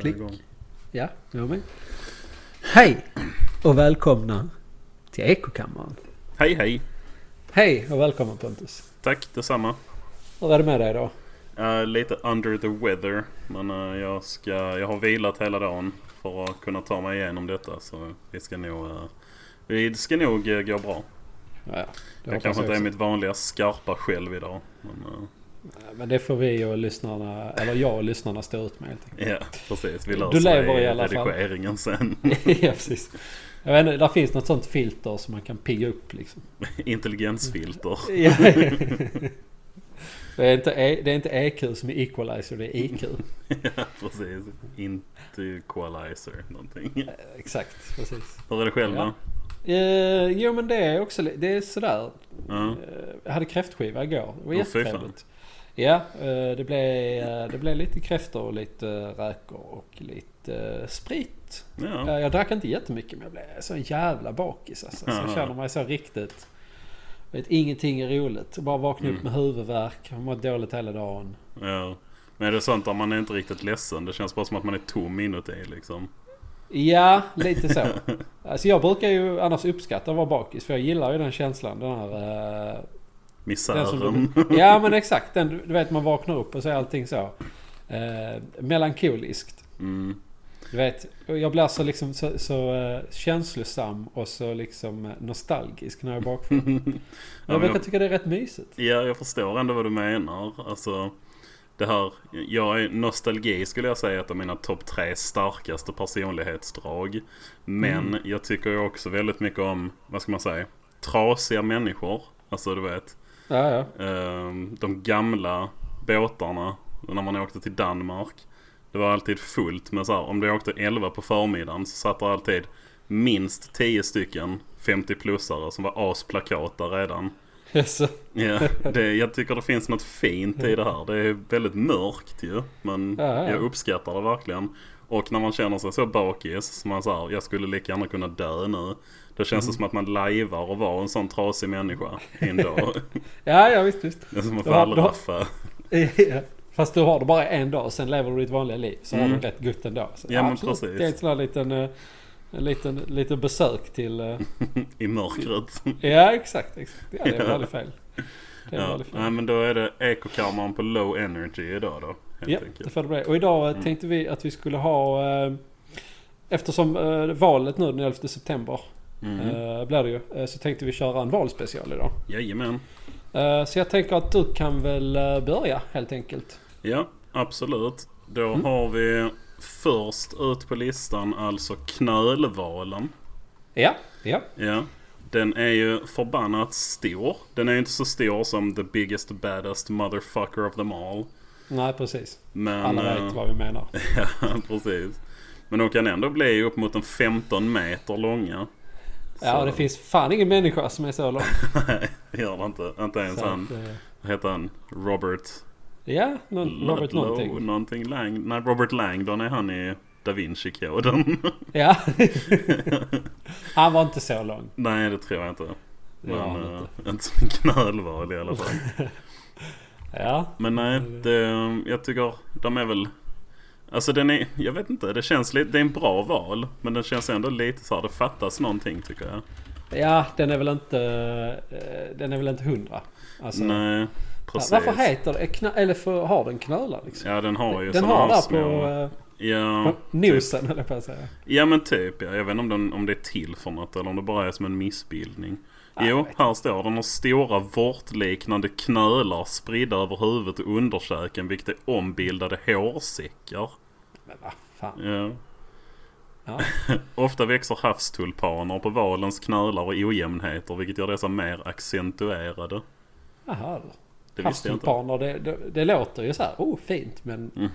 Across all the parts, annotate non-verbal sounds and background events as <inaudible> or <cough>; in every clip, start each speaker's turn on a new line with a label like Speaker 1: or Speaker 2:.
Speaker 1: Klick.
Speaker 2: igång.
Speaker 1: Ja, nu är jag med. Hej och välkomna till Ekokammaren.
Speaker 2: Hej hej!
Speaker 1: Hej och välkommen Pontus.
Speaker 2: Tack detsamma.
Speaker 1: Hur är det med dig idag?
Speaker 2: Uh, lite under the weather. Men eh, jag, ska, jag har vilat hela dagen för att kunna ta mig igenom detta. Så vi ska nog, eh, vi ska nog eh, gå bra.
Speaker 1: Ja, det hoppas
Speaker 2: Jag kanske inte är
Speaker 1: också.
Speaker 2: mitt vanliga skarpa själv idag. Men eh,
Speaker 1: Ja, Men det får vi och lyssnarna, eller jag och lyssnarna stå ut med helt enkelt.
Speaker 2: eh, ja, precis. Vi
Speaker 1: Du
Speaker 2: löser
Speaker 1: lever
Speaker 2: det
Speaker 1: i alla fall.
Speaker 2: redigeringen sen.
Speaker 1: <laughs>
Speaker 2: <laughs>
Speaker 1: ja, precis. Jag vet inte, där finns något sånt filter som man kan pigga upp liksom.
Speaker 2: Intelligensfilter. <laughs>
Speaker 1: Ja. <laughs> det, är inte, E- det är inte EQ som är equalizer, det är <laughs> IQ.
Speaker 2: ja, precis. Intequalizer någonting.
Speaker 1: Exakt, precis.
Speaker 2: Hur är det själv
Speaker 1: Ja.
Speaker 2: då?
Speaker 1: Eh, jo men det är också, li- det är sådär.
Speaker 2: Ja.
Speaker 1: Eh, Jag hade kräftskiva igår. Det var
Speaker 2: Åh,
Speaker 1: jättetrevligt. Ja, eh, det blev, eh, det blev lite kräftor och lite eh, räkor och lite eh, sprit.
Speaker 2: Ja.
Speaker 1: Eh, Jag drack inte jättemycket men jag blev så en jävla bakis alltså. Så jag
Speaker 2: Ja.
Speaker 1: känner mig så riktigt... Vet, ingenting är roligt. Jag bara vaknar upp
Speaker 2: Mm.
Speaker 1: med huvudvärk. Har mått dåligt hela dagen.
Speaker 2: ja. Men är det sånt där man är inte riktigt ledsen? Det känns bara som att man är tom inuti liksom.
Speaker 1: Ja, lite
Speaker 2: <laughs>
Speaker 1: så. alltså jag brukar ju annars uppskatta att vara bakis. För jag gillar ju den känslan. Den här... eh, Den som
Speaker 2: <laughs> Misären.
Speaker 1: Ja men exakt. Den, du vet man vaknar upp och så är allting så. Eh, melankoliskt.
Speaker 2: Mm.
Speaker 1: Du vet, och jag blir så, liksom, så, så eh, känslosam och så liksom eh, nostalgisk när jag är bakfull. Men
Speaker 2: Mm. Ja,
Speaker 1: jag
Speaker 2: men
Speaker 1: brukar
Speaker 2: jag-
Speaker 1: tycka det är rätt mysigt.
Speaker 2: Ja, jag förstår ändå vad du menar. Alltså, det här, jag är, nostalgi skulle jag säga är ett av mina topp tre starkaste personlighetsdrag. Men
Speaker 1: Mm.
Speaker 2: jag tycker ju också väldigt mycket om, vad ska man säga, trasiga människor. Alltså du vet,
Speaker 1: Ja, ja.
Speaker 2: ehm, de gamla båtarna när man åkte till Danmark. Det var alltid fullt med så här, om du åkte 11 på förmiddagen så satt det alltid minst 10 stycken 50-plussare som var asplakata redan.
Speaker 1: Jaså? <laughs>
Speaker 2: Ja, det, jag tycker det finns något fint i det här. Det är väldigt mörkt ju. Men
Speaker 1: Ja, ja.
Speaker 2: jag uppskattar det verkligen. Och när man känner sig så bakis, som man säger, jag skulle lika gärna kunna dö nu. Då känns
Speaker 1: Mm.
Speaker 2: det som att man lajvar och var en sån trasig människa en
Speaker 1: <laughs>
Speaker 2: dag.
Speaker 1: ja, ja visst, visst.
Speaker 2: Det är som att
Speaker 1: Det var- det var-
Speaker 2: wallraffa.
Speaker 1: Ja. Fast du har det bara en dag och sen lever du ditt vanliga liv. Så har
Speaker 2: Mm.
Speaker 1: du rätt gött ändå. Så,
Speaker 2: Ja, men
Speaker 1: absolut.
Speaker 2: precis.
Speaker 1: Det är ett sån här liten, eh, en liten, liten besök till... eh, <laughs>
Speaker 2: I mörkret.
Speaker 1: Ja exakt. exakt. Ja, det är väl
Speaker 2: Ja.
Speaker 1: aldrig fel. Det är väl
Speaker 2: Ja.
Speaker 1: aldrig fel.
Speaker 2: Nej men då är det ekokammaren på low energy idag då. Helt
Speaker 1: Ja, det
Speaker 2: enkelt.
Speaker 1: får det bli. Och idag eh,
Speaker 2: Mm.
Speaker 1: tänkte vi att vi skulle ha... Eh, eftersom eh, valet nu den 11 september
Speaker 2: Mm.
Speaker 1: eh, blir det ju. Eh, så tänkte vi köra en valspecial idag.
Speaker 2: Jajamän.
Speaker 1: Eh, så jag tänker att du kan väl eh, börja helt enkelt.
Speaker 2: Ja, absolut. Då
Speaker 1: Mm.
Speaker 2: har vi först ut på listan alltså knölvalen.
Speaker 1: Ja, ja.
Speaker 2: Ja. Den är ju förbannat stor. Den är ju inte så stor som the biggest baddest motherfucker of them all.
Speaker 1: Nej precis.
Speaker 2: Men,
Speaker 1: Alla
Speaker 2: eh,
Speaker 1: vet vad vi menar.
Speaker 2: <laughs> ja, precis. Men de kan ändå bli upp mot en 15 meter långa.
Speaker 1: Ja, och det finns fan ingen människa som är
Speaker 2: <laughs>
Speaker 1: så lång.
Speaker 2: Nej, det gör det inte. Inte ens
Speaker 1: Så
Speaker 2: han.
Speaker 1: att, eh,
Speaker 2: Vad heter han? Robert...
Speaker 1: ja, någon, Robert
Speaker 2: Ludlow, <laughs>
Speaker 1: någonting.
Speaker 2: någonting Lang... Nej, Robert Langdon är han i Da Vinci-koden.
Speaker 1: Ja. <laughs> han var inte så lång.
Speaker 2: <laughs> Nej, det tror jag inte.
Speaker 1: Det var
Speaker 2: Men,
Speaker 1: han
Speaker 2: eh, <laughs>
Speaker 1: inte.
Speaker 2: inte som en knölval i alla fall.
Speaker 1: Ja.
Speaker 2: Men nej, det, jag tycker de är väl... Alltså den är, jag vet inte, det känns lite, det är en bra val. Men den känns ändå lite så här, det fattas någonting tycker jag.
Speaker 1: Ja, den är väl inte... eh, Den är väl inte hundra. Alltså,
Speaker 2: Nej,
Speaker 1: Ja,
Speaker 2: precis.
Speaker 1: Varför heter det knö, eller för, har den knölar liksom?
Speaker 2: Ja den har ju
Speaker 1: den
Speaker 2: såna
Speaker 1: har
Speaker 2: här
Speaker 1: där
Speaker 2: små...
Speaker 1: på, eh,
Speaker 2: ja, typ.
Speaker 1: på nosen höll jag på att säga.
Speaker 2: ja men typ ja. Jag vet inte om, den, om det är till för något eller om det bara är som en missbildning.
Speaker 1: Ja, jag
Speaker 2: jo,
Speaker 1: vet inte.
Speaker 2: här står den har stora vårtliknande knölar spridda över huvudet och underkäken vilket är ombildade hårsäckar.
Speaker 1: Men vad fan.
Speaker 2: Ja.
Speaker 1: Ja.
Speaker 2: <laughs> Ofta växer havstulpaner på valens knölar och ojämnheter vilket gör dessa mer accentuerade.
Speaker 1: Jaha.
Speaker 2: Det visste jag inte.
Speaker 1: Havstulpaner, det, det, det låter ju så här, oh fint men...
Speaker 2: Mm.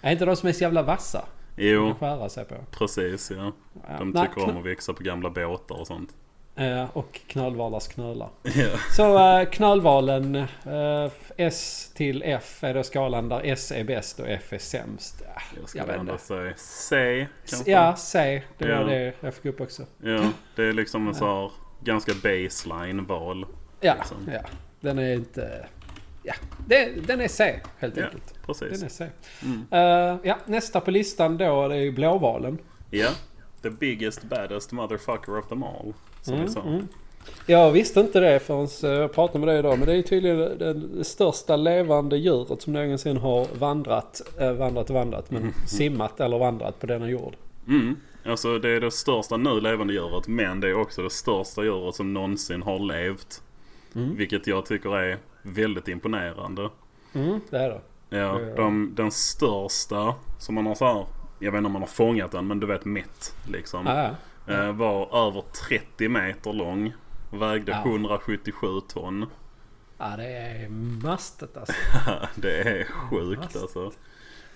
Speaker 1: Är inte de som är så jävla vassa?
Speaker 2: Jo,
Speaker 1: Att skära sig på.
Speaker 2: precis ja.
Speaker 1: Ja.
Speaker 2: De
Speaker 1: nej,
Speaker 2: tycker om att växa på gamla båtar och sånt. <laughs>
Speaker 1: knö- eh, och knölvalars knölar.
Speaker 2: Ja,
Speaker 1: Så eh, knölvalen, eh, S till F är då skalan där S är bäst och F är sämst. Ah,
Speaker 2: jag
Speaker 1: Jag
Speaker 2: skulle
Speaker 1: vet
Speaker 2: ändå
Speaker 1: inte.
Speaker 2: säga C
Speaker 1: S-
Speaker 2: kanske.
Speaker 1: Ja, C. Det var
Speaker 2: Ja.
Speaker 1: det jag fick upp också.
Speaker 2: Ja, det är liksom en så här ganska baseline-val.
Speaker 1: Ja,
Speaker 2: Liksom.
Speaker 1: ja. Den är inte... ja, det, den är C helt
Speaker 2: Ja,
Speaker 1: enkelt.
Speaker 2: precis.
Speaker 1: Den är C. Eh, ja, nästa på listan då det är ju blåvalen.
Speaker 2: Ja. The biggest baddest motherfucker of them all. Som
Speaker 1: Mm,
Speaker 2: vi sa.
Speaker 1: Jag visste inte det förrän eh, jag pratade med dig idag. Men det är tydligen det, det största levande djuret som någonsin har vandrat, eh, vandrat, vandrat. Men simmat eller vandrat på denna jord.
Speaker 2: Mm. Alltså det är det största nu levande djuret men det är också det största djuret som någonsin har levt. Vilket jag tycker är väldigt imponerande.
Speaker 1: Mm, det är det.
Speaker 2: Ja, de, den största som man har så här, jag vet inte om man har fångat den men du vet mätt liksom.
Speaker 1: Ja, ja.
Speaker 2: Eh, var över 30 meter lång. Vägde
Speaker 1: Ja.
Speaker 2: 177 ton.
Speaker 1: ja, det är mastet alltså.
Speaker 2: <laughs> det är sjukt
Speaker 1: Fantastiskt.
Speaker 2: alltså.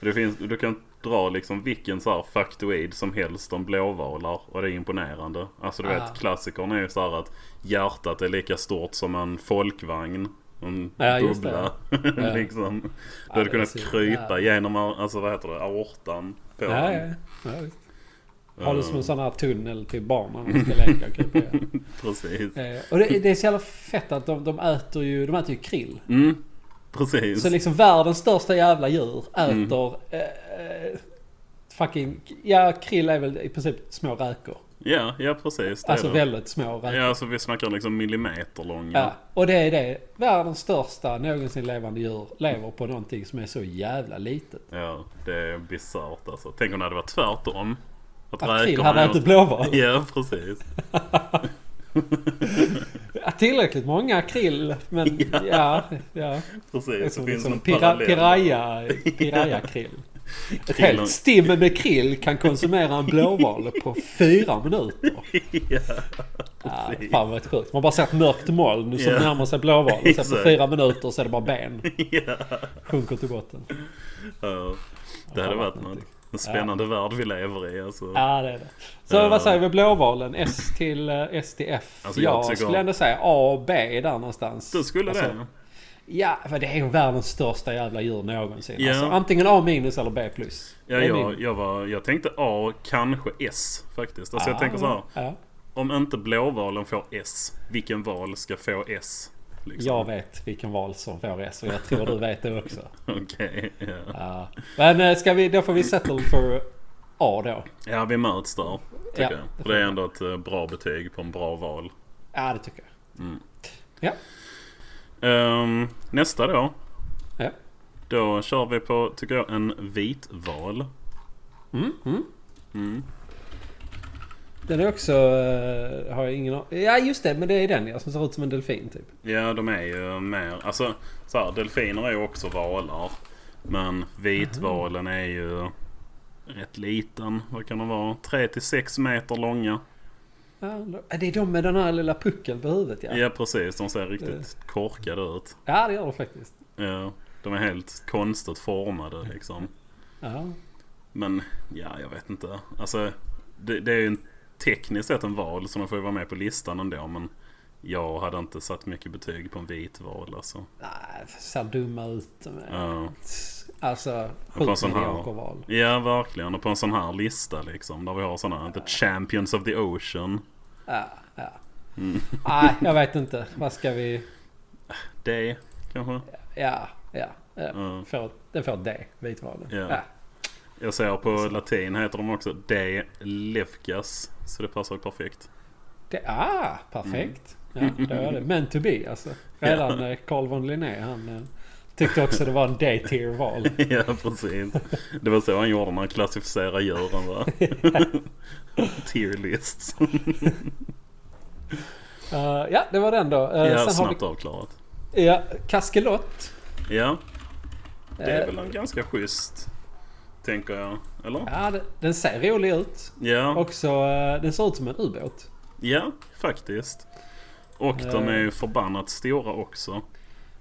Speaker 2: Det finns, du kan dra liksom vilken så här faktoid som helst om blåvalar och det är imponerande. Alltså du
Speaker 1: Ah.
Speaker 2: vet klassikern är ju så här att hjärtat är lika stort som en folkvagn. En
Speaker 1: Ja, just
Speaker 2: bubbla. <laughs>
Speaker 1: Ja.
Speaker 2: liksom. Du
Speaker 1: Ja,
Speaker 2: hade
Speaker 1: det är
Speaker 2: kunnat
Speaker 1: så-
Speaker 2: krypa
Speaker 1: ja.
Speaker 2: genom alltså, vad heter det, aortan på
Speaker 1: Ja,
Speaker 2: den.
Speaker 1: ja, ja, visst. Har du som
Speaker 2: Eh,
Speaker 1: en sån här tunnel till barnen när de ska leka och krypa igenom.
Speaker 2: Precis.
Speaker 1: Eh, Och det, det är så jävla fett att de, de äter ju, de äter ju krill.
Speaker 2: Mm, precis.
Speaker 1: Så liksom världens största jävla djur
Speaker 2: Mm.
Speaker 1: äter eh, fucking, ja krill är väl i princip små räkor.
Speaker 2: Ja, ja precis. Det
Speaker 1: Alltså
Speaker 2: är det.
Speaker 1: väldigt små räkor.
Speaker 2: Ja,
Speaker 1: Ja.
Speaker 2: alltså vi snackar liksom millimeterlånga.
Speaker 1: och det är det, världens största någonsin levande djur lever på någonting som är så jävla litet.
Speaker 2: Ja, det är bisarrt alltså. Tänk om det hade varit tvärtom. Att
Speaker 1: Att krill
Speaker 2: räkorna
Speaker 1: hade
Speaker 2: åt-
Speaker 1: ätit blåval.
Speaker 2: Ja, precis.
Speaker 1: Ja, tillräckligt många krill,
Speaker 2: <laughs>
Speaker 1: men ja, ja. Det är
Speaker 2: Precis.
Speaker 1: som
Speaker 2: Det finns
Speaker 1: liksom
Speaker 2: en
Speaker 1: pira,
Speaker 2: parallell.
Speaker 1: piraya, piraya-krill. Ett
Speaker 2: Krill-
Speaker 1: helt stim med krill kan konsumera
Speaker 2: <laughs>
Speaker 1: en blåval på fyra minuter.
Speaker 2: Ja,
Speaker 1: Ja,
Speaker 2: precis.
Speaker 1: fan vad sjukt. Man bara ser ett mörkt moln som
Speaker 2: Ja.
Speaker 1: närmar sig blåvalen. Sen på
Speaker 2: Exakt.
Speaker 1: fyra minuter så är det bara ben.
Speaker 2: <laughs> ja.
Speaker 1: Sjunker till botten.
Speaker 2: Ja. Det hade varit något. En spännande värld vi lever i alltså.
Speaker 1: Ja det är det. Så
Speaker 2: Ja.
Speaker 1: vad säger vi blåvalen? S till, eh, S till F?
Speaker 2: Alltså, jag
Speaker 1: jag
Speaker 2: tycker-
Speaker 1: skulle ändå säga A och B där någonstans.
Speaker 2: Du skulle
Speaker 1: Alltså,
Speaker 2: det?
Speaker 1: Ja, men det är ju världens största jävla djur någonsin.
Speaker 2: Ja.
Speaker 1: Alltså, antingen A minus eller B plus.
Speaker 2: Ja,
Speaker 1: Det är
Speaker 2: jag,
Speaker 1: min-
Speaker 2: jag, var, jag tänkte A, kanske S faktiskt. Alltså
Speaker 1: Ja,
Speaker 2: jag tänker så här.
Speaker 1: Ja.
Speaker 2: Om inte blåvalen får S, vilken val ska få S? Liksom.
Speaker 1: Jag vet vilken val som får S och jag tror du vet det också.
Speaker 2: <laughs> Okej, ja.
Speaker 1: Ja. Men eh, ska vi, då får vi settle för A då.
Speaker 2: ja vi möts där. Tycker
Speaker 1: Ja,
Speaker 2: jag. För det är ändå ett eh, bra betyg på en bra val.
Speaker 1: Ja, det tycker jag.
Speaker 2: Ehm, nästa då.
Speaker 1: Ja.
Speaker 2: Då kör vi på, tycker jag, en vit val.
Speaker 1: Mm, mm.
Speaker 2: Mm.
Speaker 1: Den är också... eh, har jag ingen a- Ja, just det. Men det är den ja, som ser ut som en delfin typ.
Speaker 2: Ja, de är ju mer... Alltså, så här, delfiner är ju också valar. Men vitvalen är ju rätt liten. Vad kan de vara? 3-6 meter långa.
Speaker 1: Ja, då- det är de med den här lilla puckeln på huvudet ja. Eh.
Speaker 2: Ja. precis. De ser riktigt korkade ut.
Speaker 1: Ja, det gör de faktiskt.
Speaker 2: Ja, de är helt konstigt formade liksom.
Speaker 1: Ja.
Speaker 2: Men ja, jag vet inte. Alltså, det, det är ju en, tekniskt sett en val så de får ju vara med på listan ändå. Men jag hade inte satt mycket betyg på en vit val alltså.
Speaker 1: Nej, ser dumma ut. de är-
Speaker 2: Ja.
Speaker 1: Alltså,
Speaker 2: Det var
Speaker 1: sjukt
Speaker 2: sån här.
Speaker 1: medioker val.
Speaker 2: ja, verkligen. Och på en sån här lista liksom. Där vi har såna The Champions of the Ocean.
Speaker 1: Ja, ja.
Speaker 2: Mm.
Speaker 1: Nej, jag vet inte. Vad ska vi...
Speaker 2: Det kanske.
Speaker 1: Ja, ja. ja.
Speaker 2: Ja.
Speaker 1: Får, den får D, vitvalen.
Speaker 2: Ja.
Speaker 1: Ja.
Speaker 2: Jag ser på latin heter de också De Lefkas. Så det passar ju perfekt. <laughs>
Speaker 1: Det, ah, perfekt.
Speaker 2: Mm.
Speaker 1: Ja, då är det meant to
Speaker 2: <laughs>
Speaker 1: be alltså. Redan eh, Carl von Linné han eh, tyckte också det var en D-tier val.
Speaker 2: ja, precis. Det var så han gjorde när han klassificerade djuren va? Tier lists.
Speaker 1: Eh, ja, det var den då. Eh,
Speaker 2: Ja,
Speaker 1: sen har
Speaker 2: snabbt avklarat.
Speaker 1: vi ja, kaskelott.
Speaker 2: Ja, det är
Speaker 1: Eh,
Speaker 2: väl en ganska schysst. Tänker jag. Eller?
Speaker 1: ja, den, den ser rolig ut.
Speaker 2: Ja,
Speaker 1: Också, eh, den ser ut som en ubåt.
Speaker 2: ja faktiskt. Och de är ju förbannat stora också. Jag
Speaker 1: Eh.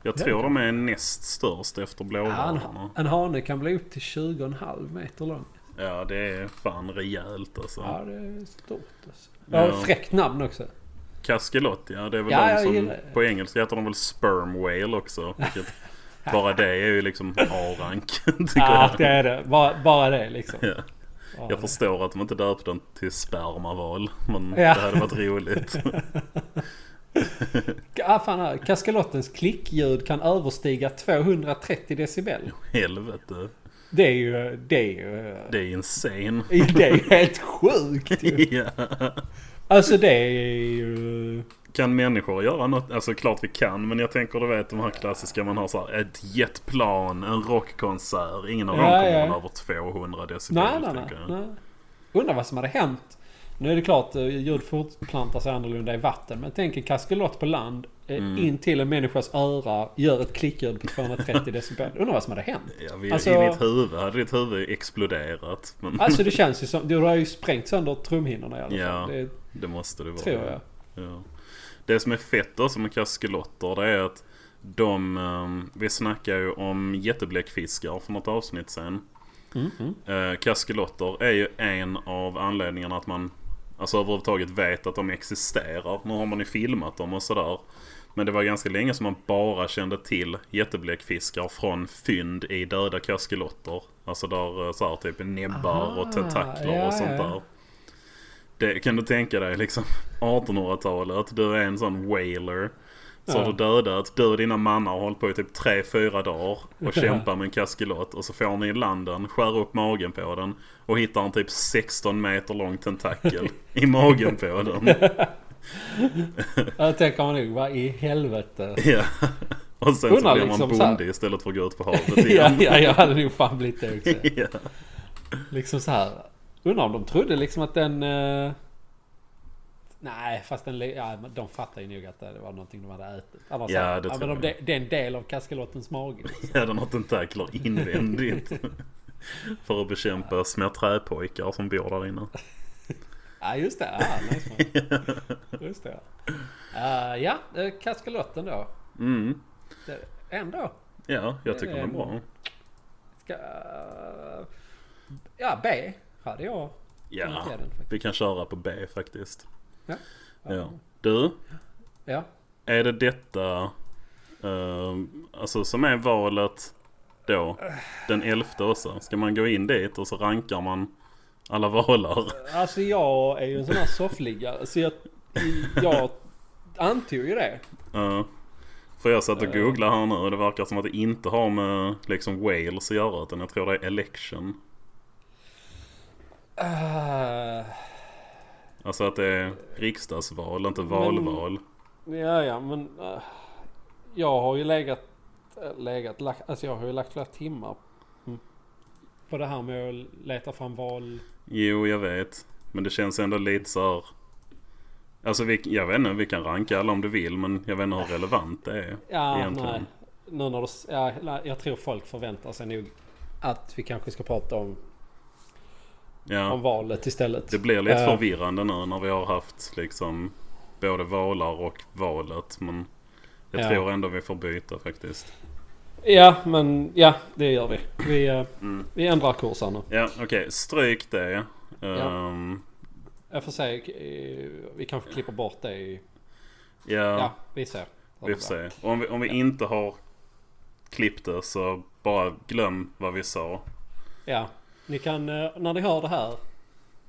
Speaker 1: Ja.
Speaker 2: tror de är näst störst efter
Speaker 1: Ja, en,
Speaker 2: blåvalarna.
Speaker 1: en hane kan bli upp till 20,5 meter lång.
Speaker 2: Ja, det är fan rejält alltså.
Speaker 1: Ja, det är stort alltså. Ja,
Speaker 2: Ja.
Speaker 1: fräckt namn också.
Speaker 2: Kaskelot, ja. Det är väl
Speaker 1: Ja, jag
Speaker 2: de som...
Speaker 1: gillar det.
Speaker 2: På engelska heter de väl sperm whale också.
Speaker 1: <laughs>
Speaker 2: Vilket, bara det är ju liksom A-rank. <laughs> tycker
Speaker 1: Ja, det
Speaker 2: jag.
Speaker 1: är det. Bara, bara det liksom.
Speaker 2: Ja. Jag förstår att de inte döpte den till spermaval. Men
Speaker 1: Ja.
Speaker 2: det hade varit roligt.
Speaker 1: ah, fan, här. Kaskalottens klickljud kan överstiga 230 decibel.
Speaker 2: <laughs> Helvete.
Speaker 1: Det är ju... Det är ju...
Speaker 2: Det är insane.
Speaker 1: <laughs> Det är ju helt sjukt ju.
Speaker 2: <laughs> ja.
Speaker 1: Alltså det är ju...
Speaker 2: Kan människor göra något? Alltså klart vi kan. Men jag tänker du vet de här klassiska man har så här ett jetplan, en rockkonsert. Ingen av dem
Speaker 1: Ja,
Speaker 2: kommer
Speaker 1: ja.
Speaker 2: väl över 200 decibel.
Speaker 1: Nej, nej, nej,
Speaker 2: tänker jag.
Speaker 1: nej. Undrar vad som hade hänt. Nu är det klart, eh, ljud fortplantar sig annorlunda i vatten. Men tänk en kaskelott på land eh,
Speaker 2: Mm.
Speaker 1: in till en människas öra gör ett klickljud på 230 decibel. Undrar vad som hade hänt.
Speaker 2: Ja, vi,
Speaker 1: Alltså-
Speaker 2: I mitt huvud hade ditt huvud exploderat. Men
Speaker 1: Alltså det känns ju som... Du har ju sprängt sönder trumhinnorna i alla fall.
Speaker 2: Ja.
Speaker 1: Det
Speaker 2: <laughs> det måste det vara.
Speaker 1: tror jag.
Speaker 2: Ja. Det som är fett också med kaskelotter det är att de, ehm, vi snackar ju om jättebläckfiskar för något avsnitt sen.
Speaker 1: Mhm.
Speaker 2: Eh, Kaskelotter är ju en av anledningarna att man alltså överhuvudtaget vet att de existerar. Nu har man ju filmat dem och sådär. Men det var ganska länge som man bara kände till jättebläckfiskar från fynd i döda kaskelotter. Alltså där eh, så här, typ näbbar
Speaker 1: Aha,
Speaker 2: och tentakler
Speaker 1: ja,
Speaker 2: och sånt
Speaker 1: ja.
Speaker 2: där. Det, kan du tänka dig liksom 1800-talet, du är en sån whaler. Så
Speaker 1: Ja.
Speaker 2: har du dödat, du och dina mannar har hållit på i typ 3-4 dagar och kämpar med en kaskelot. Och så får ni i landen, skär upp magen på den och hittar en typ 16 meter lång
Speaker 1: <laughs>
Speaker 2: tentakel i magen på den.
Speaker 1: Jag tänker man nog, vad i helvete?
Speaker 2: Ja. Och sen
Speaker 1: Undrar
Speaker 2: så blir man
Speaker 1: liksom så här-
Speaker 2: bonde istället för att gå ut på havet
Speaker 1: ja, <laughs>
Speaker 2: igen.
Speaker 1: ja, jag hade nog fan blivit det också.
Speaker 2: <laughs> ja.
Speaker 1: Liksom så här. Undrar om de trodde liksom att den... eh, Nej, fast den, le- ja, men de fattar ju nog att det var någonting de hade ätit. Annars
Speaker 2: Ja,
Speaker 1: så-
Speaker 2: det
Speaker 1: ja,
Speaker 2: tror
Speaker 1: men om
Speaker 2: jag.
Speaker 1: det, det är en del av kaskelottens
Speaker 2: <laughs>
Speaker 1: mage.
Speaker 2: Ja, den har tentakler invändigt. för att bekämpa små träpojkar som bor där inne.
Speaker 1: Ja, just det. Ja, nice
Speaker 2: <laughs>
Speaker 1: man. just det. Eh, ja, eh, kaskelotten då.
Speaker 2: Mm.
Speaker 1: Det- Ändå.
Speaker 2: Ja, jag tycker
Speaker 1: Det är
Speaker 2: den är bra.
Speaker 1: bra. Ska... eh, Ja, B hade jag.
Speaker 2: Ja,
Speaker 1: Kommentera den faktiskt.
Speaker 2: vi kan köra på B faktiskt.
Speaker 1: Mm. Ja.
Speaker 2: Ja. Du,
Speaker 1: Ja.
Speaker 2: är det detta eh, alltså som är valet då? Den 11 också? Ska man gå in dit och så rankar man alla valar?
Speaker 1: Alltså jag är ju en sån här soffliggare. Så jag, jag antog ju det.
Speaker 2: Uh, för jag satt och googlade här nu och det verkar som att det inte har med liksom Wales att göra utan jag tror det är election.
Speaker 1: Eh,
Speaker 2: Alltså att det är riksdagsval, inte valval.
Speaker 1: Ja, ja, men... eh, jag har ju legat... eh, legat lagt, alltså jag har ju lagt flera timmar Mm. på det här med att leta fram val...
Speaker 2: Jo, jag vet. Men det känns ändå lite så här... Alltså vi, jag vet inte, vi kan ranka alla om du vill men jag vet inte hur relevant det är.
Speaker 1: Ja,
Speaker 2: Egentligen.
Speaker 1: nej. Nu när du, s- ja, nej, jag tror folk förväntar sig nog att vi kanske ska prata om, om
Speaker 2: Ja,
Speaker 1: valet istället.
Speaker 2: det blir lite
Speaker 1: Eh,
Speaker 2: förvirrande nu när vi har haft liksom både valar och valet. Men jag
Speaker 1: Ja.
Speaker 2: tror ändå vi får byta faktiskt.
Speaker 1: Ja, men ja, det gör vi. Vi, eh, vi ändrar kurs här nu.
Speaker 2: Mm. Ja, okej. Stryk det. Ehm,
Speaker 1: Jag får säga, eh, vi kanske klipper bort det i...
Speaker 2: ja.
Speaker 1: Ja, vi ser.
Speaker 2: Vi får se. Och Om vi, om vi inte har klippt det så bara glöm vad vi sa.
Speaker 1: Ja, ni kan, eh, när ni hör det här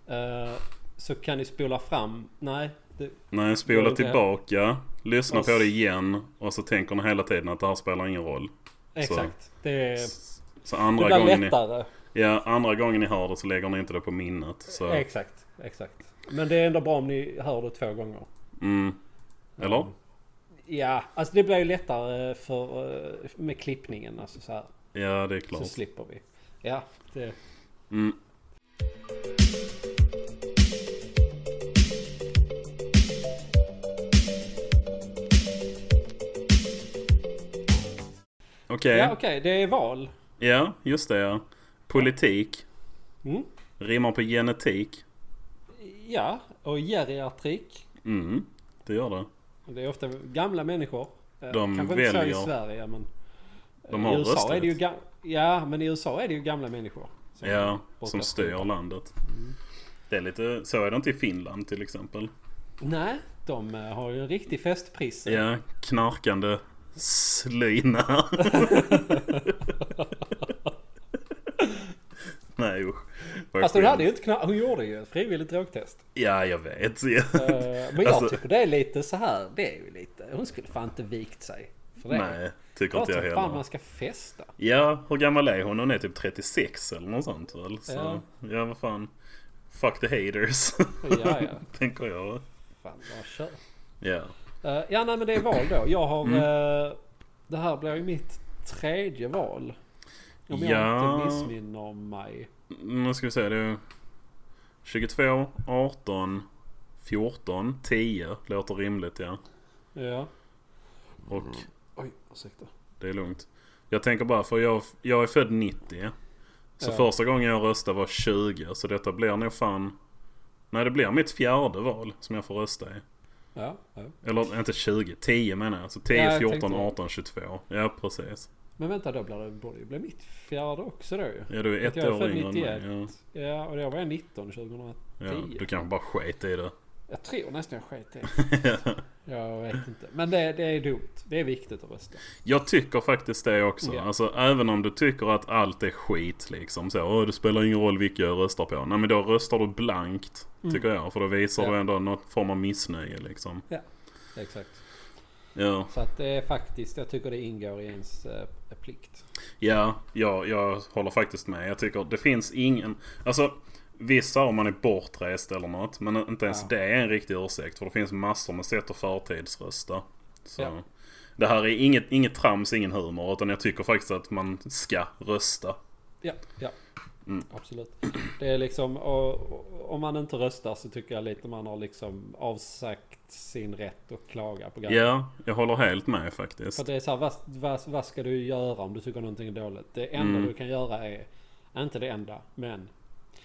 Speaker 1: eh, så kan ni spola fram. Nej, det,
Speaker 2: Nej, spola
Speaker 1: Ja,
Speaker 2: tillbaka, lyssna
Speaker 1: Och
Speaker 2: på
Speaker 1: s-
Speaker 2: det igen och så tänker ni hela tiden att det här spelar ingen roll.
Speaker 1: exakt. Det,
Speaker 2: S- Så
Speaker 1: det
Speaker 2: andra
Speaker 1: blir
Speaker 2: gången, ni,
Speaker 1: lättare.
Speaker 2: ja, andra gången ni hör det så lägger ni inte det på minnet. Så,
Speaker 1: Exakt, exakt. Men det är ändå bra om ni hör det två gånger.
Speaker 2: mm. Eller?
Speaker 1: Ja, alltså det blir ju lättare för, eh, med klippningen. Alltså så här.
Speaker 2: Ja, det är
Speaker 1: Så
Speaker 2: klart.
Speaker 1: slipper vi. Ja, det...
Speaker 2: Mm. Okej.
Speaker 1: Ja, okej. det är val.
Speaker 2: Ja, just det ja. Politik.
Speaker 1: Mm.
Speaker 2: Rimmar på genetik.
Speaker 1: Ja, och geriatrik.
Speaker 2: Mm, det gör det.
Speaker 1: Det är ofta gamla människor. Eh,
Speaker 2: De
Speaker 1: Kanske inte så i
Speaker 2: väljer-
Speaker 1: Sverige men... eh,
Speaker 2: De har
Speaker 1: I USA
Speaker 2: rösträtt.
Speaker 1: är det ju ga- Ja, men i USA är det ju gamla människor. som
Speaker 2: Ja,
Speaker 1: brukar
Speaker 2: som styr
Speaker 1: skjuta.
Speaker 2: landet.
Speaker 1: Mm.
Speaker 2: Det är lite, så är det inte i Finland till exempel.
Speaker 1: Nej, de eh, har ju en riktig festpris.
Speaker 2: Ja, knarkande slyna.
Speaker 1: <laughs>
Speaker 2: Nej usch. var
Speaker 1: Fast hon
Speaker 2: skönt.
Speaker 1: hade ju inte knall, hon gjorde ju ett frivilligt drogtest.
Speaker 2: Ja, jag vet.
Speaker 1: <laughs> Eh, Men jag
Speaker 2: Alltså-
Speaker 1: tycker det är lite så här, det är ju lite, hon skulle fan inte vikt sig. För det.
Speaker 2: Nej, tycker
Speaker 1: jag
Speaker 2: inte jag
Speaker 1: tycker fan
Speaker 2: heller.
Speaker 1: man ska festa.
Speaker 2: Ja, hur gammal är hon? Hon är typ 36 eller något sånt väl? Så, ja.
Speaker 1: Ja.
Speaker 2: vad fan. Fuck the haters.
Speaker 1: Ja, ja.
Speaker 2: <laughs> Tänker jag.
Speaker 1: Fan, jag kör.
Speaker 2: Ja.
Speaker 1: Eh, ja, nej men det är val då. Jag har... eh, det här blir ju mitt tredje val. Om jag
Speaker 2: Ja.
Speaker 1: inte missminner mig.
Speaker 2: Nu ska vi se. Det är 22, 18, 14, 10. Låter rimligt ja.
Speaker 1: Ja.
Speaker 2: Och
Speaker 1: Mm. Oj, ursäkta.
Speaker 2: det är lugnt. Jag tänker bara för jag, jag är född 90. Så
Speaker 1: Ja.
Speaker 2: första gången jag röstade var 20. Så detta blir nog fan... Nej det blir mitt fjärde val som jag får rösta i.
Speaker 1: Ja, ja.
Speaker 2: Eller inte 20, 10 menar jag. Alltså 10,
Speaker 1: Ja, jag
Speaker 2: 14,
Speaker 1: tänkte-
Speaker 2: 18, 22. Ja precis.
Speaker 1: Men vänta, då blir det, borde det bli mitt fjärde också då ju.
Speaker 2: Ja du är ett
Speaker 1: Jag är
Speaker 2: år
Speaker 1: född
Speaker 2: yngre än mig.
Speaker 1: 91.
Speaker 2: Ja.
Speaker 1: Ja, och då var jag 19 2010.
Speaker 2: Ja, du kanske bara sket i det.
Speaker 1: Jag tror nästan jag sket i det. Jag vet inte. Men det, det är dumt. Det är viktigt att rösta.
Speaker 2: Jag tycker faktiskt det också.
Speaker 1: Ja.
Speaker 2: Alltså även om du tycker att allt är skit liksom. Så, Åh, det spelar ingen roll vilka jag röstar på. Nej men då röstar du blankt. Tycker jag. För då visar
Speaker 1: Mm. Ja.
Speaker 2: du ändå någon form av missnöje liksom.
Speaker 1: Exakt.
Speaker 2: Ja,
Speaker 1: Så att det är faktiskt, jag tycker det ingår i ens eh, plikt.
Speaker 2: ja, ja jag håller faktiskt med. Jag tycker det finns ingen... Alltså vissa om man är bortrest eller något. Men inte ens
Speaker 1: Ja.
Speaker 2: det är en riktig ursäkt. För det finns massor med sätt att förtidsrösta. Så.
Speaker 1: Ja.
Speaker 2: Det här är inget, inget trams, ingen humor. Utan jag tycker faktiskt att man ska rösta.
Speaker 1: Ja, ja.
Speaker 2: Mm.
Speaker 1: Absolut. Det är liksom, och, och, om man inte röstar så tycker jag lite man har liksom avsagt sin rätt att klaga på grejer.
Speaker 2: Ja, jag håller helt med faktiskt.
Speaker 1: För det är så här, vad, vad, vad ska du göra om du tycker någonting är dåligt? Det enda
Speaker 2: Mm.
Speaker 1: du kan göra är, inte det enda, men...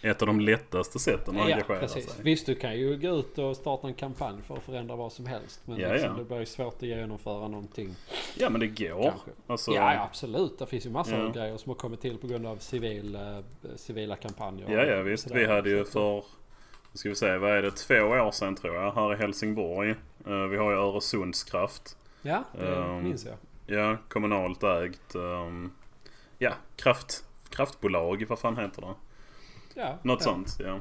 Speaker 2: Ett av de alltså. lättaste sätten att
Speaker 1: Ja,
Speaker 2: engagera
Speaker 1: precis.
Speaker 2: sig.
Speaker 1: Visst, du kan ju gå ut och starta en kampanj för att förändra vad som helst. Men
Speaker 2: Ja,
Speaker 1: liksom,
Speaker 2: ja.
Speaker 1: det blir ju svårt att genomföra någonting.
Speaker 2: Ja, men det går.
Speaker 1: Kanske.
Speaker 2: Alltså,
Speaker 1: Ja, ja, absolut. Det finns ju massor
Speaker 2: Ja.
Speaker 1: av grejer som har kommit till på grund av civil, eh, civila kampanjer.
Speaker 2: ja, ja,
Speaker 1: och
Speaker 2: visst.
Speaker 1: sådär.
Speaker 2: Vi hade ju för, nu ska vi säga, vad är det, två år sedan tror jag, här i Helsingborg. Eh, vi har ju Öresundskraft.
Speaker 1: Ja, det
Speaker 2: Ehm,
Speaker 1: minns jag.
Speaker 2: Ja, kommunalt ägt. ehm, ja, kraft, kraftbolag, vad fan heter det?
Speaker 1: Ja,
Speaker 2: Något
Speaker 1: ja.
Speaker 2: sånt, ja.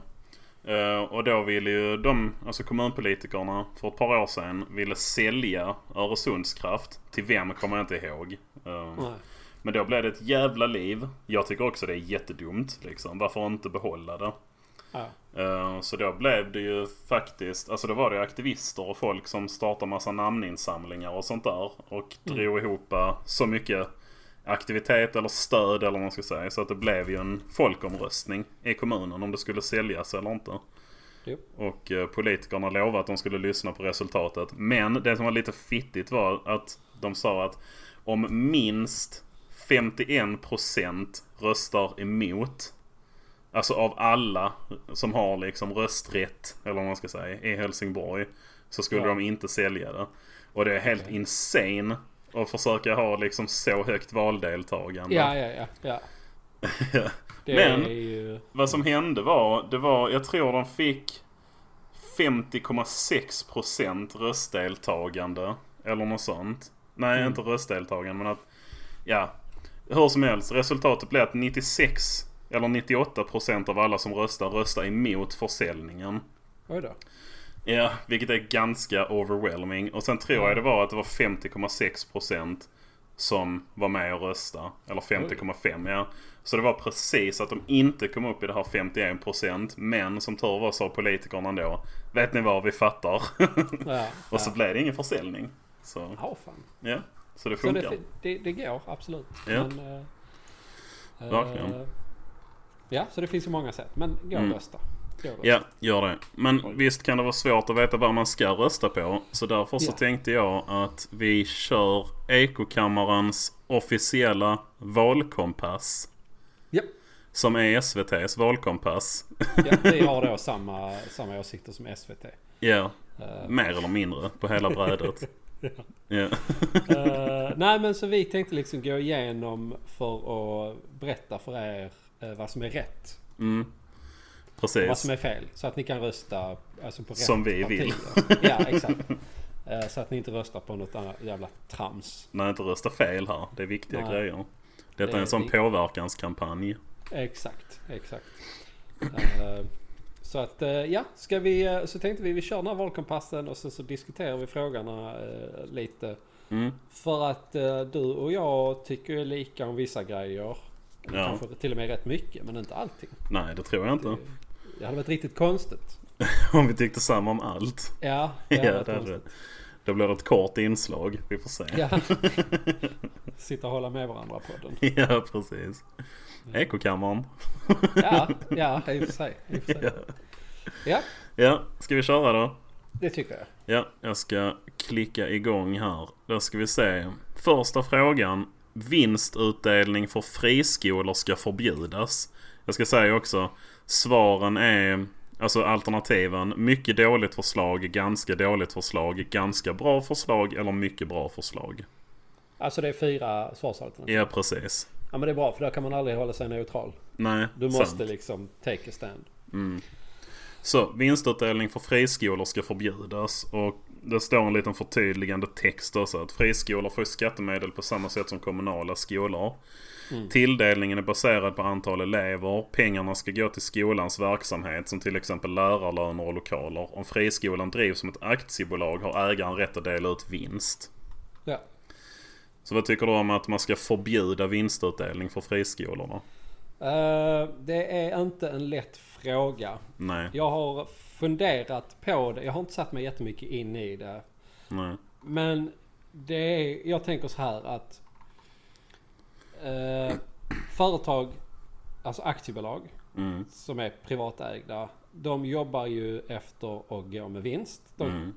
Speaker 2: Eh, och då ville ju de, alltså kommunpolitikerna, för ett par år sedan ville sälja Öresundskraft. Till vem kommer jag inte ihåg. Ehm,
Speaker 1: Nej.
Speaker 2: Men då blev det ett jävla liv. Jag tycker också det är jättedumt. Liksom. Varför inte behålla det?
Speaker 1: Ja.
Speaker 2: Eh, Så då blev det ju faktiskt, alltså då var det ju aktivister och folk som startade massa namninsamlingar och sånt där. Och drog ihop eh, så mycket aktivitet eller stöd eller vad man ska säga. Så att det blev ju en folkomröstning i kommunen om det skulle säljas eller inte.
Speaker 1: Jo.
Speaker 2: Och eh, politikerna lovade att de skulle lyssna på resultatet. Men det som var lite fittigt var att de sa att om minst 51% röstar emot. Alltså av alla som har liksom rösträtt, eller vad man ska säga, i Helsingborg. Så skulle
Speaker 1: Ja.
Speaker 2: de inte sälja det. Och det är helt
Speaker 1: Okej.
Speaker 2: insane att försöka ha liksom så högt valdeltagande. <laughs>
Speaker 1: Ja, ja, ja. ja. Det
Speaker 2: Men-
Speaker 1: är ju...
Speaker 2: Vad som hände var, det var, jag tror de fick 50,6% röstdeltagande. Eller något sånt. Nej, inte röstdeltagande men att, ja. Hur som helst, resultatet blev att 96 eller 98% av alla som röstar röstar emot försäljningen.
Speaker 1: Oj då.
Speaker 2: Ja, vilket är ganska overwhelming. Och sen tror
Speaker 1: Mm.
Speaker 2: jag det var att det var 50,6% som var med och rösta. Eller 50,5 ja. Så det var precis att de inte kom upp i det här 51% men som tur var sa politikerna ändå Vet ni vad, vi fattar. <laughs>
Speaker 1: Ja,
Speaker 2: och så
Speaker 1: ja.
Speaker 2: blev det ingen försäljning. Så
Speaker 1: Ja, fan.
Speaker 2: ja, så det
Speaker 1: Så
Speaker 2: funkar.
Speaker 1: det, fin- det, det går, absolut.
Speaker 2: Ja.
Speaker 1: Men, eh, eh,
Speaker 2: Verkligen.
Speaker 1: ja, så det finns ju många sätt. Men gå och
Speaker 2: Mm.
Speaker 1: rösta. Gå och rösta.
Speaker 2: Ja, gör det. Men visst kan det vara svårt att veta vad man ska rösta på. Så därför så
Speaker 1: Ja.
Speaker 2: tänkte jag att vi kör Ekokammarens officiella valkompass.
Speaker 1: Ja.
Speaker 2: Som är SVT's valkompass.
Speaker 1: Ja, vi har då samma, samma åsikter som SVT.
Speaker 2: Ja,
Speaker 1: Eh,
Speaker 2: mer eller mindre på
Speaker 1: <laughs>
Speaker 2: hela brädet. Ja.
Speaker 1: eh, nej men så vi tänkte liksom gå igenom för att berätta för er eh, vad som är rätt
Speaker 2: Mm.
Speaker 1: och vad
Speaker 2: Precis.
Speaker 1: som är fel. Så att ni kan rösta alltså, på rätt
Speaker 2: Som vi
Speaker 1: partier.
Speaker 2: vill.
Speaker 1: Ja exakt. Eh, så att ni inte röstar på något annat jävla trams.
Speaker 2: Nej, inte rösta fel här. Det är viktiga
Speaker 1: Nej.
Speaker 2: grejer. Detta
Speaker 1: Det
Speaker 2: är
Speaker 1: är
Speaker 2: en sån
Speaker 1: vik-
Speaker 2: påverkanskampanj.
Speaker 1: Exakt, exakt. Eh, Så att eh, ja, ska vi, eh, så tänkte vi vi kör den här valkompassen och sen så diskuterar vi frågorna eh, lite.
Speaker 2: Mm.
Speaker 1: För att eh, du och jag tycker ju lika om vissa grejer.
Speaker 2: Ja.
Speaker 1: Kanske till och med rätt mycket men inte allting.
Speaker 2: Nej, det tror jag inte.
Speaker 1: Det hade varit riktigt konstigt.
Speaker 2: Om vi tyckte samma om allt.
Speaker 1: Ja,
Speaker 2: Ja,
Speaker 1: hade varit
Speaker 2: det hade
Speaker 1: konstigt.
Speaker 2: det. Då blir det ett kort inslag. Vi får se.
Speaker 1: Ja. <laughs> Sitta och hålla med varandra på den.
Speaker 2: <laughs> Ja, precis. Ekokammaren.
Speaker 1: Mm. Ja, ja i och för sig. I och för
Speaker 2: <laughs>
Speaker 1: sig.
Speaker 2: Ja.
Speaker 1: Ja,
Speaker 2: Ja, ska vi köra då?
Speaker 1: det tycker jag.
Speaker 2: Ja, jag ska klicka igång här. Då ska vi se. Första frågan. Vinstutdelning för friskolor ska förbjudas. Jag ska säga också. Svaren är, alltså alternativen, mycket dåligt förslag, ganska dåligt förslag, ganska bra förslag eller mycket bra förslag.
Speaker 1: Alltså det är fyra svarsalternativ.
Speaker 2: Ja, precis.
Speaker 1: Ja men det är bra för då kan man aldrig hålla sig neutral.
Speaker 2: Nej,
Speaker 1: Du måste
Speaker 2: sant.
Speaker 1: liksom take a stand.
Speaker 2: Så vinstutdelning för friskolor ska förbjudas och det står en liten förtydligande text också att friskolor får skattemedel på samma sätt som kommunala skolor.
Speaker 1: Mm.
Speaker 2: Tilldelningen är baserad på antal elever. Pengarna ska gå till skolans verksamhet som till exempel lärarlöner och lokaler. Om friskolan drivs som ett aktiebolag har ägaren rätt att dela ut vinst.
Speaker 1: Ja.
Speaker 2: Så vad tycker du om att man ska förbjuda vinstutdelning för friskolorna?
Speaker 1: Eh, det är inte en lätt fråga.
Speaker 2: Nej,
Speaker 1: Jag har funderat på det. Jag har inte satt mig jättemycket in i det.
Speaker 2: nej,
Speaker 1: Men det är, jag tänker så här att eh, företag, alltså aktiebolag
Speaker 2: mm,
Speaker 1: som är privatägda. De jobbar ju efter att gå med vinst. De
Speaker 2: mm.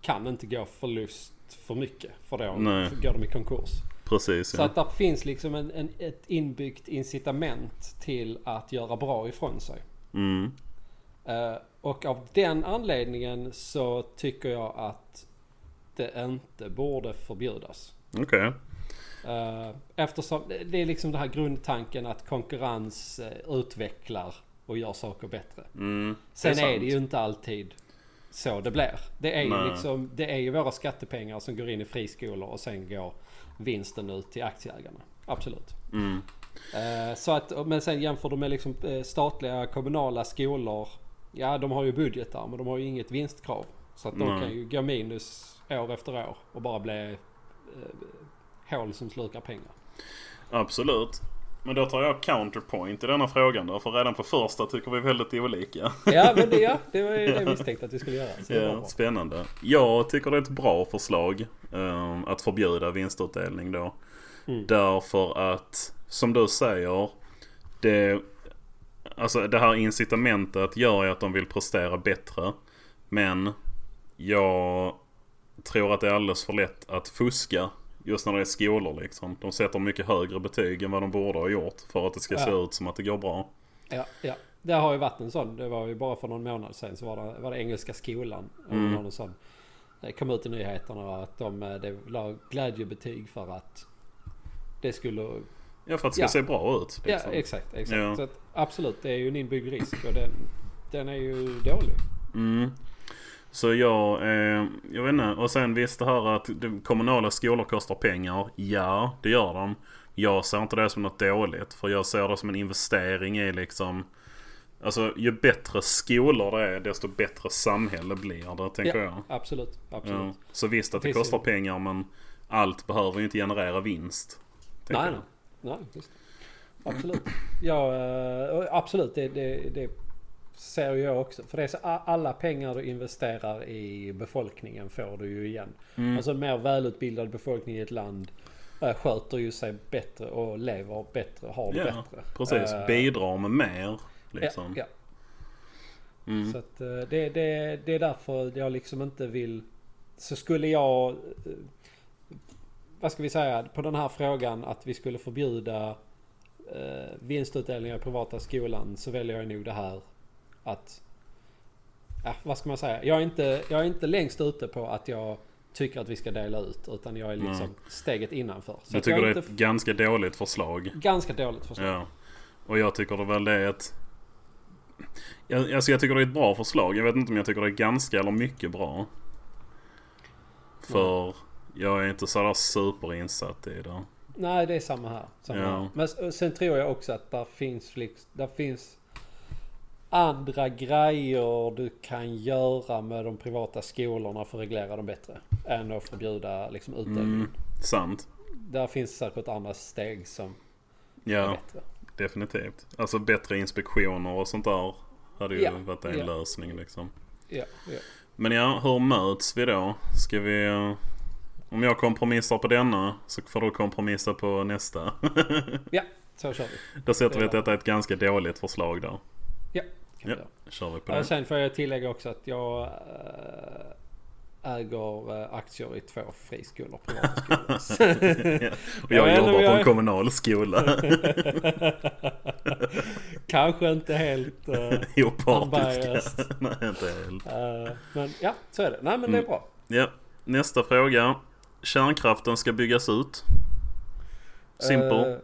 Speaker 1: kan inte gå förlust för mycket för då
Speaker 2: Nej.
Speaker 1: går de i konkurs.
Speaker 2: precis.
Speaker 1: Så
Speaker 2: Ja.
Speaker 1: att där finns liksom en, en, ett inbyggt incitament till att göra bra ifrån sig.
Speaker 2: Mm,
Speaker 1: Eh, och av den anledningen så tycker jag att det inte borde förbjudas.
Speaker 2: Okej,
Speaker 1: Eh, Eftersom det är liksom den här grundtanken att konkurrens eh, utvecklar och gör saker bättre.
Speaker 2: mm,
Speaker 1: Sen
Speaker 2: Det är
Speaker 1: är,
Speaker 2: sant.
Speaker 1: det ju inte alltid så det blir. Det är,
Speaker 2: Nej.
Speaker 1: ju liksom, det är ju våra skattepengar som går in i friskolor och sen går vinsten ut till aktieägarna. Absolut.
Speaker 2: mm.
Speaker 1: Eh, Så att, men sen jämför du med liksom eh, statliga kommunala skolor. Ja, de har ju budgetar men de har ju inget vinstkrav. Så att de
Speaker 2: Nej.
Speaker 1: kan ju gå minus år efter år och bara bli eh, hål som
Speaker 2: <laughs>
Speaker 1: slukar pengar.
Speaker 2: Absolut. Men då tar jag counterpoint i denna frågan då, för redan på första tycker vi väldigt olika.
Speaker 1: Ja, men det, ja, det var ju det jag misstänkte att vi skulle göra. Så det var
Speaker 2: Ja,
Speaker 1: bra.
Speaker 2: spännande. Jag tycker det är ett bra förslag ehm, att förbjuda vinstutdelning då.
Speaker 1: Mm.
Speaker 2: Därför att, som du säger, det, alltså det här incitamentet gör ju att de vill prestera bättre. Men jag tror att det är alldeles för lätt att fuska just när det är skolor liksom. De sätter mycket högre betyg än vad de borde ha gjort för att det ska se
Speaker 1: Ja.
Speaker 2: ut som att det går bra.
Speaker 1: Ja, ja. Det har ju varit en sån. Det var ju bara för någon månad sedan så var det, var det Engelska skolan. Mm. Någon sån. Det kom ut i nyheterna att de, eh, de la glädjebetyg för att det skulle...
Speaker 2: Ja, för att det ska
Speaker 1: Ja.
Speaker 2: se bra ut.
Speaker 1: Ja,
Speaker 2: Liksom.
Speaker 1: exakt. exakt.
Speaker 2: Ja.
Speaker 1: Så att, absolut, det är ju en inbyggd risk och den, den är ju dålig.
Speaker 2: Mm. Så jag, eh, jag vet inte. Och sen visst det här att de kommunala skolor kostar pengar. Ja, det gör de. Jag ser inte det som något dåligt. För jag ser det som en investering i liksom... Alltså ju bättre skolor det är desto bättre samhälle blir det tänker jag.
Speaker 1: Absolut, absolut.
Speaker 2: Ja. Så visst att det
Speaker 1: Det finns ju-
Speaker 2: kostar pengar men allt behöver ju inte generera vinst. tänker
Speaker 1: Nej,
Speaker 2: jag.
Speaker 1: nej. nej just. det. Absolut. Ja, eh, och absolut. Det, det, det ser ju jag också. För det är så a- alla pengar du investerar i befolkningen får du ju igen.
Speaker 2: Mm.
Speaker 1: Alltså en mer välutbildad befolkning i ett land eh, sköter ju sig bättre och lever bättre och har det
Speaker 2: Ja,
Speaker 1: bättre.
Speaker 2: precis.
Speaker 1: Eh,
Speaker 2: Bidrar med mer. Liksom.
Speaker 1: Ja, ja.
Speaker 2: Mm.
Speaker 1: Så att eh, det, det, det är därför jag liksom inte vill... Så skulle jag... eh, Vad ska vi säga? På den här frågan att vi skulle förbjuda eh, vinstutdelningar i privata skolan så väljer jag nog det här att... Ja, vad ska man säga? Jag är, inte, jag är inte längst ute på att jag tycker att vi ska dela ut utan jag är liksom
Speaker 2: Nej.
Speaker 1: steget innanför. Så
Speaker 2: Jag
Speaker 1: att jag
Speaker 2: tycker det
Speaker 1: är
Speaker 2: är
Speaker 1: inte...
Speaker 2: ett ganska dåligt förslag.
Speaker 1: Ganska dåligt förslag.
Speaker 2: Ja. Och jag tycker det väl det är ett... Jag, alltså jag tycker det är ett bra förslag. Jag vet inte om jag tycker det är ganska eller mycket bra. För jag är inte sådär superinsatt i det.
Speaker 1: Nej, det är samma här. eh, Samma
Speaker 2: Ja.
Speaker 1: här. Men s- sen tror jag också att där finns, flik- där finns andra grejer du kan göra med de privata skolorna för att reglera dem bättre. Än att förbjuda liksom utdelningen.
Speaker 2: Mm, sant.
Speaker 1: Där finns säkert andra steg som är
Speaker 2: Ja,
Speaker 1: bättre.
Speaker 2: definitivt. Alltså bättre inspektioner och sånt där hade ju
Speaker 1: Ja,
Speaker 2: varit en
Speaker 1: ja.
Speaker 2: lösning liksom.
Speaker 1: Ja, ja.
Speaker 2: Men ja, hur möts vi då? Ska vi... eh, Om jag kompromissar på denna så får du kompromissa på nästa. <laughs>
Speaker 1: ja så kör vi.
Speaker 2: Då sätter vi att
Speaker 1: Ja.
Speaker 2: detta är ett ganska dåligt förslag där.
Speaker 1: Ja,
Speaker 2: Ja,
Speaker 1: kan vi göra.
Speaker 2: kör vi på
Speaker 1: Ja,
Speaker 2: det.
Speaker 1: sen får jag tillägga också att jag eh, äger eh, aktier i två friskolor, privata
Speaker 2: <laughs>
Speaker 1: skolor. <laughs>
Speaker 2: Ja, Och jag
Speaker 1: Ja, eller
Speaker 2: jobbar på
Speaker 1: jag-
Speaker 2: en kommunal
Speaker 1: <laughs>
Speaker 2: skola.
Speaker 1: Kanske inte helt... eh,
Speaker 2: Opartiska.
Speaker 1: Unbiased.
Speaker 2: Nej, inte helt.
Speaker 1: eh, men ja, så är det. Nej
Speaker 2: Mm.
Speaker 1: men det är bra.
Speaker 2: Ja, nästa fråga. Kärnkraften ska byggas ut. Simple.
Speaker 1: Eh,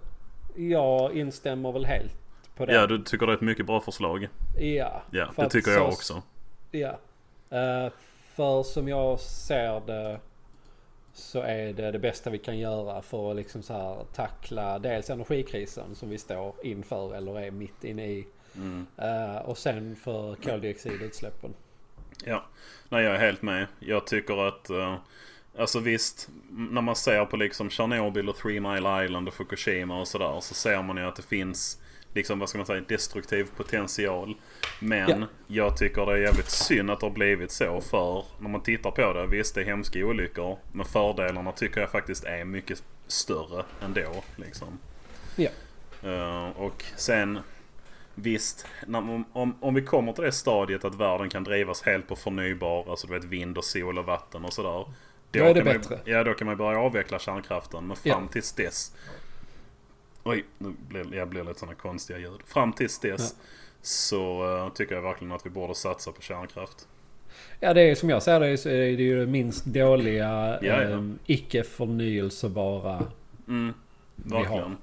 Speaker 1: jag instämmer väl helt på det.
Speaker 2: ja, du tycker det är ett mycket bra förslag.
Speaker 1: Ja,
Speaker 2: Ja,
Speaker 1: för
Speaker 2: det
Speaker 1: att
Speaker 2: tycker jag
Speaker 1: så-
Speaker 2: också.
Speaker 1: Ja. Eh, för som jag ser det så är det det bästa vi kan göra för att liksom så här tackla dels energikrisen som vi står inför eller är mitt inne i.
Speaker 2: Mm.
Speaker 1: Eh, och sen för koldioxidutsläppen.
Speaker 2: Ja, nej jag är helt med. Jag tycker att, eh, alltså visst, m- när man ser på liksom Tjernobyl och Three Mile Island och Fukushima och sådär så ser man ju att det finns liksom, vad ska man säga, destruktiv potential. Men
Speaker 1: Ja.
Speaker 2: jag tycker det är jävligt synd att det har blivit så för när man tittar på det, visst det är hemska olyckor men fördelarna tycker jag faktiskt är mycket större ändå liksom.
Speaker 1: Ja.
Speaker 2: Eh, och sen Visst, när, om, om, om vi kommer till det stadiet att världen kan drivas helt på förnybar, alltså du vet vind och sol och vatten och sådär. Då,
Speaker 1: är
Speaker 2: kan
Speaker 1: det bättre.
Speaker 2: Man, ja, då kan man börja avveckla kärnkraften. Men fram
Speaker 1: Ja.
Speaker 2: tills dess... Oj, nu blir, jag blir lite sådana konstiga ljud. Fram tills dess så eh, tycker jag verkligen att vi borde satsa på kärnkraft.
Speaker 1: Ja det är som jag ser det så är det ju det minst dåliga
Speaker 2: ja.
Speaker 1: ehm, icke förnyelsebara. har.
Speaker 2: Verkligen.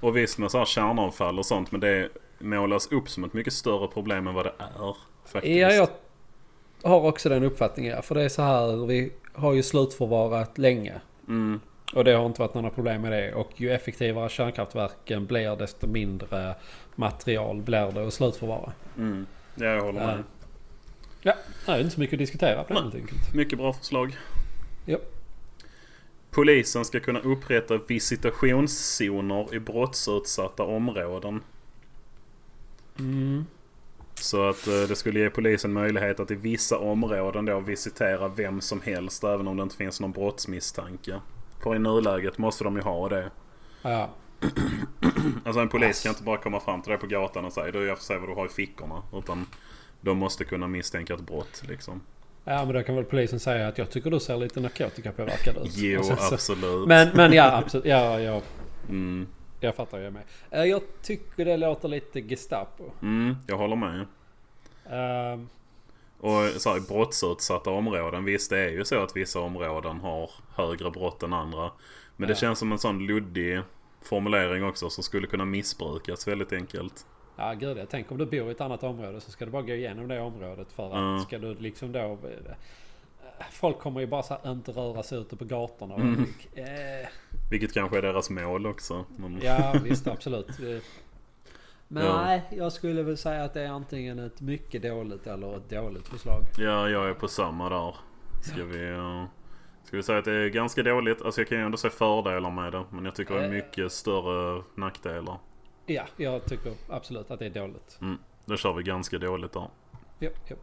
Speaker 2: Och visst med så här kärnavfall och sånt, men det målas upp som ett mycket större problem än vad det är. Faktiskt.
Speaker 1: Ja jag har också den uppfattningen. ja. För det är så här vi har ju slutförvarat länge.
Speaker 2: Mm,
Speaker 1: Och det har inte varit några problem med det. Och ju effektivare kärnkraftverken blir desto mindre material blir det att slutförvara.
Speaker 2: mm. Ja, jag håller med.
Speaker 1: Ja. Ja, det är inte så mycket att diskutera på det
Speaker 2: Nej.
Speaker 1: helt enkelt.
Speaker 2: Mycket bra förslag.
Speaker 1: Ja.
Speaker 2: Polisen ska kunna upprätta visitationszoner i brottsutsatta områden.
Speaker 1: Mm.
Speaker 2: Så att eh, det skulle ge polisen möjlighet att i vissa områden då visitera vem som helst även om det inte finns någon brottsmisstanke. För i nuläget måste de ju ha det.
Speaker 1: Ja.
Speaker 2: Alltså en polis
Speaker 1: Ass.
Speaker 2: kan inte bara komma fram till dig på gatan och säga du jag får se vad du har i fickorna. Utan de måste kunna misstänka ett brott liksom.
Speaker 1: ja, men då kan väl polisen säga att jag tycker du ser lite narkotikapåverkad ut.
Speaker 2: Jo,
Speaker 1: Och sen så-
Speaker 2: absolut.
Speaker 1: men, men
Speaker 2: <laughs>
Speaker 1: ja, absolut. Ja, ja,
Speaker 2: Mm,
Speaker 1: jag fattar. Jag är med. Eh, Jag tycker det låter lite Gestapo.
Speaker 2: mm, jag håller med.
Speaker 1: Eh,
Speaker 2: Och så här, i brottsutsatta områden, visst det är ju så att vissa områden har högre brott än andra. Men det
Speaker 1: Ja.
Speaker 2: känns som en sån luddig formulering också som skulle kunna missbrukas väldigt enkelt.
Speaker 1: Ja gud jag tänker om du bor i ett annat område så ska du bara gå igenom det området för att
Speaker 2: Mm.
Speaker 1: ska du liksom då... Folk kommer ju bara så här inte röra sig ute på gatorna. och-
Speaker 2: Mm.
Speaker 1: Eh,
Speaker 2: Vilket kanske är deras mål också. Men,
Speaker 1: ja
Speaker 2: <laughs>
Speaker 1: visst absolut. Eh, Men
Speaker 2: Ja.
Speaker 1: nej, jag skulle väl säga att det är antingen ett mycket dåligt eller ett dåligt förslag.
Speaker 2: ja, jag är på samma där. Ska vi, eh, ska vi säga att det är ganska dåligt? Alltså jag kan ju ändå se fördelar med det. Men jag tycker det är
Speaker 1: Eh.
Speaker 2: mycket större nackdelar.
Speaker 1: Ja, jag tycker absolut att det är
Speaker 2: Mm.
Speaker 1: dåligt.
Speaker 2: Då kör vi ganska dåligt där.
Speaker 1: Ja, ja.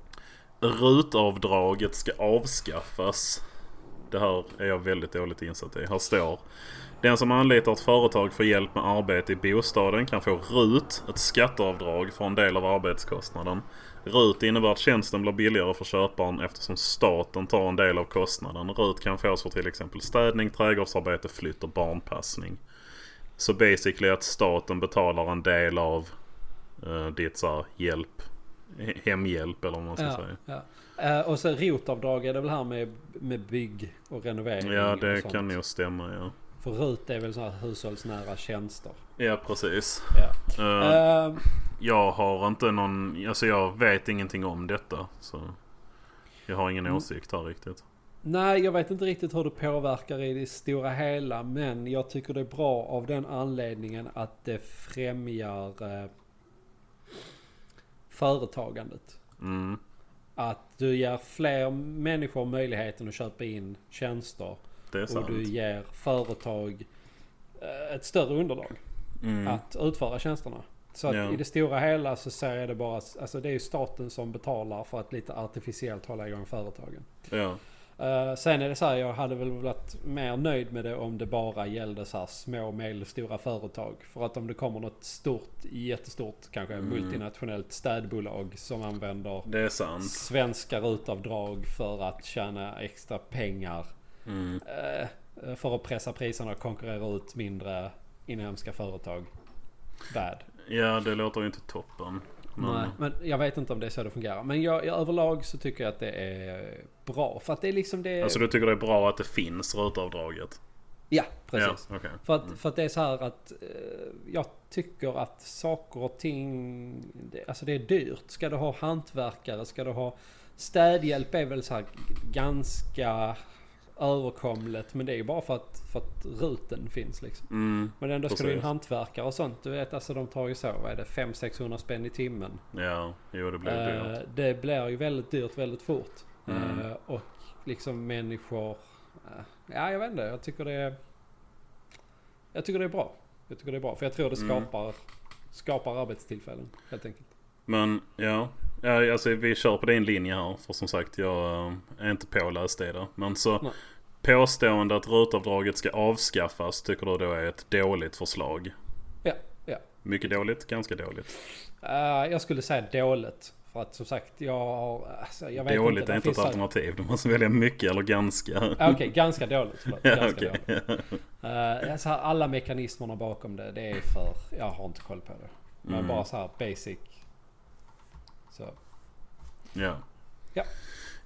Speaker 2: Rutavdraget ska avskaffas. Det här är jag väldigt dåligt insatt i. Här står. Den som anlitar ett företag för hjälp med arbete i bostaden kan få RUT, ett skatteavdrag för en del av arbetskostnaden. RUT innebär att tjänsten blir billigare för köparen eftersom staten tar en del av kostnaden. RUT kan fås för till exempel städning, trädgårdsarbete, flytt och barnpassning. Så basically att staten betalar en del av uh, ditt så här, hjälp, he- hemhjälp eller vad man ska
Speaker 1: Ja,
Speaker 2: säga.
Speaker 1: ja. Eh, och så rotavdrag är det väl här med, med bygg och renovering.
Speaker 2: Ja,
Speaker 1: och
Speaker 2: det
Speaker 1: sånt.
Speaker 2: kan nog stämma ja.
Speaker 1: För RUT är väl så här hushållsnära tjänster.
Speaker 2: Ja, precis.
Speaker 1: Ja.
Speaker 2: Eh,
Speaker 1: Eh,
Speaker 2: jag har inte någon... Alltså jag vet ingenting om detta. Så jag har ingen
Speaker 1: Mm.
Speaker 2: åsikt här riktigt.
Speaker 1: Nej, jag vet inte riktigt hur det påverkar i det stora hela. Men jag tycker det är bra av den anledningen att det främjar eh, företagandet.
Speaker 2: Mm.
Speaker 1: Att du ger fler människor möjligheten att köpa in tjänster.
Speaker 2: Det är
Speaker 1: Och
Speaker 2: sant.
Speaker 1: du ger företag eh, ett större underlag
Speaker 2: Mm.
Speaker 1: att utföra tjänsterna. Så att
Speaker 2: Ja.
Speaker 1: i det stora hela så ser jag det bara... Alltså det är ju staten som betalar för att lite artificiellt hålla igång företagen.
Speaker 2: Ja.
Speaker 1: Eh, sen är det så här, jag hade väl varit mer nöjd med det om det bara gällde så här små och medelstora företag. För att om det kommer något stort, jättestort, kanske
Speaker 2: Mm.
Speaker 1: multinationellt städbolag som använder
Speaker 2: Det är sant.
Speaker 1: svenska rutavdrag för att tjäna extra pengar.
Speaker 2: Mm.
Speaker 1: eh, för att pressa priserna och konkurrera ut mindre inhemska företag. Bad.
Speaker 2: Ja, det låter ju inte toppen. Men,
Speaker 1: Nej, men jag vet inte om det är så det fungerar. Men jag, jag, överlag så tycker jag att det är bra. För att det är liksom det...
Speaker 2: Alltså du tycker det är bra att det finns rutavdraget?
Speaker 1: Ja, precis.
Speaker 2: Ja, okej.
Speaker 1: För, att, för att det är så här att eh, jag tycker att saker och ting, det, alltså det är dyrt. Ska du ha hantverkare, ska du ha städhjälp är väl så här ganska överkomligt. Men det är ju bara för att, för att ruten finns liksom.
Speaker 2: Mm.
Speaker 1: Men ändå ska du ha in
Speaker 2: Precis.
Speaker 1: hantverkare och sånt. Du vet alltså de tar ju så, vad är det, 500-600 spänn i timmen.
Speaker 2: Ja, jo det blir
Speaker 1: Eh,
Speaker 2: dyrt.
Speaker 1: det blir ju väldigt dyrt väldigt fort.
Speaker 2: Mm.
Speaker 1: Eh, och liksom människor... eh, ja, jag vet inte. Jag tycker det är... Jag tycker det är bra. Jag tycker det är bra. För jag tror det
Speaker 2: Mm.
Speaker 1: skapar, skapar arbetstillfällen helt enkelt.
Speaker 2: Men ja. ja, alltså vi kör på din linje här. För som sagt, jag eh, är inte påläst i det. Men så
Speaker 1: Nej.
Speaker 2: påstående att rutavdraget ska avskaffas tycker du då är ett dåligt förslag?
Speaker 1: Ja, ja.
Speaker 2: Mycket dåligt, ganska dåligt.
Speaker 1: Eh, jag skulle säga dåligt. För att som sagt, jag har... Alltså, jag vet
Speaker 2: dåligt
Speaker 1: inte,
Speaker 2: är
Speaker 1: det
Speaker 2: inte ett
Speaker 1: finns säkert-
Speaker 2: alternativ. Du måste välja mycket eller <laughs> ganska.
Speaker 1: Ah, Okej, ganska dåligt.
Speaker 2: <laughs>
Speaker 1: Förlåt,
Speaker 2: Ja,
Speaker 1: ganska
Speaker 2: okej.
Speaker 1: dåligt. Eh, alltså, alla mekanismerna bakom det, det är för... Jag har inte koll på det. Men
Speaker 2: Mm.
Speaker 1: bara så här basic. Så.
Speaker 2: Ja.
Speaker 1: Ja.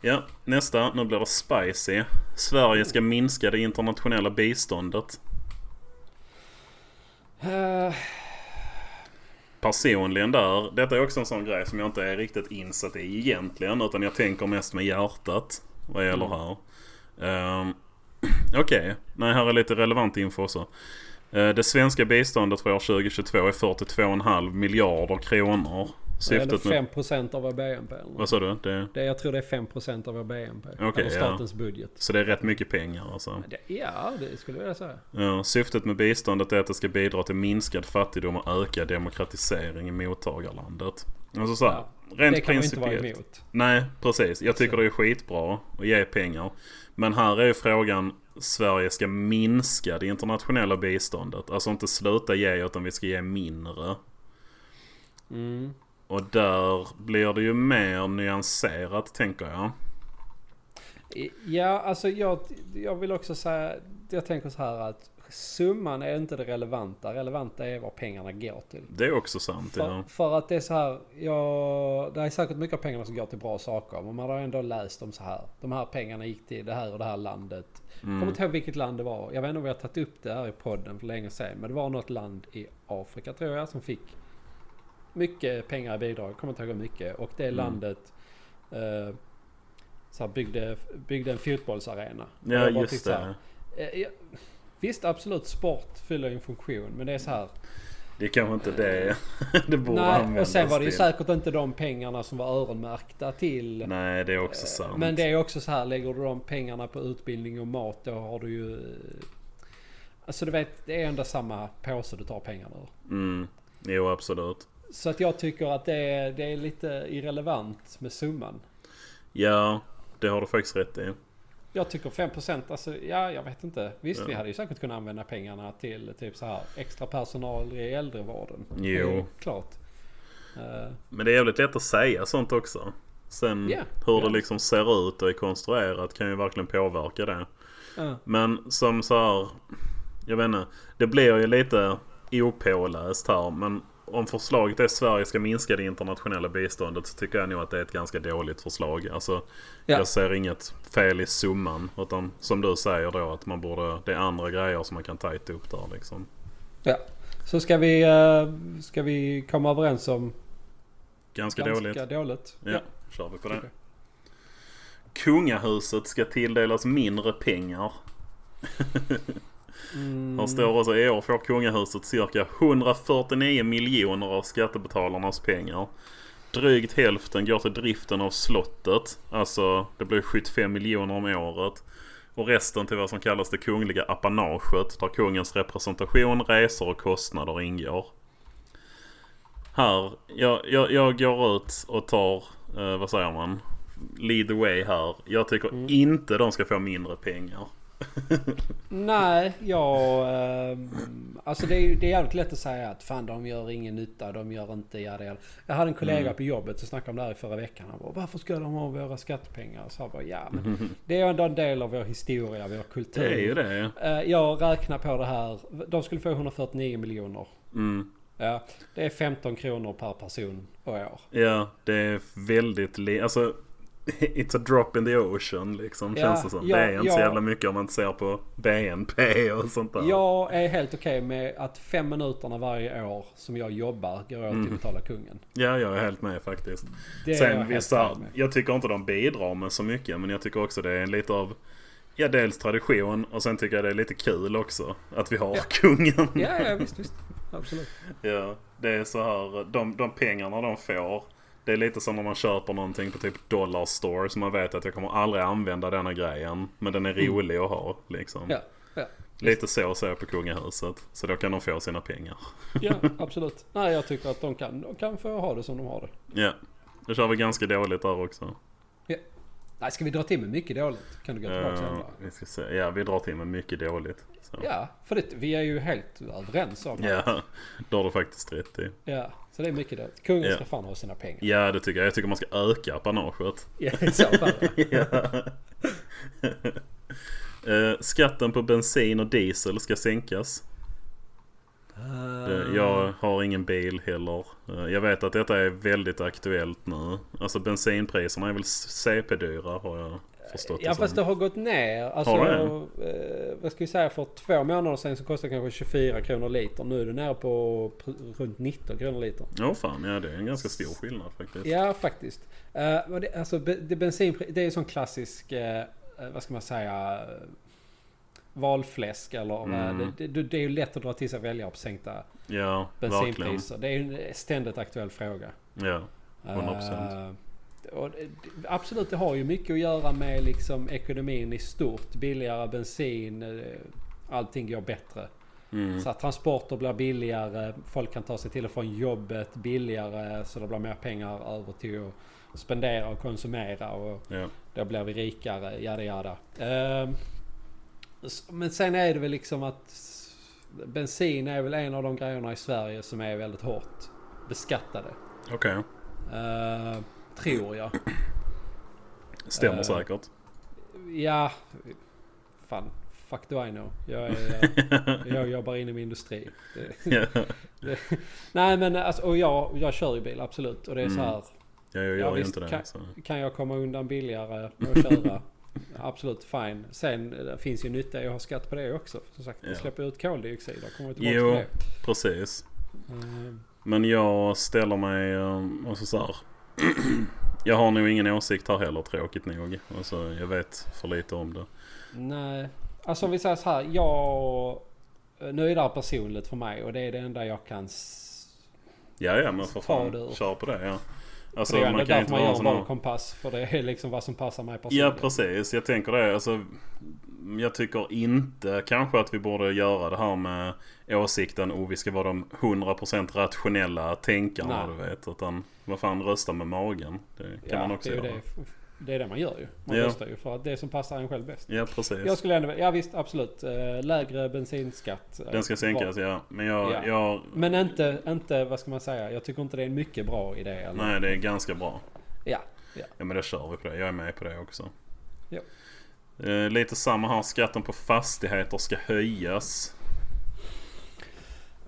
Speaker 2: Ja, nästa. Nu blir det spicy. Sverige
Speaker 1: Oh.
Speaker 2: ska minska det internationella biståndet.
Speaker 1: Eh,
Speaker 2: Personligen där, detta är också en sån grej som jag inte är riktigt insatt i egentligen. Utan jag tänker mest med hjärtat vad gäller
Speaker 1: Mm.
Speaker 2: här. Ehm, <clears throat> Okej, nej här är lite relevant info också. Eh, det svenska biståndet för år 2022 är 42,5 miljarder kronor.
Speaker 1: eller
Speaker 2: Syftet med...
Speaker 1: 5% av vår BNP. Eller? något.
Speaker 2: Vad sa du? Det,
Speaker 1: Det, jag tror det är 5% av vår BNP.
Speaker 2: Okej,
Speaker 1: eller
Speaker 2: ja.
Speaker 1: statens budget.
Speaker 2: så det är rätt mycket pengar alltså?
Speaker 1: Det, ja, det skulle jag säga.
Speaker 2: Ja, syftet med biståndet är att det ska bidra till minskad fattigdom och ökad demokratisering i mottagarlandet. Alltså så här,
Speaker 1: det
Speaker 2: rent
Speaker 1: kan man ju inte vara
Speaker 2: principiellt.
Speaker 1: emot.
Speaker 2: Nej, precis. Jag tycker
Speaker 1: Så.
Speaker 2: det är skitbra att ge pengar. Men här är ju frågan, Sverige ska minska det internationella biståndet. Alltså inte sluta ge utan vi ska ge mindre.
Speaker 1: Mm.
Speaker 2: Och där blir det ju mer nyanserat tänker jag.
Speaker 1: I- Ja, alltså jag, jag vill också säga... Jag tänker så här att summan är inte det relevanta. Relevanta är vad pengarna går till.
Speaker 2: Det är också sant.
Speaker 1: För,
Speaker 2: Ja.
Speaker 1: för att det är så här, ja, det är säkert mycket av pengarna som går till bra saker. Men man har ändå läst om så här. De här pengarna gick till det här och det här landet.
Speaker 2: Mm.
Speaker 1: Kommer inte ihåg vilket land det var. Jag vet inte om vi har tagit upp det här i podden för länge sedan. Men det var något land i Afrika tror jag som fick mycket pengar i bidrag. Kommer inte ihåg hur mycket. Och
Speaker 2: Mm.
Speaker 1: det landet eh, så här byggde, byggde en fotbollsarena. Och
Speaker 2: Ja,
Speaker 1: jag bara
Speaker 2: just
Speaker 1: tyckte så här,
Speaker 2: det.
Speaker 1: eh, ja, Visst, absolut sport fyller ju en funktion. Men det är så här.
Speaker 2: Det är kanske inte det <laughs> det borde
Speaker 1: Nej, och
Speaker 2: användas
Speaker 1: sen var det ju
Speaker 2: till.
Speaker 1: säkert inte de pengarna som var öronmärkta till...
Speaker 2: Nej, det är också sant.
Speaker 1: Eh, Men det är också så här, lägger du de pengarna på utbildning och mat då har du ju... eh, Alltså du vet, det är ändå samma påse du tar pengarna ur.
Speaker 2: Mm. Jo, absolut.
Speaker 1: Så att jag tycker att det är, det är lite irrelevant med summan.
Speaker 2: Ja, det har du faktiskt rätt i.
Speaker 1: Jag tycker 5% alltså, ja jag vet inte. Visst
Speaker 2: Ja.
Speaker 1: vi hade ju säkert kunnat använda pengarna till typ så här extra personal i äldrevården.
Speaker 2: Jo.
Speaker 1: Det är ju Klart. Eh,
Speaker 2: Men det är jävligt lätt att säga sånt också. Sen
Speaker 1: Ja,
Speaker 2: hur
Speaker 1: ja.
Speaker 2: det liksom ser ut och är konstruerat kan ju verkligen påverka det.
Speaker 1: ja.
Speaker 2: Men som så här, jag vet inte. Det blir ju lite opåläst här. Men om förslaget är att Sverige ska minska det internationella biståndet så tycker jag nog att det är ett ganska dåligt förslag. Alltså,
Speaker 1: Ja.
Speaker 2: jag ser inget fel i summan. Utan som du säger då att man borde, det är andra grejer som man kan tajta upp där liksom.
Speaker 1: Ja. Så ska vi, eh, ska vi komma överens om
Speaker 2: Ganska, dåligt.
Speaker 1: ganska dåligt.
Speaker 2: Ja, kör vi på det.
Speaker 1: Okej.
Speaker 2: Kungahuset ska tilldelas mindre pengar.
Speaker 1: Mm,
Speaker 2: Här står också i år får kungahuset cirka 149 miljoner av skattebetalarnas pengar. Drygt hälften går till driften av slottet. Alltså det blir 75 miljoner om året. Och resten till vad som kallas det kungliga apanaget. Där kungens representation, resor och kostnader ingår. Här, jag, jag, jag går ut och tar, eh, vad säger man? Lead the way här. Jag tycker inte de ska få mindre pengar.
Speaker 1: Nej, jag... ehm, alltså det är, ju- det är jävligt lätt att säga att fan de gör ingen nytta, de gör inte jada jada. Jag hade en kollega
Speaker 2: Mm.
Speaker 1: på jobbet som snackade om det här i förra veckan. Han bara, varför ska de ha våra skattepengar? Så jag bara, ja men det är ändå en del av vår historia, vår kultur.
Speaker 2: Det är ju det.
Speaker 1: Eh, Jag räknar på det här. De skulle få 149 miljoner.
Speaker 2: Mm.
Speaker 1: Ja, det är 15 kronor per person och år.
Speaker 2: Ja, det är väldigt li- Alltså, <laughs> it's a drop in the ocean liksom.
Speaker 1: Ja,
Speaker 2: känns det som.
Speaker 1: ja,
Speaker 2: det är inte så
Speaker 1: ja.
Speaker 2: jävla mycket om man ser på BNP och sånt där.
Speaker 1: Jag är helt okej med att fem minuterna varje år som jag jobbar går åt till att betala kungen.
Speaker 2: Ja, jag är helt med faktiskt.
Speaker 1: Det är jag
Speaker 2: Mm. Sen
Speaker 1: helt
Speaker 2: vissa,
Speaker 1: med.
Speaker 2: jag tycker inte de bidrar med så mycket. Men jag tycker också det är lite av, ja dels tradition och sen tycker jag det är lite kul också. Att vi har <laughs> kungen.
Speaker 1: Ja, ja visst, visst. Absolut.
Speaker 2: Ja, det är så här. De, de pengarna de får. Det är lite som när man köper någonting på typ Dollar Store. Så man vet att jag kommer aldrig använda denna grejen. Men den är rolig att ha liksom.
Speaker 1: Mm. Ja, ja.
Speaker 2: Lite så ser jag på kungahuset. Så då kan de få sina pengar.
Speaker 1: ja absolut. Nej, jag tycker att de kan, de kan få ha det som de har det.
Speaker 2: Ja. Det kör vi ganska dåligt där också.
Speaker 1: Ja. Nej, ska vi dra till med mycket dåligt? Kan du gå tillbaka till
Speaker 2: Eh,
Speaker 1: andra?
Speaker 2: vi ska se. Ja, vi drar till med mycket dåligt. Så.
Speaker 1: Ja, för det, vi är ju helt överens om det.
Speaker 2: Ja, <laughs> då har du faktiskt rätt i.
Speaker 1: Ja, så det är mycket dåligt. Kungen
Speaker 2: Ja.
Speaker 1: ska fan ha sina pengar.
Speaker 2: Ja, det tycker jag. Jag tycker man ska öka apanaget.
Speaker 1: Ja, <laughs> i så fall.
Speaker 2: Eh, skatten på bensin och diesel ska sänkas.
Speaker 1: Ah.
Speaker 2: Eh, Jag har ingen bil heller. Eh, Jag vet att detta är väldigt aktuellt nu. Alltså bensinpriserna är väl CP-dyra har jag förstått
Speaker 1: Ja
Speaker 2: det
Speaker 1: fast det
Speaker 2: som.
Speaker 1: har gått ner. Alltså,
Speaker 2: Har
Speaker 1: eh, vad ska vi säga för två månader sedan så kostade det kanske 24 kronor liter. Nu är det nere på pr- runt 19 kronor liter.
Speaker 2: Ja fan, ja det är en ganska stor skillnad faktiskt.
Speaker 1: Ja faktiskt. Eh, men det, alltså, be- det, bensin, det är ju sån klassisk, eh, eh, vad ska man säga, eh, valfläsk eller
Speaker 2: Mm.
Speaker 1: vad- det, det, det är ju lätt att dra till sig väljare på sänkta
Speaker 2: Ja, verkligen.
Speaker 1: bensinpriser. Det är ju en ständigt aktuell fråga.
Speaker 2: Ja. 100%.
Speaker 1: 100%. och det, det- absolut, det har ju mycket att göra med liksom ekonomin i stort. Billigare bensin, eh, allting går bättre.
Speaker 2: Mm.
Speaker 1: Så att transporter blir billigare, folk kan ta sig till och från jobbet billigare så det blir mer pengar över till att spendera och konsumera och
Speaker 2: Ja.
Speaker 1: då blir vi rikare, jada jada. Ehm, s- Men sen är det väl liksom att s- bensin är väl en av de grejerna i Sverige som är väldigt hårt beskattade.
Speaker 2: Okej,
Speaker 1: Eh, tror jag.
Speaker 2: stämmer
Speaker 1: Eh.
Speaker 2: säkert.
Speaker 1: Ja... Fan. Fuck do I know. Jag,
Speaker 2: <laughs>
Speaker 1: är, eh, jag jobbar inom industri. Det,
Speaker 2: Ja,
Speaker 1: nej men alltså, och jag, jag kör ju bil absolut. Och det är
Speaker 2: Mm.
Speaker 1: så här.
Speaker 2: jag gör
Speaker 1: Ja,
Speaker 2: ju
Speaker 1: visst,
Speaker 2: inte det.
Speaker 1: kan-
Speaker 2: Så.
Speaker 1: Kan jag komma undan billigare med
Speaker 2: <laughs>
Speaker 1: att köra? absolut fine. Sen eh, det finns ju nytta i att ha skatt på det också. Som sagt,
Speaker 2: Ja.
Speaker 1: vi släpper ut koldioxid. Då kommer vi tillbaka
Speaker 2: Jo,
Speaker 1: till
Speaker 2: precis.
Speaker 1: det. Ehm,
Speaker 2: Men jag ställer mig ehm, alltså så här. <clears throat> Jag har nog ingen åsikt här heller tråkigt nog. Alltså, jag vet för lite om det.
Speaker 1: nej. Alltså om vi säger så här. Jag... eh, Nu är det här personligt för mig och det är det enda jag kan... s-
Speaker 2: Ja, ja men för
Speaker 1: Ta
Speaker 2: fan.
Speaker 1: det ur.
Speaker 2: Kör på det ja. Alltså,
Speaker 1: För det är ändå
Speaker 2: man kan
Speaker 1: därför
Speaker 2: inte
Speaker 1: man
Speaker 2: vara en
Speaker 1: gör
Speaker 2: sån
Speaker 1: en
Speaker 2: här...
Speaker 1: valkompass. För det är liksom vad som passar mig
Speaker 2: Ja
Speaker 1: personligen.
Speaker 2: precis, jag tänker det. Alltså, jag tycker inte kanske att vi borde göra det här med åsikten oh vi ska vara de 100% rationella tänkarna
Speaker 1: Nej.
Speaker 2: du vet. Utan vad fan rösta med magen. Det kan
Speaker 1: Ja,
Speaker 2: man också
Speaker 1: det är,
Speaker 2: göra.
Speaker 1: ju det, det är det man gör ju. Man
Speaker 2: Ja.
Speaker 1: röstar ju för att det som passar en själv bäst.
Speaker 2: Ja precis.
Speaker 1: Jag skulle ändå, ja visst absolut. Eh, Lägre bensinskatt. eh,
Speaker 2: Den ska sänkas ja. Men jag,
Speaker 1: Ja.
Speaker 2: jag...
Speaker 1: bra. Men inte, inte, vad ska man säga? Jag tycker inte det är en mycket bra idé. Eller?
Speaker 2: Nej det är ganska bra.
Speaker 1: Ja.
Speaker 2: Ja men det kör vi på det. Jag är med på det också.
Speaker 1: Ja.
Speaker 2: Eh, lite samma här. Skatten på fastigheter ska höjas.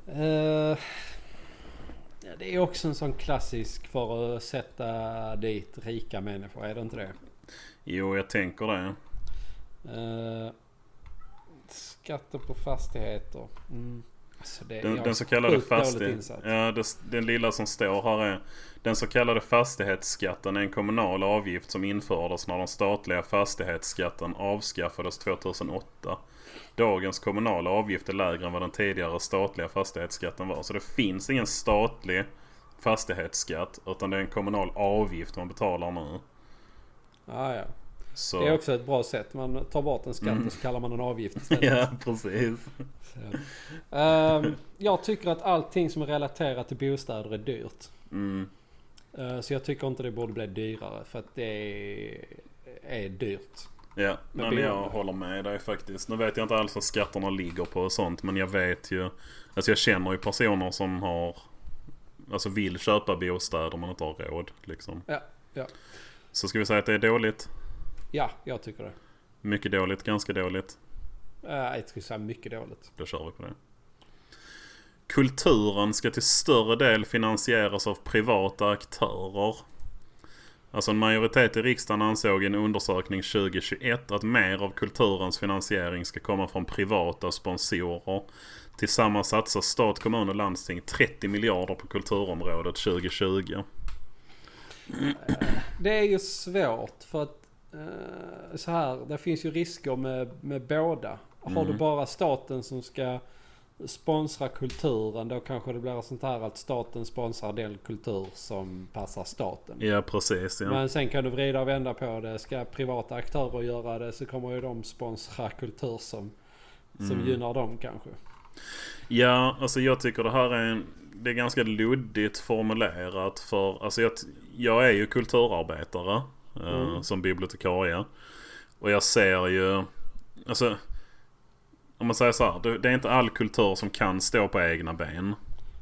Speaker 1: Eh, ja, det är också en sån klassisk för att sätta dit rika människor, är det inte det?
Speaker 2: Jo jag tänker det.
Speaker 1: Eh, skatter på fastigheter. Mm. Alltså det,
Speaker 2: Den,
Speaker 1: jag
Speaker 2: den
Speaker 1: är
Speaker 2: så kallade
Speaker 1: sjukt dåligt
Speaker 2: fastighet...
Speaker 1: insatt.
Speaker 2: Ja, det, den lilla som står här är... Den så kallade fastighetsskatten är en kommunal avgift som infördes när den statliga fastighetsskatten avskaffades 2008. Dagens kommunala avgift är lägre än vad den tidigare statliga fastighetsskatten var. Så det finns ingen statlig fastighetsskatt utan det är en kommunal avgift man betalar nu.
Speaker 1: Ja, ja.
Speaker 2: Så, Mm.
Speaker 1: Det är också ett bra sätt. Man tar bort en skatt och så kallar man en avgift
Speaker 2: <laughs>
Speaker 1: istället.
Speaker 2: Ja, precis.
Speaker 1: Så. Ehm, jag tycker att allting som är relaterat till bostäder är dyrt.
Speaker 2: Mm.
Speaker 1: Eh, Så jag tycker inte det borde bli dyrare för att det är, är dyrt.
Speaker 2: Ja,
Speaker 1: Men
Speaker 2: nej, men jag
Speaker 1: boende.
Speaker 2: håller med dig faktiskt. Nu vet jag inte alls vad skatterna ligger på och sånt. Men jag vet ju. Alltså jag känner ju personer som har... Alltså vill köpa bostäder men inte har råd. Liksom.
Speaker 1: Ja, ja.
Speaker 2: Så ska vi säga att det är dåligt.
Speaker 1: Ja, jag tycker det.
Speaker 2: Mycket dåligt, ganska dåligt.
Speaker 1: Eh, Jag skulle säga mycket dåligt.
Speaker 2: Då kör vi på det. Kulturen ska till större del finansieras av privata aktörer. Alltså en majoritet i riksdagen ansåg i en undersökning 2021 att mer av kulturens finansiering ska komma från privata sponsorer. Tillsammans satsar stat, kommun och landsting 30 miljarder på kulturområdet 2020.
Speaker 1: Det är ju svårt för att eh, så här, det finns ju risker med, med båda. Har du bara staten som ska sponsra kulturen då kanske det blir sånt här att staten sponsrar den kultur som passar staten.
Speaker 2: Ja, precis. Ja.
Speaker 1: Men sen kan du vrida och vända på det. Ska privata aktörer göra det så kommer ju de sponsra kultur som, som
Speaker 2: Mm.
Speaker 1: gynnar dem kanske.
Speaker 2: Ja, alltså jag tycker det här är en, Det är ganska luddigt formulerat för... Alltså jag, t- jag är ju kulturarbetare eh, som bibliotekarie. Och jag ser ju... Alltså... Om man säger så här, det, det är inte all kultur som kan stå på egna ben.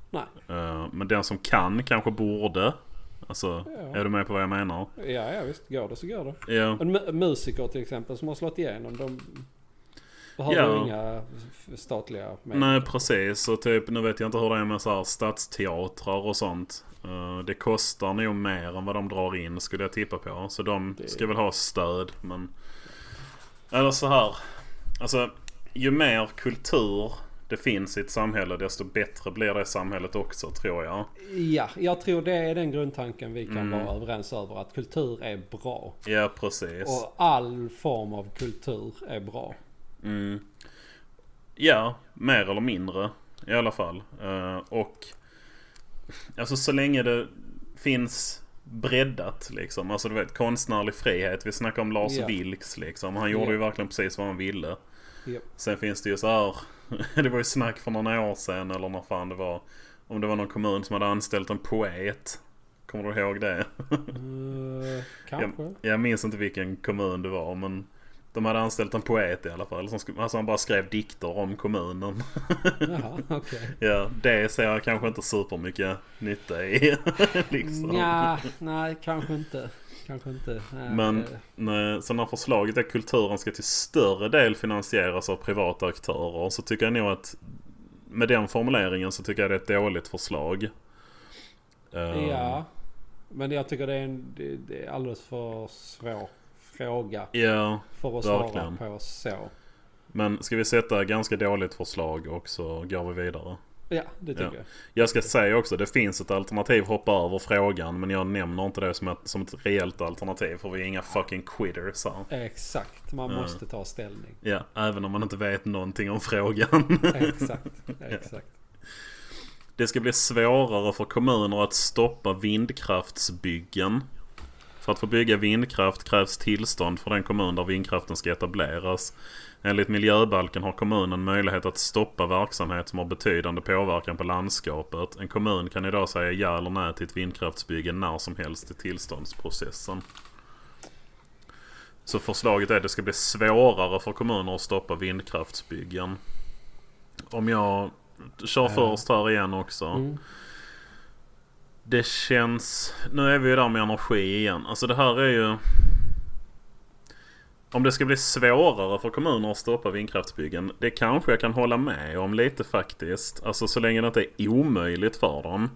Speaker 1: Nej,
Speaker 2: Eh, men den som kan kanske borde. Alltså,
Speaker 1: Ja.
Speaker 2: är du med på vad jag menar?
Speaker 1: ja, ja visst. Går det så går det.
Speaker 2: Ja,
Speaker 1: En mu- musiker till exempel som har slått igenom. De behöver
Speaker 2: Ja.
Speaker 1: inga f- statliga medel.
Speaker 2: nej precis. Och typ, nu vet jag inte hur det är med så här stadsteatrar och sånt. Eh, det kostar nog mer än vad de drar in skulle jag tippa på. Så de
Speaker 1: Det-
Speaker 2: ska väl ha stöd. Men... Eller så här. Alltså, ju mer kultur det finns i ett samhälle desto bättre blir det samhället också tror jag.
Speaker 1: Ja, jag tror det är den grundtanken vi kan
Speaker 2: Mm.
Speaker 1: vara överens över. Att kultur är bra.
Speaker 2: Ja precis.
Speaker 1: Och all form av kultur är bra.
Speaker 2: Mm. Ja, mer eller mindre i alla fall. Eh, och alltså så länge det finns breddat liksom. Alltså du vet konstnärlig frihet. Vi snackade om Lars
Speaker 1: Ja.
Speaker 2: Vilks liksom. Han gjorde
Speaker 1: Ja.
Speaker 2: ju verkligen precis vad han ville.
Speaker 1: Japp.
Speaker 2: Sen finns det ju så här. <laughs> det var ju snack för några år sedan eller när fan det var. Om det var någon kommun som hade anställt en poet. Kommer du ihåg det?
Speaker 1: Eh, kanske.
Speaker 2: Jag minns inte vilken kommun det var men de hade anställt en poet i alla fall. Som, sk- alltså han bara skrev dikter om kommunen.
Speaker 1: Jaha, okej.
Speaker 2: Ja, det ser jag kanske inte supermycket nytta i. <laughs> liksom.
Speaker 1: Nja, nej kanske inte. Kanske inte. Nej,
Speaker 2: Men
Speaker 1: eh,
Speaker 2: nej, så när förslaget är att kulturen ska till större del finansieras av privata aktörer så tycker jag nog att med den formuleringen så tycker jag det är ett dåligt förslag. Eh,
Speaker 1: Ja. Men jag tycker det är en det, det är alldeles för svår fråga
Speaker 2: Ja,
Speaker 1: för att svara
Speaker 2: Verkligen.
Speaker 1: på så.
Speaker 2: men ska vi sätta ganska dåligt förslag och så går vi vidare.
Speaker 1: Ja, det tycker
Speaker 2: Ja.
Speaker 1: jag.
Speaker 2: Jag ska säga också, det finns ett alternativ hoppa över frågan men jag nämner inte det som ett, som ett reellt alternativ för vi är inga fucking quitters här.
Speaker 1: Exakt, man
Speaker 2: Ja.
Speaker 1: måste
Speaker 2: <laughs>
Speaker 1: ta ställning.
Speaker 2: Ja, även om man inte vet någonting om <laughs> frågan.
Speaker 1: Exakt, exakt.
Speaker 2: Det ska bli svårare för kommuner att stoppa vindkraftsbyggen. För att få bygga vindkraft krävs tillstånd för den kommun där vindkraften ska etableras. Enligt miljöbalken har kommunen möjlighet att stoppa verksamhet som har betydande påverkan på landskapet. En kommun kan idag säga ja eller nej till ett vindkraftsbygge när som helst i tillståndsprocessen. Så förslaget är att det ska bli svårare för kommuner att stoppa vindkraftsbyggen. Om jag kör först här igen också.
Speaker 1: Mm.
Speaker 2: Det känns... Nu är vi ju där med energi igen. Alltså det här är ju... Om det ska bli svårare för kommuner att stoppa vindkraftsbyggen. Det kanske jag kan hålla med om lite faktiskt. Alltså så länge det inte är omöjligt för dem.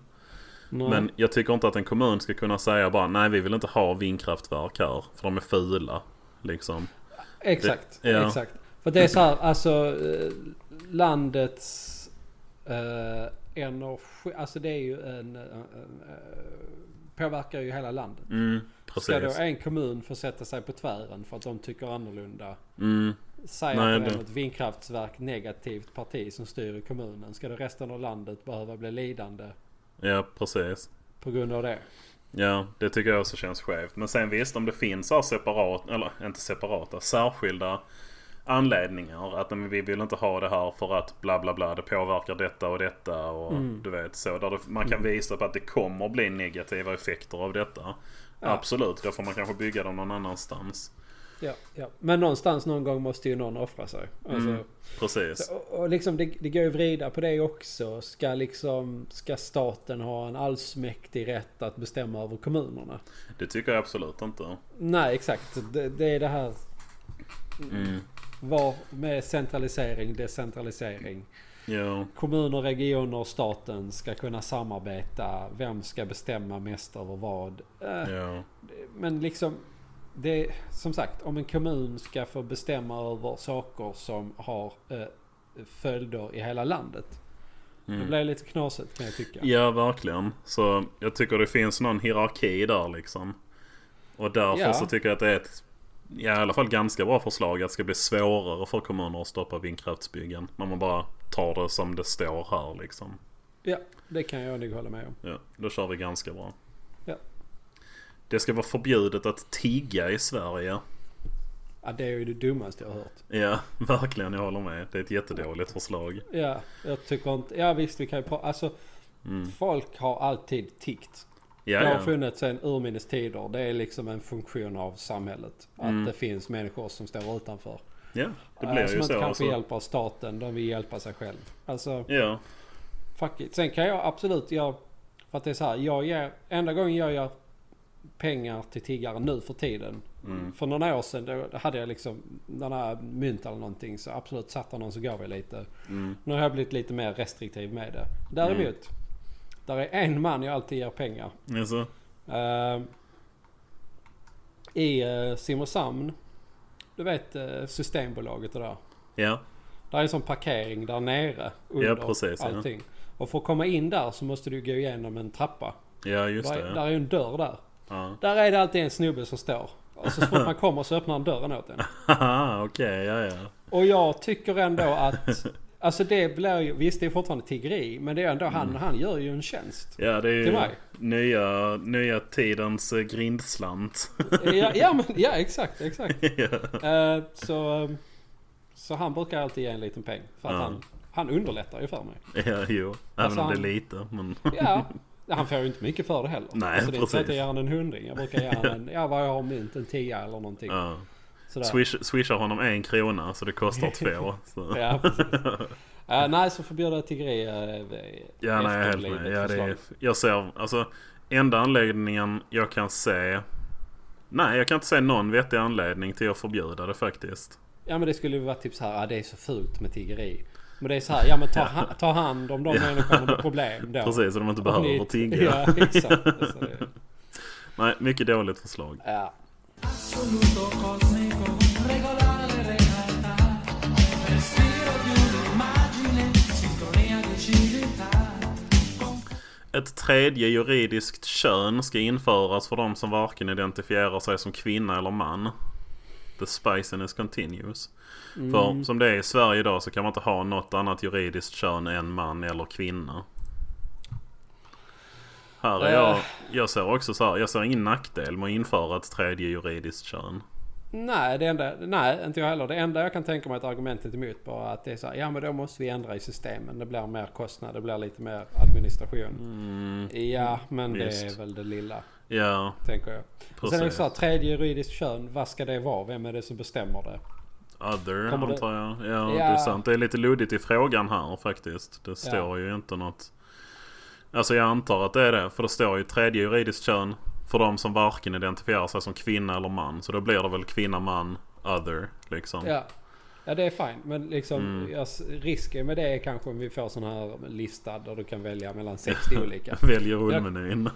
Speaker 1: Nej.
Speaker 2: Men jag tycker inte att en kommun ska kunna säga bara nej vi vill inte ha vindkraftverk här. För de är fula. Liksom.
Speaker 1: Exakt,
Speaker 2: Det- ja.
Speaker 1: exakt. För det är så här, alltså eh, landets eh, energi, alltså det är ju en, eh, eh, påverkar ju hela landet.
Speaker 2: Mm,
Speaker 1: Ska då
Speaker 2: precis.
Speaker 1: en kommun få sätta sig på tvären för att de tycker annorlunda?
Speaker 2: Mm,
Speaker 1: Säg
Speaker 2: Nej,
Speaker 1: att det är
Speaker 2: det-
Speaker 1: något vindkraftverk negativt parti som styr i kommunen. Ska då resten av landet behöva bli lidande
Speaker 2: ja precis.
Speaker 1: På grund av det.
Speaker 2: Ja, det tycker jag också känns skevt. Men sen visst, om det finns så här separat, eller inte separata, särskilda anledningar. Att men, vi vill inte ha det här för att bla bla bla, det påverkar detta och detta och
Speaker 1: Mm.
Speaker 2: du vet så. Där det, man kan visa på att det kommer bli negativa effekter av detta.
Speaker 1: Ja.
Speaker 2: Absolut, då får man kanske bygga dem någon annanstans.
Speaker 1: Ja, ja. Men någonstans någon gång måste ju någon offra sig. Alltså,
Speaker 2: Mm. Precis.
Speaker 1: så, och- och liksom det, det går ju att vrida på det också. Ska, liksom, ska staten ha en allsmäktig rätt att bestämma över kommunerna?
Speaker 2: Det tycker jag absolut inte.
Speaker 1: Nej, exakt. Det, det är det här
Speaker 2: Mm.
Speaker 1: var med centralisering, decentralisering.
Speaker 2: Jo,
Speaker 1: Kommuner, regioner och staten ska kunna samarbeta. Vem ska bestämma mest över vad? Eh,
Speaker 2: jo.
Speaker 1: Men liksom, det är, som sagt, om en kommun ska få bestämma över saker som har eh, följder i hela landet. Det
Speaker 2: Mm.
Speaker 1: blir lite knasigt kan jag tycka.
Speaker 2: Ja, verkligen. Så jag tycker det finns någon hierarki där liksom. Och därför
Speaker 1: Ja.
Speaker 2: så tycker jag att det är ett ja, i alla fall ganska bra förslag att det ska bli svårare för kommuner att stoppa vindkraftsbyggen. När man bara tar det som det står här liksom.
Speaker 1: Ja, det kan jag nog hålla med om.
Speaker 2: Ja, då kör vi ganska bra.
Speaker 1: Ja.
Speaker 2: Det ska vara förbjudet att tigga i Sverige.
Speaker 1: Ja, det är ju det dummaste jag har hört.
Speaker 2: Ja, <laughs> verkligen. Jag håller med. Det är ett jättedåligt förslag.
Speaker 1: Ja, jag tycker inte... Ja, visst, vi kan ju prata... Alltså,
Speaker 2: Mm.
Speaker 1: folk har alltid tiggt.
Speaker 2: Ja,
Speaker 1: Det har
Speaker 2: ja.
Speaker 1: funnits sedan urminnes tider. Det är liksom en funktion av samhället. Att
Speaker 2: Mm.
Speaker 1: det finns människor som står utanför.
Speaker 2: ja det
Speaker 1: Eh,
Speaker 2: blir
Speaker 1: som
Speaker 2: ju
Speaker 1: inte
Speaker 2: så.
Speaker 1: kan få
Speaker 2: Alltså.
Speaker 1: hjälp av staten. De vill hjälpa sig själv. Alltså,
Speaker 2: Ja,
Speaker 1: fuck it. Sen kan jag absolut... Jag, för att det är så här. Jag ger, enda gången jag ger pengar till tiggare nu för tiden.
Speaker 2: Mm.
Speaker 1: För några år sedan då hade jag liksom några mynt eller någonting. Så absolut satt jag någon så gav jag lite.
Speaker 2: mm.
Speaker 1: Nu har jag blivit lite mer restriktiv med det. Däremot. Där är en man jag alltid ger pengar.
Speaker 2: Alltså.
Speaker 1: Eh, I eh, Simrishamn, du vet eh, Systembolaget och där.
Speaker 2: Ja,
Speaker 1: Där är en sån parkering där nere under
Speaker 2: Ja, precis, ja.
Speaker 1: allting. Och för att komma in där så måste du gå igenom en trappa.
Speaker 2: ja just
Speaker 1: Där, är-
Speaker 2: det.
Speaker 1: där är ju en dörr där.
Speaker 2: Ja.
Speaker 1: Där är det alltid en snubbe som står. Och så fort man kommer så öppnar han dörren åt en.
Speaker 2: Haha, okej, ja ja.
Speaker 1: Och jag tycker
Speaker 2: <laughs>
Speaker 1: ändå att... Alltså det blir ju... Visst det är fortfarande tiggeri. Men det är ändå
Speaker 2: Mm.
Speaker 1: han, han gör ju en tjänst.
Speaker 2: Ja, det
Speaker 1: Till
Speaker 2: är ju
Speaker 1: mig.
Speaker 2: nya, nya tidens eh, grindslant. <laughs>
Speaker 1: Ja, ja, men, ja exakt, exakt.
Speaker 2: ja.
Speaker 1: Eh, så, så han brukar alltid ge en liten peng. För att
Speaker 2: Ja.
Speaker 1: han, han underlättar ju för mig.
Speaker 2: ja, jo. Även
Speaker 1: Alltså,
Speaker 2: om det är
Speaker 1: han-
Speaker 2: lite. Men...
Speaker 1: Ja, han får ju inte mycket för det heller.
Speaker 2: Nej,
Speaker 1: alltså, det är inte så att jag
Speaker 2: precis.
Speaker 1: ger honom en hundring. Jag brukar ge honom en, ja vad jag har mynt, en tia eller någonting.
Speaker 2: Ja.
Speaker 1: Sådär.
Speaker 2: Swish, swishar honom en krona så det kostar två. Så.
Speaker 1: <laughs> Ja, precis. Eh, nej, så förbjuda tiggeri. Uh,
Speaker 2: Ja, nej, jag är helt med. Ja, det är, jag ser, alltså, enda anledningen jag kan se... Nej, jag kan inte se någon vettig anledning till att förbjuda det faktiskt.
Speaker 1: ja, men det skulle ju vara typ så här, ah, det är så fult med tiggeri. Men det är så här, ja men
Speaker 2: <laughs>
Speaker 1: ta, ha, ta hand om de människorna med problem då.
Speaker 2: Precis, så de inte
Speaker 1: Om
Speaker 2: behöver
Speaker 1: ni-
Speaker 2: tigga.
Speaker 1: <laughs> Ja, exakt. Alltså, det-
Speaker 2: Nej, mycket dåligt förslag.
Speaker 1: ja.
Speaker 3: assoluto cosmico, regolare regata, respiro di un'immagine, sintonia di civiltà.
Speaker 2: Ett tredje juridiskt kön ska införas för de som varken identifierar sig som kvinna eller man. The spiciness continues.
Speaker 1: Mm.
Speaker 2: För som det är i Sverige idag så kan man inte ha något annat juridiskt kön än man eller kvinna. Här är
Speaker 1: Eh.
Speaker 2: jag, jag ser också så här, jag ser ingen nackdel med att införa ett tredje juridiskt kön.
Speaker 1: Nej, det enda, nej, inte jag heller. Det enda jag kan tänka mig att argumentet emot bara att det är så här, ja men då måste vi ändra i systemen. Det blir mer kostnad, det blir lite mer administration.
Speaker 2: Mm,
Speaker 1: Ja, men det
Speaker 2: Visst.
Speaker 1: är väl det lilla,
Speaker 2: ja,
Speaker 1: tänker jag. Och sen är det
Speaker 2: precis.
Speaker 1: så här, tredje juridiskt kön, vad ska det vara? Vem är det som bestämmer det?
Speaker 2: Other
Speaker 1: Kommer det-
Speaker 2: antar jag. Ja,
Speaker 1: Ja.
Speaker 2: det är sant. Det är lite luddigt i frågan här faktiskt. Det står ju inte något... Alltså jag antar att det är det. För det står ju tredje juridiskt kön för de som varken identifierar sig som kvinna eller man. Så då blir det väl kvinna, man, other liksom.
Speaker 1: Ja, ja det är fint. Men liksom,
Speaker 2: Mm.
Speaker 1: jag s- risken med det är kanske om vi får sån här lista där du kan välja
Speaker 2: <laughs>
Speaker 1: mellan 60 olika.
Speaker 2: <laughs> Väljer rullmenyn.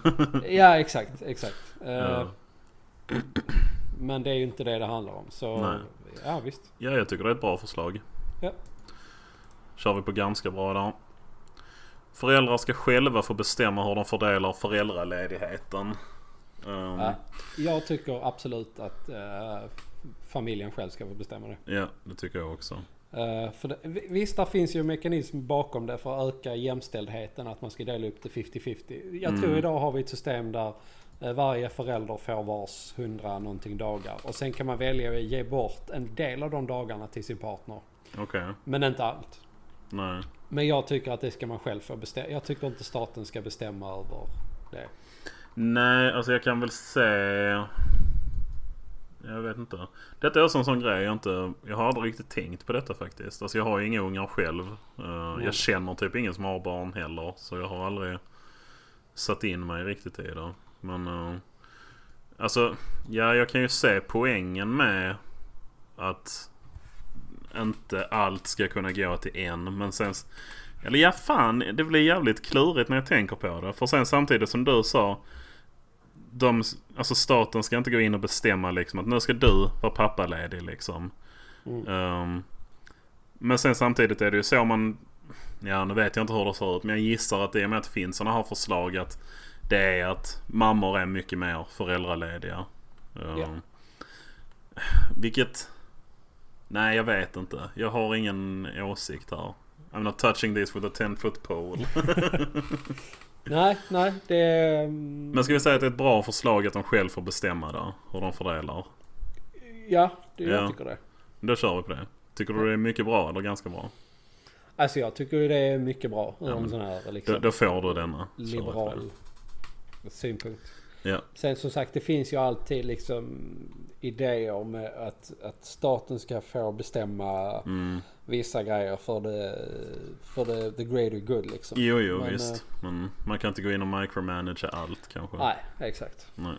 Speaker 1: Ja, exakt, exakt. Eh,
Speaker 2: <laughs> Ja.
Speaker 1: Men det är ju inte det det handlar om. Så,
Speaker 2: Nej.
Speaker 1: ja visst.
Speaker 2: ja, jag tycker det är ett bra förslag.
Speaker 1: Ja.
Speaker 2: Kör vi på ganska bra där. Föräldrar ska själva få bestämma hur de fördelar föräldraledigheten. Ehm,
Speaker 1: Ja, jag tycker absolut att eh, familjen själv ska få bestämma det.
Speaker 2: Ja, det tycker jag också.
Speaker 1: Eh, för det, vi- visst, där finns ju en mekanism bakom det för att öka jämställdheten, att man ska dela upp det 50-50. Jag
Speaker 2: Mm.
Speaker 1: tror idag har vi ett system där eh, varje förälder får vars 100 någonting dagar. Och sen kan man välja att ge bort en del av de dagarna till sin partner.
Speaker 2: Okej,
Speaker 1: Men inte allt.
Speaker 2: nej.
Speaker 1: Men jag tycker att det ska man själv få bestämma. Jag tycker inte staten ska bestämma över det.
Speaker 2: Nej, alltså jag kan väl se... Jag vet inte. Detta är också en sån grej jag inte... Jag har aldrig riktigt tänkt på detta faktiskt. Alltså jag har ju inga ungar själv. Eh, Jag känner typ ingen som har barn heller. Så jag har aldrig satt in mig riktigt i det. Men... eh, Alltså, ja jag kan ju se poängen med att inte allt ska kunna gå till en. Men sen... Eller ja, fan. Det blir jävligt klurigt när jag tänker på det. För sen samtidigt som du sa. De, alltså staten ska inte gå in och bestämma liksom att nu ska du vara pappaledig liksom. Ehm, men sen samtidigt är det ju så man... Ja, nu vet jag inte hur det ser ut. Men jag gissar att i och med att det finns sådana här förslag att det är att mammor är mycket mer föräldralediga. Ehm,
Speaker 1: Ja.
Speaker 2: Vilket... Nej, jag vet inte. Jag har ingen åsikt här. I'm not touching this with a 10 foot pole.
Speaker 1: Nej, nej, det... mm,
Speaker 2: Men ska vi säga att det är ett bra förslag att de själv får bestämma då, hur de fördelar?
Speaker 1: Ja, det,
Speaker 2: Ja.
Speaker 1: jag tycker det.
Speaker 2: Då kör vi på det. Tycker du det är mycket bra eller ganska bra?
Speaker 1: Alltså jag tycker ju det är mycket bra ur
Speaker 2: men
Speaker 1: en sån här
Speaker 2: Då,
Speaker 1: liksom,
Speaker 2: då får du denna. Kör vi på det.
Speaker 1: liberal synpunkt.
Speaker 2: Ja.
Speaker 1: Sen som sagt, det finns ju alltid liksom idéer om att, att staten ska få bestämma
Speaker 2: Mm.
Speaker 1: vissa grejer för det, för det the greater good liksom.
Speaker 2: Jo, jo,
Speaker 1: Men,
Speaker 2: visst. Men man kan inte gå in och micromanage allt kanske.
Speaker 1: Nej, exakt.
Speaker 2: Nej.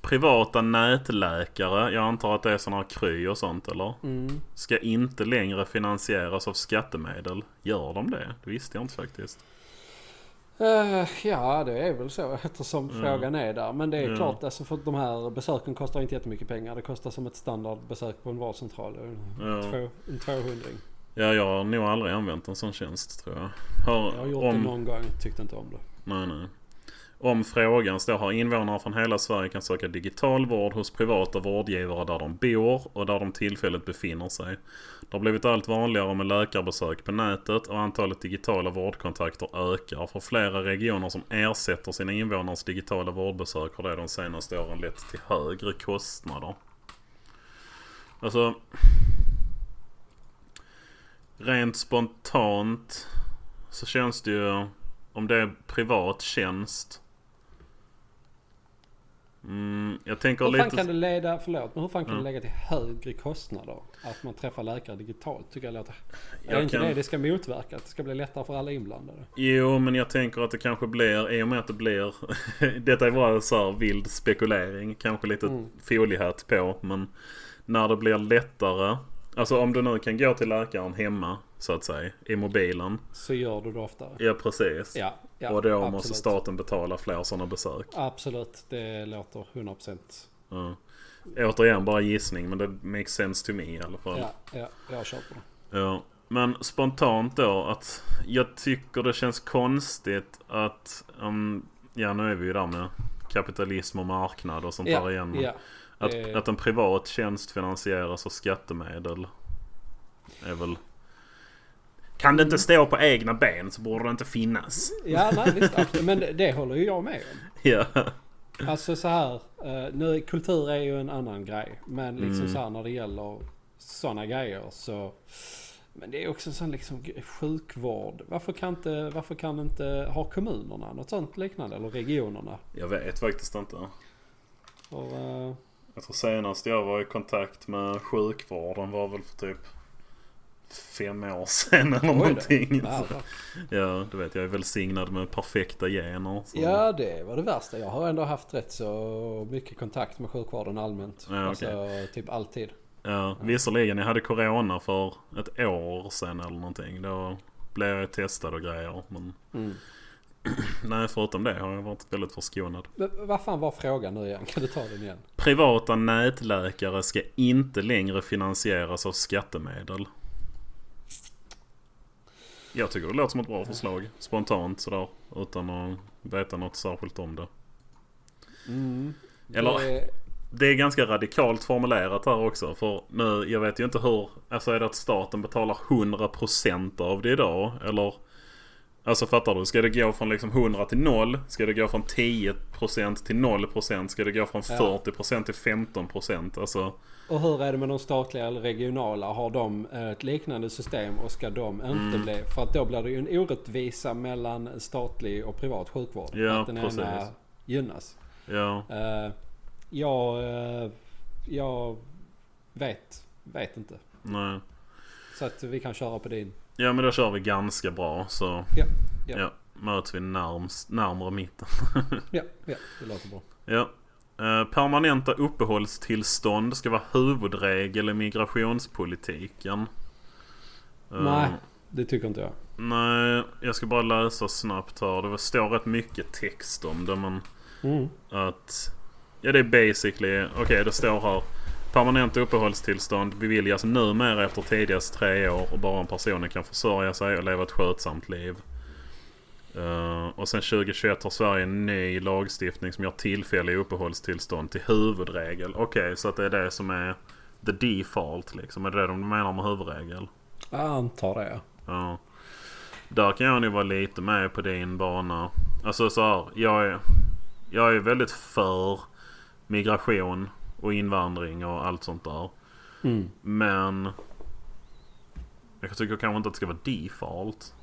Speaker 2: Privata nätläkare, jag antar att det är sådana här Kry och sånt eller?
Speaker 1: Mm.
Speaker 2: Ska inte längre finansieras av skattemedel. Gör de det? Det visste jag inte faktiskt.
Speaker 1: Eh, ja, det är väl så eftersom frågan är där. Men det är
Speaker 2: Mm. Ja.
Speaker 1: klart, alltså för att de här besöken kostar inte jättemycket pengar. Det kostar som ett standardbesök på en valcentral. En,
Speaker 2: Ja.
Speaker 1: två, en 200
Speaker 2: Ja, jag har nog aldrig använt en sån tjänst tror jag. Har,
Speaker 1: Jag har gjort det
Speaker 2: om,
Speaker 1: någon gång, tyckte inte om det.
Speaker 2: nej, nej. om frågan står här. Invånare från hela Sverige kan söka digital vård hos privata vårdgivare där de bor och där de tillfälligt befinner sig. Det har blivit allt vanligare med läkarbesök på nätet och antalet digitala vårdkontakter ökar. För flera regioner som ersätter sina invånares digitala vårdbesök har det de senaste åren lett till högre kostnader. Alltså... Rent spontant så känns det ju... Om det är privat tjänst. Mm, jag tänker
Speaker 1: Hur fan
Speaker 2: lite...
Speaker 1: kan det leda, förlåt, men hur fan kan
Speaker 2: Ja.
Speaker 1: det lägga till högre kostnader? Att man träffar läkare digitalt tycker jag låter... Är
Speaker 2: Jag
Speaker 1: det inte
Speaker 2: kan-
Speaker 1: det det ska motverka? Att det ska bli lättare för alla inblandade?
Speaker 2: Jo, men jag tänker att det kanske blir, i och med att det blir, <laughs> detta är bara så här vild spekulering, kanske lite
Speaker 1: Mm.
Speaker 2: foliehatt på, men när det blir lättare, alltså om du nu kan gå till läkaren hemma, så att säga, i mobilen.
Speaker 1: Så gör du det oftare.
Speaker 2: Ja, precis.
Speaker 1: Ja, ja
Speaker 2: och då
Speaker 1: absolut.
Speaker 2: måste staten betala fler sådana besök.
Speaker 1: Absolut, det låter 100%.
Speaker 2: Ja. Återigen, bara gissning, men det makes sense to me i alla fall.
Speaker 1: Ja, ja jag köper det.
Speaker 2: Ja, men spontant då att jag tycker det känns konstigt att... Um, ja, nu är vi ju där med kapitalism och marknad och sånt där igen. men
Speaker 1: ja.
Speaker 2: att,
Speaker 1: eh.
Speaker 2: att en privat tjänst finansieras av skattemedel är väl... Kan det inte stå på egna ben så borde det inte finnas.
Speaker 1: ja, nej visst. absolut. Men det, det håller ju jag med om.
Speaker 2: Ja,
Speaker 1: Alltså så här. eh, Nu, kultur är ju en annan grej. Men liksom
Speaker 2: Mm.
Speaker 1: så här när det gäller sådana grejer så. Men det är också en sån liksom g- sjukvård. Varför kan inte, varför kan inte ha kommunerna något sånt liknande? Eller regionerna?
Speaker 2: jag vet faktiskt inte.
Speaker 1: Och, eh,
Speaker 2: Jag tror senast jag var i kontakt med sjukvården var väl för typ fem år sedan eller
Speaker 1: då.
Speaker 2: någonting.
Speaker 1: ja, va-
Speaker 2: Ja, du vet jag är välsignad med perfekta gener. Så.
Speaker 1: ja det var det värsta. Jag har ändå haft rätt så mycket kontakt med sjukvården allmänt.
Speaker 2: Ja, okej.
Speaker 1: Alltså typ alltid.
Speaker 2: Ja, visserligen, jag hade corona för ett år sedan eller någonting. Då blev jag testad och grejer. Men <clears throat> nej, förutom det har jag varit väldigt förskonad.
Speaker 1: Men vad fan var frågan nu igen? Kan du ta den igen?
Speaker 2: Privata nätläkare ska inte längre finansieras av skattemedel. Jag tycker det låter som ett bra förslag. Spontant sådär. Utan att veta något särskilt om det. Eller?
Speaker 1: Det,
Speaker 2: det är ganska radikalt formulerat här också. För nu, jag vet ju inte hur... Alltså är det att staten betalar 100% av det idag? Eller? Alltså fattar du? Ska det gå från liksom 100 till 0? Ska det gå från 10% till 0%? Ska det gå från
Speaker 1: Ja.
Speaker 2: 40% till 15%? Alltså...
Speaker 1: Och hur är det med de statliga eller regionala? Har de eh, ett liknande system och ska de inte
Speaker 2: Mm.
Speaker 1: bli? För att då blir det ju en orättvisa mellan statlig och privat sjukvård.
Speaker 2: Ja,
Speaker 1: att den
Speaker 2: precis.
Speaker 1: ena gynnas.
Speaker 2: Ja.
Speaker 1: Eh, jag, eh, jag vet, vet inte.
Speaker 2: Nej.
Speaker 1: Så att vi kan köra på din.
Speaker 2: Ja men då kör vi ganska bra så...
Speaker 1: Ja,
Speaker 2: Ja.
Speaker 1: Ja.
Speaker 2: möts vi närmst, närmare mitten.
Speaker 1: ja, ja det låter bra.
Speaker 2: Ja. Eh, permanenta uppehållstillstånd ska vara huvudregel i migrationspolitiken. Eh,
Speaker 1: Nej, det tycker inte jag.
Speaker 2: Nej, jag ska bara läsa snabbt här. Det står rätt mycket text om det men
Speaker 1: Mm.
Speaker 2: att... Ja det är basically... Okej det står här. Permanenta uppehållstillstånd beviljas numera efter tidigast tre år och bara om personen kan försörja sig och leva ett skötsamt liv. Eh, och sen 2021 har Sverige en ny lagstiftning som gör tillfälliga uppehållstillstånd till huvudregel. Okej, så att det är det som är the default liksom. Är det det de menar med huvudregel?
Speaker 1: Jag antar det. ja.
Speaker 2: Ja. Där kan jag nog vara lite med på din bana. Alltså så här, jag är, jag är väldigt för migration och invandring och allt sånt där.
Speaker 1: Mm.
Speaker 2: Men jag tycker kanske inte att det ska vara default.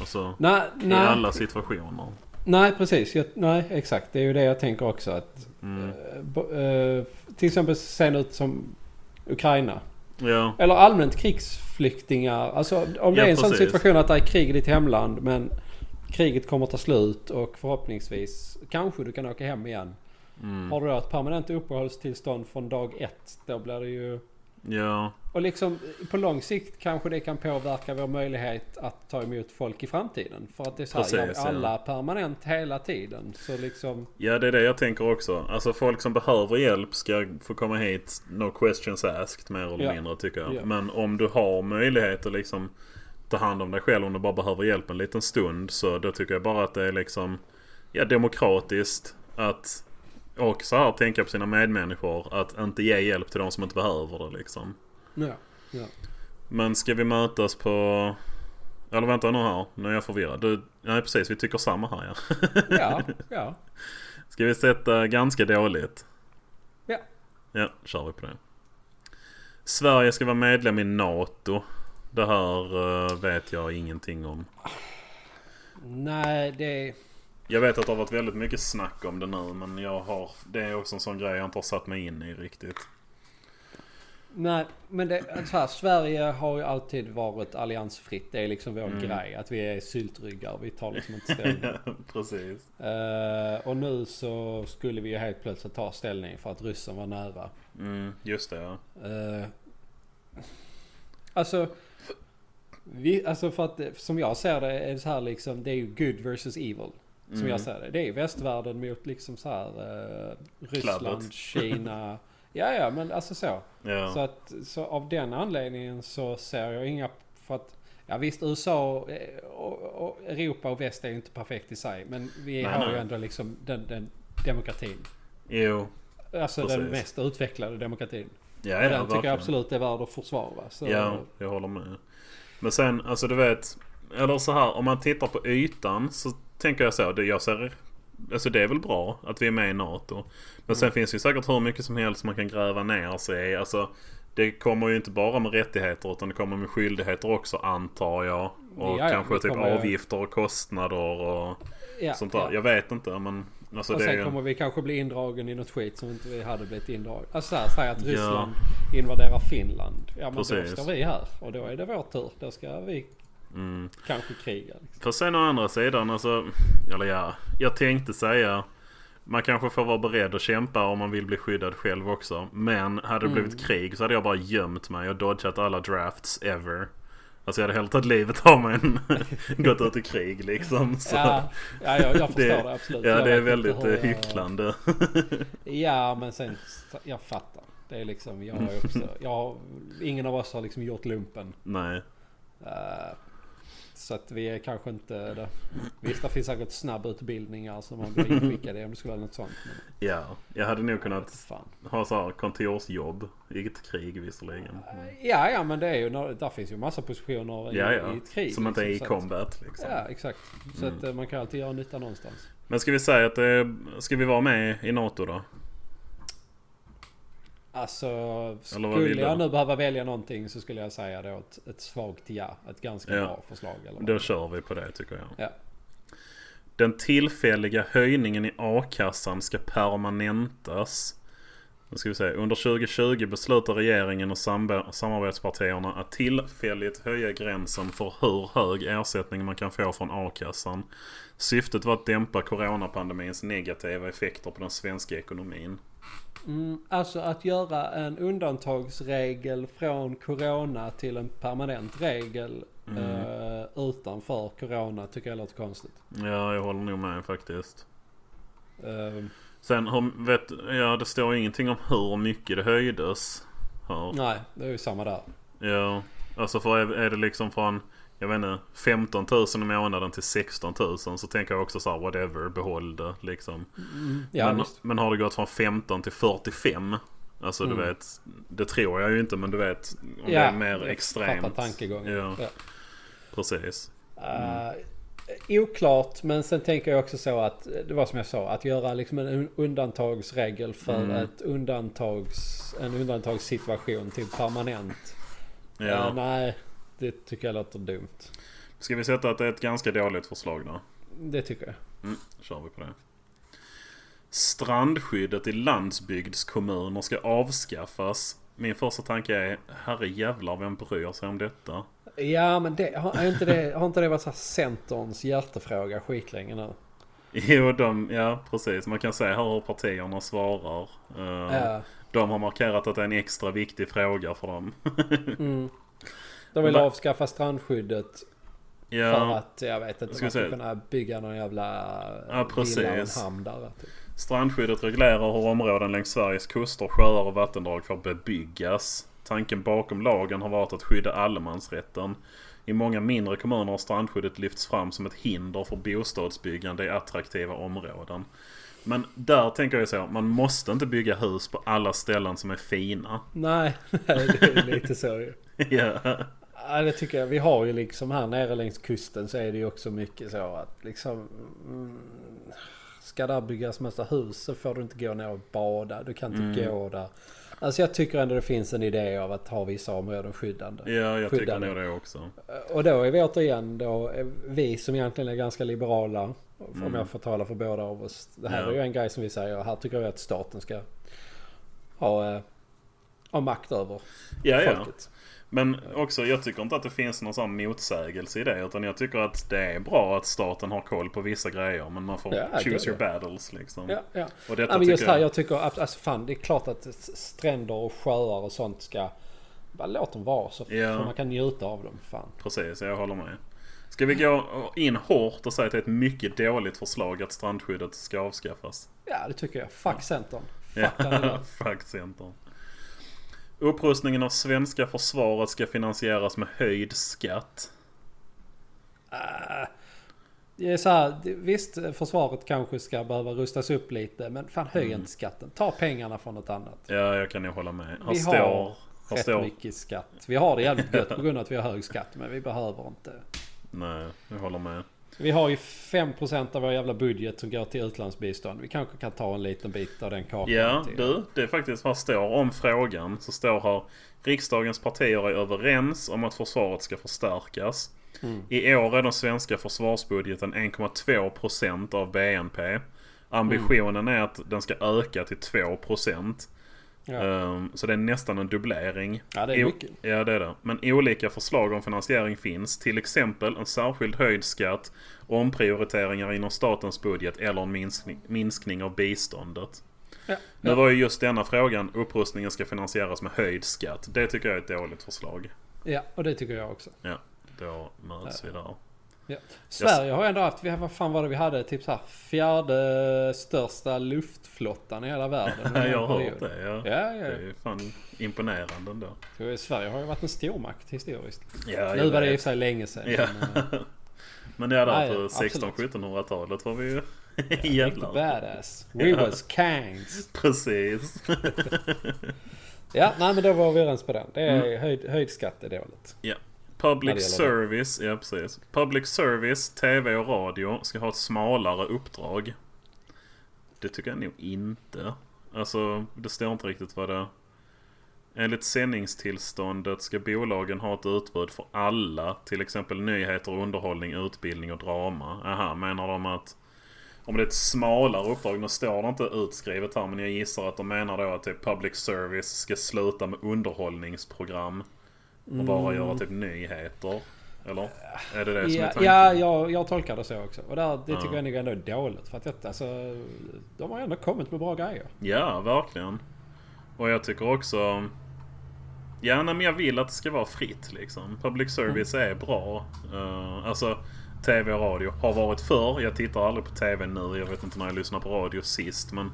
Speaker 2: Alltså
Speaker 1: Nej,
Speaker 2: i
Speaker 1: nej,
Speaker 2: alla situationer.
Speaker 1: nej, precis. Jag, nej, exakt. Det är ju det jag tänker också. Att,
Speaker 2: Mm.
Speaker 1: eh, bo- eh, till exempel sen ut som Ukraina.
Speaker 2: Ja,
Speaker 1: Eller allmänt krigsflyktingar. Alltså om det
Speaker 2: Ja,
Speaker 1: är en sån
Speaker 2: precis.
Speaker 1: situation att det är krig i ditt hemland men kriget kommer ta slut och förhoppningsvis kanske du kan åka hem igen.
Speaker 2: mm.
Speaker 1: Har du då ett permanent uppehållstillstånd från dag ett då blir det ju...
Speaker 2: ja,
Speaker 1: Och liksom på lång sikt kanske det kan påverka vår möjlighet att ta emot folk i framtiden. För att det är så här,
Speaker 2: Precis,
Speaker 1: ja,
Speaker 2: ja.
Speaker 1: alla permanent hela tiden. Så liksom...
Speaker 2: ja, det är det jag tänker också. Alltså folk som behöver hjälp ska få komma hit. No questions asked mer eller
Speaker 1: Ja.
Speaker 2: mindre tycker jag.
Speaker 1: Ja.
Speaker 2: Men om du har möjlighet att liksom ta hand om dig själv om du bara behöver hjälp en liten stund. Så då tycker jag bara att det är liksom ja, demokratiskt att och så här tänka på sina medmänniskor. Att inte ge hjälp till de som inte behöver det liksom.
Speaker 1: Ja. ja.
Speaker 2: Men ska vi mötas på... Eller vänta nu här, nu är jag förvirrad. Du, nej precis, vi tycker samma här ja. <laughs>
Speaker 1: Ja, ja.
Speaker 2: Ska vi sätta ganska dåligt?
Speaker 1: Ja.
Speaker 2: Ja, kör vi på det. Sverige ska vara medlem i NATO. Det här eh, vet jag ingenting om.
Speaker 1: Nej, det...
Speaker 2: Jag vet att det har varit väldigt mycket snack om det nu men jag har... Det är också en sån grej jag inte har satt mig in i riktigt.
Speaker 1: Nej, men det, så här, Sverige har ju alltid varit alliansfritt. Det är liksom vår grej. Att vi är syltryggar. Vi tar liksom inte ställning.
Speaker 2: <laughs> Precis.
Speaker 1: Eh, och nu så skulle vi ju helt plötsligt ta ställning för att ryssen var nära.
Speaker 2: Mm, just det ja.
Speaker 1: Eh, alltså... Vi, alltså för att eh, som jag ser det är det så här liksom. Det är ju good versus evil. Som
Speaker 2: Mm.
Speaker 1: jag ser det. Det är västvärlden mot liksom så här eh, Ryssland,
Speaker 2: Klabbet.
Speaker 1: Kina. Ja, ja, men alltså så.
Speaker 2: Ja.
Speaker 1: Så, att, så av den anledningen så ser jag inga... För att, ja visst USA eh, och, och Europa och väst är ju inte perfekt i sig. Men vi
Speaker 2: Nej,
Speaker 1: har
Speaker 2: nej.
Speaker 1: ju ändå liksom den, den demokratin.
Speaker 2: Jo.
Speaker 1: Alltså den
Speaker 2: Precis.
Speaker 1: mest utvecklade demokratin.
Speaker 2: Ja,
Speaker 1: Och
Speaker 2: ja,
Speaker 1: den tycker jag
Speaker 2: verkligen.
Speaker 1: absolut är värd att försvara. Så,
Speaker 2: Ja, jag håller med. Men sen, alltså du vet. Eller så här, om man tittar på ytan så tänker jag så. Det jag ser, alltså det är väl bra att vi är med i NATO. Men
Speaker 1: Mm.
Speaker 2: sen finns det ju säkert hur mycket som helst man kan gräva ner sig i. Alltså, det kommer ju inte bara med rättigheter utan det kommer med skyldigheter också antar jag. Och
Speaker 1: Ja, ja,
Speaker 2: kanske
Speaker 1: det
Speaker 2: typ
Speaker 1: kommer-
Speaker 2: avgifter och kostnader och
Speaker 1: ja,
Speaker 2: sånt där.
Speaker 1: ja.
Speaker 2: Jag vet inte men alltså
Speaker 1: och
Speaker 2: det är
Speaker 1: sen
Speaker 2: ju...
Speaker 1: kommer vi kanske bli indragen i något skit som inte vi hade blivit indragen. Alltså så här, säg att Ryssland invaderar Finland. Ja men
Speaker 2: Precis.
Speaker 1: då står vi här och då är det vår tur. Då ska vi
Speaker 2: Mm.
Speaker 1: kanske kriga. Liksom.
Speaker 2: För sen å andra sidan, alltså, eller ja, jag tänkte säga man kanske får vara beredd att kämpa om man vill bli skyddad själv också. Men hade det
Speaker 1: Mm.
Speaker 2: blivit krig så hade jag bara gömt mig och dodgat alla drafts ever. Alltså jag hade hellre tagit livet av mig än <laughs> gått ut i krig liksom. Så.
Speaker 1: Ja, ja
Speaker 2: <laughs>
Speaker 1: jag, jag förstår
Speaker 2: Det-
Speaker 1: det, absolut.
Speaker 2: Ja
Speaker 1: Jag
Speaker 2: det är
Speaker 1: vet
Speaker 2: väldigt
Speaker 1: inte hur
Speaker 2: eh,
Speaker 1: jag-
Speaker 2: hycklande.
Speaker 1: Ja men sen, jag fattar. Det är liksom,
Speaker 2: <laughs>
Speaker 1: jag har också, jag, har- ingen av oss har liksom gjort lumpen.
Speaker 2: Nej.
Speaker 1: Eh, Så att vi är kanske inte det. Visst, det finns säkert snabbutbildningar som man blir inskickad i om det skulle vara något sånt. Men
Speaker 2: Ja, jag hade nog
Speaker 1: jag vet inte
Speaker 2: kunnat
Speaker 1: fan.
Speaker 2: ha så här kontorsjobb. I ett krig visserligen.
Speaker 1: Ja, ja, men det är ju, där finns ju massa positioner i,
Speaker 2: Mm. Ja, ja.
Speaker 1: i ett krig.
Speaker 2: Som inte är i
Speaker 1: liksom, så att-
Speaker 2: combat liksom. Mm.
Speaker 1: Ja, exakt. Så att eh, man kan alltid göra nytta någonstans.
Speaker 2: Men ska vi säga att det... Ska vi vara med i NATO då?
Speaker 1: Alltså,
Speaker 2: Eller vad vill
Speaker 1: skulle jag
Speaker 2: du?
Speaker 1: nu behöva välja någonting så skulle jag säga då ett, ett svagt ja. Ett ganska
Speaker 2: Ja.
Speaker 1: bra förslag. Eller vad?
Speaker 2: Då kör vi på det tycker jag.
Speaker 1: Ja.
Speaker 2: Den tillfälliga höjningen i a-kassan ska permanentas. Nu ska vi se. Under 2020 beslutar regeringen och samba- samarbetspartierna att tillfälligt höja gränsen för hur hög ersättning man kan få från a-kassan. Syftet var att dämpa coronapandemins negativa effekter på den svenska ekonomin.
Speaker 1: Mm, alltså att göra en undantagsregel från corona till en permanent regel
Speaker 2: Mm.
Speaker 1: eh, utanför corona tycker jag låter konstigt.
Speaker 2: Ja, jag håller nog med faktiskt.
Speaker 1: Eh,
Speaker 2: Sen hur, vet, ja, det står ingenting om hur mycket det höjdes. Här.
Speaker 1: nej, det är ju samma där.
Speaker 2: Ja, alltså för är, är det liksom från jag vet inte, 15 000 i månaden till 16 000 så tänker jag också så här whatever, behåll det liksom.
Speaker 1: Mm. Ja,
Speaker 2: men,
Speaker 1: visst.
Speaker 2: men har det gått från 15 till 45? Alltså du
Speaker 1: Mm.
Speaker 2: vet, det tror jag ju inte men du vet om det
Speaker 1: Ja,
Speaker 2: är mer
Speaker 1: jag
Speaker 2: extremt.
Speaker 1: fattar tankegången.
Speaker 2: Ja,
Speaker 1: Ja.
Speaker 2: precis.
Speaker 1: Eh, oklart, men sen tänker jag också så att eh, det var som jag sa, att göra liksom en un- undantagsregel för
Speaker 2: Mm.
Speaker 1: ett undantags, en undantagssituation till permanent.
Speaker 2: Ja.
Speaker 1: Eh, nej, det tycker jag låter dumt.
Speaker 2: Ska vi sätta att det är ett ganska dåligt förslag då?
Speaker 1: Det tycker jag.
Speaker 2: Mm, då kör vi på det. Strandskyddet i landsbygdskommuner ska avskaffas. Min första tanke är, herre jävlar vem bryr sig om detta? <laughs>
Speaker 1: Ja, men det, har, är inte det, har inte det varit så här Centerns hjärtefråga skitlänge nu?
Speaker 2: Jo, de, ja precis. Man kan se här hur partierna svarar. Eh,
Speaker 1: Ja.
Speaker 2: De har markerat att det är en extra viktig fråga för dem. <laughs>
Speaker 1: De vill
Speaker 2: Va-
Speaker 1: avskaffa strandskyddet för
Speaker 2: ja,
Speaker 1: att, jag vet inte,
Speaker 2: Ska
Speaker 1: man
Speaker 2: vi
Speaker 1: ska
Speaker 2: se.
Speaker 1: kunna bygga någon jävla
Speaker 2: Ja, precis.
Speaker 1: villa och en hamn där. Typ.
Speaker 2: strandskyddet reglerar hur områden längs Sveriges kuster, sjöar och vattendrag får bebyggas. Tanken bakom lagen har varit att skydda allemansrätten. I många mindre kommuner har strandskyddet lyfts fram som ett hinder för bostadsbyggande i attraktiva områden. Men där tänker jag så, man måste inte bygga hus på alla ställen som är fina. <laughs>
Speaker 1: Nej, <laughs> nej, det är lite så ju.
Speaker 2: Ja.
Speaker 1: Ja, det tycker jag. Vi har ju liksom här nere längs kusten så är det ju också mycket så att liksom... Mm, ska där byggas massa hus så får du inte gå ner och bada. Du kan inte
Speaker 2: Mm.
Speaker 1: gå där. Alltså jag tycker ändå det finns en idé av att ha vissa områden skyddande.
Speaker 2: Ja, jag tycker
Speaker 1: Skyddade.
Speaker 2: nog det också.
Speaker 1: Och då är vi återigen då, eh, vi som egentligen är ganska liberala, om jag får tala för båda av oss. Det här
Speaker 2: Mm. Ja.
Speaker 1: är ju en grej som vi säger, här tycker jag att staten ska ha, eh, ha makt över
Speaker 2: Ja, ja.
Speaker 1: folket.
Speaker 2: Men också, jag tycker inte att det finns någon sån motsägelse i det. Utan jag tycker att det är bra att staten har koll på vissa grejer. Men man får
Speaker 1: Ja, det
Speaker 2: choose
Speaker 1: är
Speaker 2: your
Speaker 1: det.
Speaker 2: battles liksom.
Speaker 1: Ja, ja.
Speaker 2: Och
Speaker 1: ja
Speaker 2: detta
Speaker 1: men just
Speaker 2: tycker
Speaker 1: här,
Speaker 2: jag...
Speaker 1: jag tycker, abs- alltså fan det är klart att s- stränder och sjöar och sånt ska, bara låt dem vara så
Speaker 2: Ja.
Speaker 1: så man kan njuta av dem. Fan.
Speaker 2: Precis, jag håller med. Ska vi gå in hårt och säga att det är ett mycket dåligt förslag att strandskyddet ska avskaffas?
Speaker 1: Ja det tycker jag. Fuck Centern. Fuck
Speaker 2: Ja,
Speaker 1: den
Speaker 2: <laughs>
Speaker 1: där.
Speaker 2: Fuck Centern. Upprustningen av svenska försvaret ska finansieras med höjd skatt.
Speaker 1: Det är så här, det- visst försvaret kanske ska behöva rustas upp lite men fan höj
Speaker 2: Mm.
Speaker 1: inte skatten. Ta pengarna från något annat.
Speaker 2: Ja, jag kan ju hålla med. Här
Speaker 1: Vi
Speaker 2: står...
Speaker 1: har
Speaker 2: här
Speaker 1: rätt
Speaker 2: står...
Speaker 1: mycket skatt. Vi har det jävligt gött på grund av att vi har hög skatt men vi behöver inte.
Speaker 2: Nej, jag håller med.
Speaker 1: Vi har ju 5% av vår jävla budget som går till utlandsbistånd. Vi kanske kan ta en liten bit av den kakan.
Speaker 2: Ja,
Speaker 1: till.
Speaker 2: du. Det är faktiskt vad står om frågan. Så står här Riksdagens partier är överens om att försvaret ska förstärkas. I år är den svenska försvarsbudgeten 1,2% av BNP. Ambitionen är att den ska öka till 2%.
Speaker 1: Ja.
Speaker 2: Ehm, så det är nästan en dubblering.
Speaker 1: Ja, det är
Speaker 2: O-
Speaker 1: mycket.
Speaker 2: Ja, det är det. Men olika förslag om finansiering finns. Till exempel en särskild höjd skatt, omprioriteringar inom statens budget eller en minskning, minskning av biståndet.
Speaker 1: Ja.
Speaker 2: Nu var ju just denna frågan, upprustningen ska finansieras med höjd skatt. Det tycker jag är ett dåligt förslag.
Speaker 1: ja, och det tycker jag också.
Speaker 2: Ja, då möts vi där.
Speaker 1: Ja. Sverige har ändå haft, vi- vad fan var det vi hade? Typ såhär fjärde största luftflottan i
Speaker 2: <laughs>
Speaker 1: hela världen. under en
Speaker 2: Jag har
Speaker 1: period.
Speaker 2: hört det. Ja.
Speaker 1: Ja, ja,
Speaker 2: Det är
Speaker 1: ja.
Speaker 2: ju fan imponerande ändå.
Speaker 1: Så Sverige har ju varit en stormakt historiskt.
Speaker 2: Ja,
Speaker 1: nu
Speaker 2: jag
Speaker 1: var det i och
Speaker 2: vet.
Speaker 1: för sig länge sedan.
Speaker 2: Ja.
Speaker 1: Men,
Speaker 2: <laughs>
Speaker 1: eh,
Speaker 2: Men ja, där
Speaker 1: Nej,
Speaker 2: på
Speaker 1: absolut.
Speaker 2: 1600-1700-talet var vi ju <laughs>
Speaker 1: riktigt
Speaker 2: jävlar.
Speaker 1: badass. We
Speaker 2: Ja.
Speaker 1: was kangs.
Speaker 2: Precis.
Speaker 1: Ja, nej men då var vi överens på den. Det är
Speaker 2: Mm.
Speaker 1: höjd, höjd skatt är dåligt.
Speaker 2: Ja.
Speaker 1: När
Speaker 2: Public
Speaker 1: det gäller
Speaker 2: service, ja precis. Public service, TV och radio ska ha ett smalare uppdrag. Det tycker jag nog inte. Alltså, det står inte riktigt vad det... Enligt sändningstillståndet ska bolagen ha ett utbud för alla. Till exempel nyheter, underhållning, utbildning och drama. Aha, menar de att... Om det är ett smalare uppdrag, nu står det inte utskrivet här men jag gissar att de menar då att typ public service ska sluta med underhållningsprogram. Och bara göra typ nyheter. Eller? Är det det som är
Speaker 1: Mm. Ja,
Speaker 2: tanken?
Speaker 1: ja jag, jag tolkar det så också. Och där, det tycker
Speaker 2: Ja.
Speaker 1: jag nog ändå är dåligt. För att detta, alltså, de har ändå kommit med bra grejer.
Speaker 2: Ja, verkligen. Och jag tycker också... Ja, nej, men jag vill att det ska vara fritt liksom. Public service
Speaker 1: Mm.
Speaker 2: är bra. Eh, alltså, TV och radio har varit förr. Jag tittar aldrig på TV nu. Jag vet inte när jag lyssnade på radio sist. Men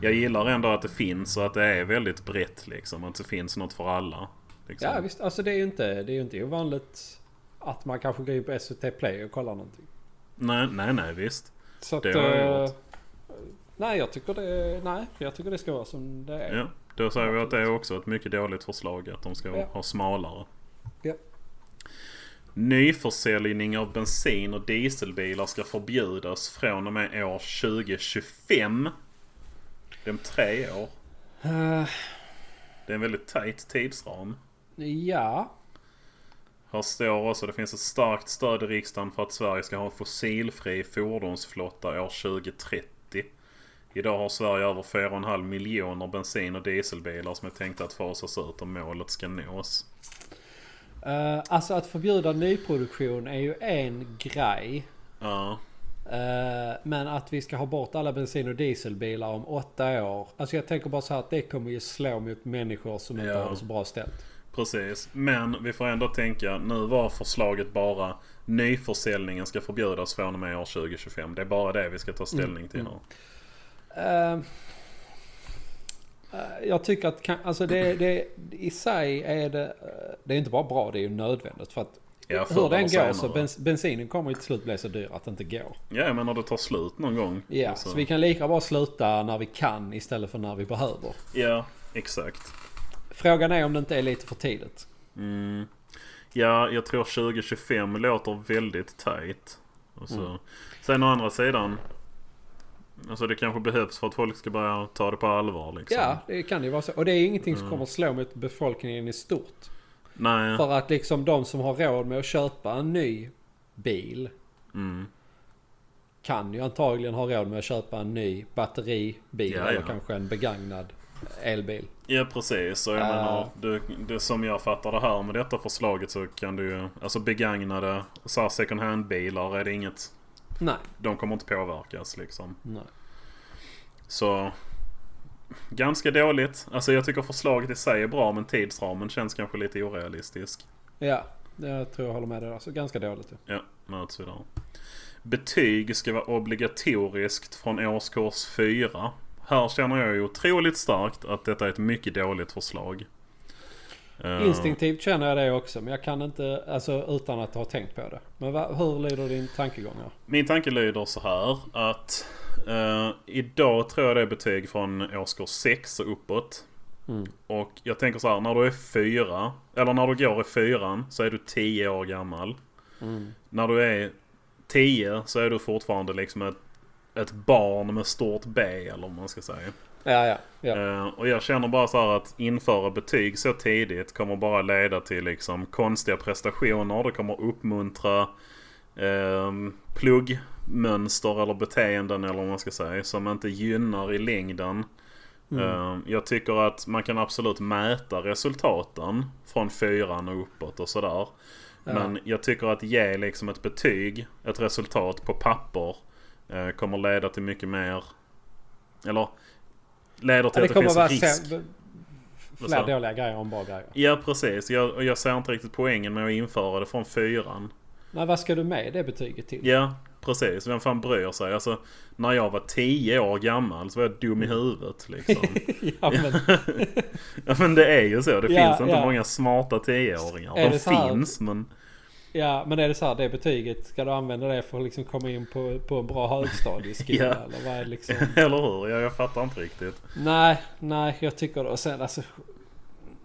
Speaker 2: jag gillar ändå att det finns och att det är väldigt brett liksom. Att det finns något för alla. Liksom.
Speaker 1: Ja visst, alltså det är ju inte, det är ju inte ovanligt att man kanske går in på SVT Play och kollar någonting.
Speaker 2: Nej, nej, nej, visst.
Speaker 1: Så att...
Speaker 2: Det har jag
Speaker 1: eh,
Speaker 2: gjort.
Speaker 1: nej, jag tycker det... Nej, jag tycker det ska vara som det är.
Speaker 2: Ja, då säger vi att det är också ett mycket dåligt förslag att de ska
Speaker 1: Ja.
Speaker 2: ha smalare.
Speaker 1: Ja.
Speaker 2: Nyförsäljning av bensin och dieselbilar ska förbjudas från och med år 2025. Det är om tre år.
Speaker 1: Eh,
Speaker 2: Det är en väldigt tight tidsram.
Speaker 1: ja.
Speaker 2: Här står också det finns ett starkt stöd i riksdagen för att Sverige ska ha en fossilfri fordonsflotta år 2030. Idag har Sverige över 4,5 miljoner bensin och dieselbilar som är tänkta att fasas ut om målet ska nås.
Speaker 1: Eh, alltså att förbjuda nyproduktion är ju en grej.
Speaker 2: Ja,
Speaker 1: Eh, men att vi ska ha bort alla bensin och dieselbilar om åtta år. Alltså jag tänker bara så här att det kommer ju slå mot människor som inte
Speaker 2: Ja.
Speaker 1: har det så bra ställt.
Speaker 2: precis. Men vi får ändå tänka, nu var förslaget bara nyförsäljningen ska förbjudas från och med år 2025. Det är bara det vi ska ta ställning
Speaker 1: Mm,
Speaker 2: till här.
Speaker 1: Eh, eh, jag tycker att kan, alltså det, det i sig är det... eh, Det är inte bara bra, det är ju nödvändigt. För att
Speaker 2: Ja, förr
Speaker 1: hur
Speaker 2: eller
Speaker 1: den går så
Speaker 2: senare.
Speaker 1: bens, bensinen kommer ju till slut bli så dyr att det inte går.
Speaker 2: Ja, men när det tar slut någon gång.
Speaker 1: Ja,
Speaker 2: Alltså,
Speaker 1: så vi kan lika bra sluta när vi kan istället för när vi behöver.
Speaker 2: ja exakt.
Speaker 1: Frågan är om det inte är lite för tidigt.
Speaker 2: Mm. Ja, jag tror 2025 låter väldigt tight. Och så.
Speaker 1: Mm.
Speaker 2: Sen å andra sidan. Alltså det kanske behövs för att folk ska börja ta det på allvar liksom.
Speaker 1: Ja, det kan ju vara så. Och det är ingenting
Speaker 2: Mm.
Speaker 1: som kommer slå mot befolkningen i stort.
Speaker 2: Nej.
Speaker 1: För att liksom de som har råd med att köpa en ny bil
Speaker 2: Mm.
Speaker 1: kan ju antagligen ha råd med att köpa en ny batteribil
Speaker 2: Ja,
Speaker 1: eller
Speaker 2: ja.
Speaker 1: kanske en begagnad elbil.
Speaker 2: Ja precis. Och jag
Speaker 1: Äh.
Speaker 2: menar, du, det, som jag fattar det här med detta förslaget så kan du ju... Alltså begagnade så här second hand bilar är det inget...
Speaker 1: Nej,
Speaker 2: De kommer inte påverkas liksom.
Speaker 1: nej.
Speaker 2: Så... Ganska dåligt. Alltså jag tycker förslaget i sig är bra men tidsramen känns kanske lite orealistisk.
Speaker 1: Ja, jag tror jag håller med dig där. Så ganska dåligt ju.
Speaker 2: Ja, möts vi där. Betyg ska vara obligatoriskt från årskurs 4. Här känner jag ju otroligt starkt att detta är ett mycket dåligt förslag. Eh,
Speaker 1: Instinktivt känner jag det också, men jag kan inte, alltså utan att ha tänkt på det. Men va, hur lyder din tankegång här?
Speaker 2: Min tanke lyder så här att eh, idag tror jag det är betyg från årskurs 6 och uppåt.
Speaker 1: Mm.
Speaker 2: Och jag tänker så här, när du är fyra, eller när du går i fyran så är du 10 år gammal. När du är 10 så är du fortfarande liksom ett, ett barn med stort B eller vad man ska säga.
Speaker 1: Ja, ja, ja.
Speaker 2: Eh, och jag känner bara så här att införa betyg så tidigt kommer bara leda till liksom konstiga prestationer. Det kommer uppmuntra ehm, pluggmönster eller beteenden eller vad man ska säga som inte gynnar i längden. Eh, jag tycker att man kan absolut mäta resultaten från fyran och uppåt och sådär. Men jag tycker att ge liksom ett betyg, ett resultat på papper eh, kommer leda till mycket mer... Eller leder till
Speaker 1: Det
Speaker 2: att det
Speaker 1: kommer
Speaker 2: finns
Speaker 1: vara
Speaker 2: risk.
Speaker 1: se-
Speaker 2: Vad sa
Speaker 1: fler
Speaker 2: du?
Speaker 1: dåliga grejer om bra grejer.
Speaker 2: Ja precis. Jag, och jag ser inte riktigt poängen med att införa det från fyran.
Speaker 1: Nej, vad ska du med det betyget till?
Speaker 2: Ja, precis. Vem fan bryr sig? Alltså, när jag var 10 år gammal så var jag dum i
Speaker 1: Mm.
Speaker 2: huvudet liksom.
Speaker 1: <laughs>
Speaker 2: <laughs>
Speaker 1: Ja, men,
Speaker 2: ja, men det är ju så. Det
Speaker 1: Ja,
Speaker 2: finns inte
Speaker 1: ja.
Speaker 2: många smarta 10-åringar.
Speaker 1: Är
Speaker 2: De
Speaker 1: det så här?
Speaker 2: finns men... <laughs>
Speaker 1: ja, men är det så här, det betyget, ska du använda det för att liksom komma in på, på en bra högstadieskola?
Speaker 2: Ja.
Speaker 1: Eller vad är det liksom?
Speaker 2: Eller hur? Ja, jag fattar inte riktigt.
Speaker 1: Nej, nej, jag tycker och sen alltså...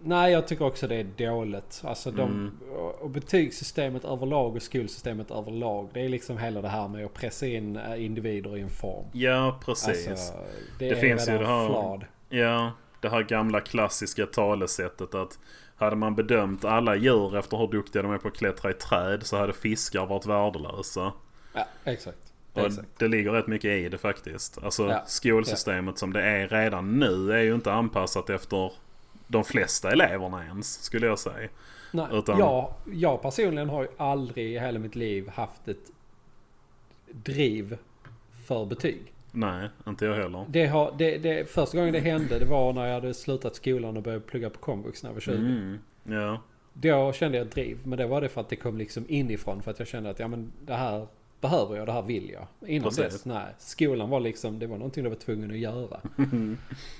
Speaker 1: Nej, jag tycker också det är dåligt. Alltså de,
Speaker 2: Mm.
Speaker 1: och- och betygssystemet överlag och skolsystemet överlag. Det är liksom hela det här med att pressa in eh, individer i en form.
Speaker 2: Ja, precis.
Speaker 1: Alltså, det,
Speaker 2: Det
Speaker 1: är
Speaker 2: finns ju
Speaker 1: redan
Speaker 2: det här-
Speaker 1: flawed.
Speaker 2: Ja, det här gamla klassiska talesättet att hade man bedömt alla djur efter hur duktiga de är på att klättra i träd så hade fiskar varit värdelösa.
Speaker 1: Ja, exakt.
Speaker 2: Och
Speaker 1: exakt.
Speaker 2: det ligger rätt mycket i det faktiskt. Alltså
Speaker 1: Ja.
Speaker 2: skolsystemet som det är redan nu är ju inte anpassat efter de flesta eleverna ens, skulle jag säga.
Speaker 1: Nej,
Speaker 2: utan-
Speaker 1: jag, jag personligen har ju aldrig i hela mitt liv haft ett driv för betyg.
Speaker 2: Nej, inte jag heller.
Speaker 1: Det har, det, det, första gången det hände det var när jag hade slutat skolan och började plugga på komvux när jag var 20.
Speaker 2: Mm. Ja,
Speaker 1: Då kände jag ett driv, men det var det för att det kom liksom inifrån. För att jag kände att ja, men det här behöver jag, det här vill jag. Innan
Speaker 2: Precis.
Speaker 1: dess, nej. Skolan var liksom, det var någonting jag var tvungen
Speaker 2: <laughs>
Speaker 1: att göra.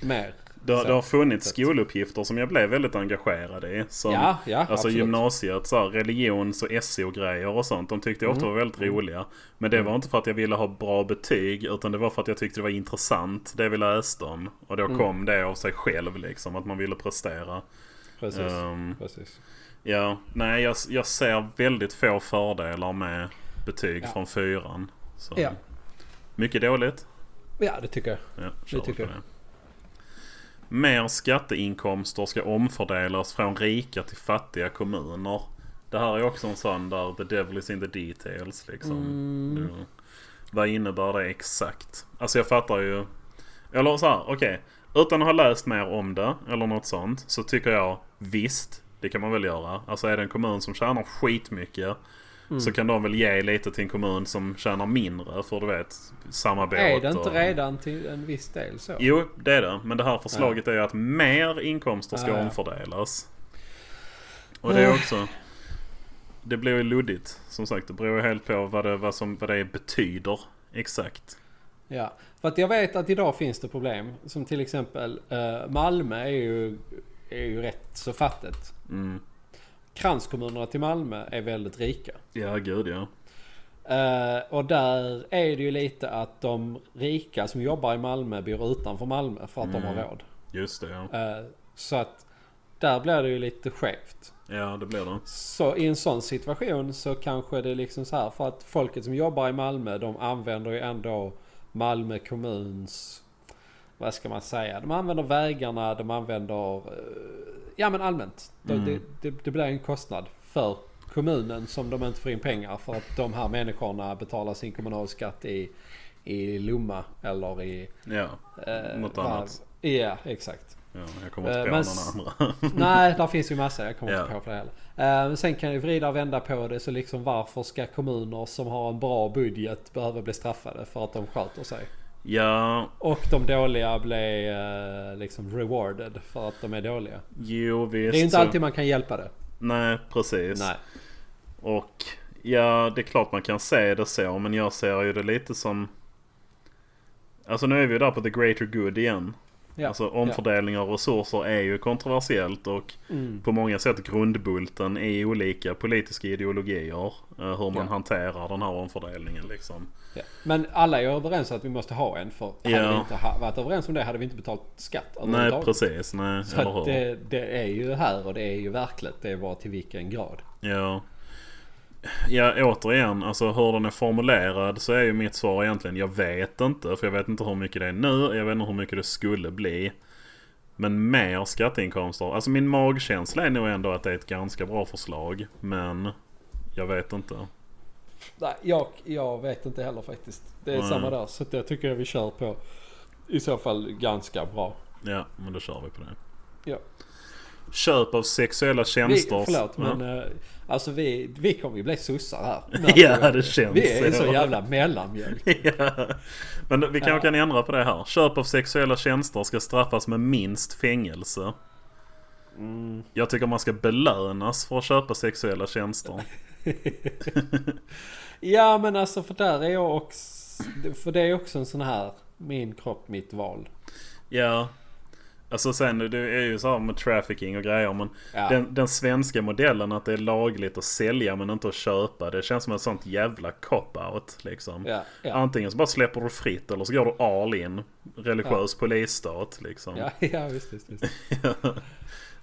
Speaker 1: Mer.
Speaker 2: det,
Speaker 1: Så.
Speaker 2: det har funnits
Speaker 1: Så.
Speaker 2: skoluppgifter som jag blev väldigt engagerad i. Som,
Speaker 1: ja, ja,
Speaker 2: Alltså
Speaker 1: absolut.
Speaker 2: gymnasiet, så här, religions och SO-grejer och sånt. De tyckte jag ofta var väldigt
Speaker 1: Mm.
Speaker 2: roliga. Men det var inte för att jag ville ha bra betyg. Utan det var för att jag tyckte det var intressant det vi läste om. Och
Speaker 1: Mm.
Speaker 2: då kom det av sig själv liksom. Att man ville prestera.
Speaker 1: Precis.
Speaker 2: Ehm,
Speaker 1: Precis.
Speaker 2: ja, nej jag, jag ser väldigt få fördelar med betyg
Speaker 1: Ja.
Speaker 2: från fyran. Så.
Speaker 1: Ja.
Speaker 2: Mycket dåligt.
Speaker 1: ja, det tycker jag.
Speaker 2: Ja, kör vi
Speaker 1: tycker
Speaker 2: på
Speaker 1: jag.
Speaker 2: det. Mer skatteinkomster ska omfördelas från rika till fattiga kommuner. Det här är också en sån där the devil is in the details liksom.
Speaker 1: Mm.
Speaker 2: Ja. Vad innebär det exakt? Alltså jag fattar ju. Eller så här, okej. Utan att ha läst mer om det eller något sånt så tycker jag visst, det kan man väl göra. Alltså är det en kommun som tjänar skitmycket så
Speaker 1: Mm.
Speaker 2: kan de väl ge lite till en kommun som tjänar mindre för du vet samarbete.
Speaker 1: Är det inte
Speaker 2: och-
Speaker 1: redan till en viss del så?
Speaker 2: Jo, det är det. Men det här förslaget är ju att mer inkomster ska
Speaker 1: Ja, Eh. ja.
Speaker 2: omfördelas. Och det är också... Det blir ju luddigt. Som sagt, det beror ju helt på vad det, vad som, vad det betyder exakt.
Speaker 1: Ja, för att jag vet att idag finns det problem. Som till exempel eh, Malmö är ju, är ju rätt så fattigt.
Speaker 2: Mm.
Speaker 1: Kranskommunerna till Malmö är väldigt rika.
Speaker 2: Ja, gud ja.
Speaker 1: Eh, och där är det ju lite att de rika som jobbar i Malmö bor utanför Malmö för att de har råd.
Speaker 2: Just det, ja.
Speaker 1: Eh, så att där blir det ju lite skevt.
Speaker 2: Ja, det blir det.
Speaker 1: Så i en sån situation så kanske det är liksom så här för att folket som jobbar i Malmö de använder ju ändå Malmö kommuns vad ska man säga? De använder vägarna, de använder... eh, Ja men allmänt. De-
Speaker 2: Mm.
Speaker 1: Det, det, det blir en kostnad för kommunen som de inte får in pengar för att de här människorna betalar sin kommunalskatt i, i Lomma eller i...
Speaker 2: Ja,
Speaker 1: eh,
Speaker 2: något
Speaker 1: vad-
Speaker 2: annat.
Speaker 1: Ja, exakt.
Speaker 2: Ja, jag kommer inte
Speaker 1: Eh,
Speaker 2: på
Speaker 1: men s-
Speaker 2: någon andra. <laughs>
Speaker 1: <laughs> Nej, där finns ju massa. Jag kommer inte
Speaker 2: Ja.
Speaker 1: på fler heller. Eh, men sen kan jag vrida och vända på det. Så liksom varför ska kommuner som har en bra budget behöva bli straffade för att de sköter sig?
Speaker 2: ja,
Speaker 1: Och de dåliga blir eh, liksom rewarded för att de är dåliga.
Speaker 2: jo visst.
Speaker 1: Det är inte
Speaker 2: så-
Speaker 1: alltid man kan hjälpa det.
Speaker 2: Nej, precis.
Speaker 1: Nej.
Speaker 2: Och ja, det är klart man kan se det så, men jag ser ju det lite som... Alltså nu är vi ju där på the greater good igen.
Speaker 1: Ja.
Speaker 2: Alltså omfördelning av resurser är ju kontroversiellt och
Speaker 1: Mm.
Speaker 2: på många sätt grundbulten i olika politiska ideologier. eh, Hur man
Speaker 1: Ja.
Speaker 2: hanterar den här omfördelningen liksom.
Speaker 1: Ja. Men alla är överens om att vi måste ha en. För hade
Speaker 2: Ja.
Speaker 1: vi inte ha- varit överens om det hade vi inte betalat skatt
Speaker 2: Nej
Speaker 1: överhuvudtaget.
Speaker 2: precis, nej
Speaker 1: Så
Speaker 2: eller
Speaker 1: att
Speaker 2: hur?
Speaker 1: det, det är ju här och det är ju verkligt. Det är bara till vilken grad.
Speaker 2: Ja. Ja återigen, alltså hur den är formulerad så är ju mitt svar egentligen jag vet inte. För jag vet inte hur mycket det är nu, jag vet inte hur mycket det skulle bli. Men mer skatteinkomster. Alltså min magkänsla är nog ändå att det är ett ganska bra förslag. Men jag vet inte.
Speaker 1: Nej, jag, jag vet inte heller faktiskt. Det är
Speaker 2: Nej.
Speaker 1: samma där. Så att jag tycker att vi kör på i så fall ganska bra.
Speaker 2: Ja, men då kör vi på det.
Speaker 1: Ja.
Speaker 2: Köp av sexuella
Speaker 1: Vi,
Speaker 2: tjänster.
Speaker 1: förlåt
Speaker 2: Ja.
Speaker 1: men eh, alltså vi, vi kommer ju bli
Speaker 2: <laughs>
Speaker 1: sossar här. eh,
Speaker 2: Ja, det känns
Speaker 1: Vi är ju
Speaker 2: så.
Speaker 1: så jävla
Speaker 2: <laughs>
Speaker 1: mellanmjölk.
Speaker 2: <laughs> Ja. Men vi kanske kan ändra på det här. Köp av sexuella tjänster ska straffas med minst fängelse.
Speaker 1: Mm. <laughs>
Speaker 2: Jag tycker man ska belönas för att köpa sexuella tjänster.
Speaker 1: ja men alltså för där är jag också... För det är också en sån här min kropp, mitt val.
Speaker 2: Ja. Alltså sen det är ju så här med trafficking och grejer men
Speaker 1: Ja.
Speaker 2: den, den svenska modellen att det är lagligt att sälja men inte att köpa. Det känns som ett sånt jävla cop-out liksom.
Speaker 1: Ja, ja.
Speaker 2: Antingen så bara släpper du fritt eller så går du all in. Religiös polisstat liksom.
Speaker 1: Ja, <laughs> ja visst, visst, visst.
Speaker 2: <laughs>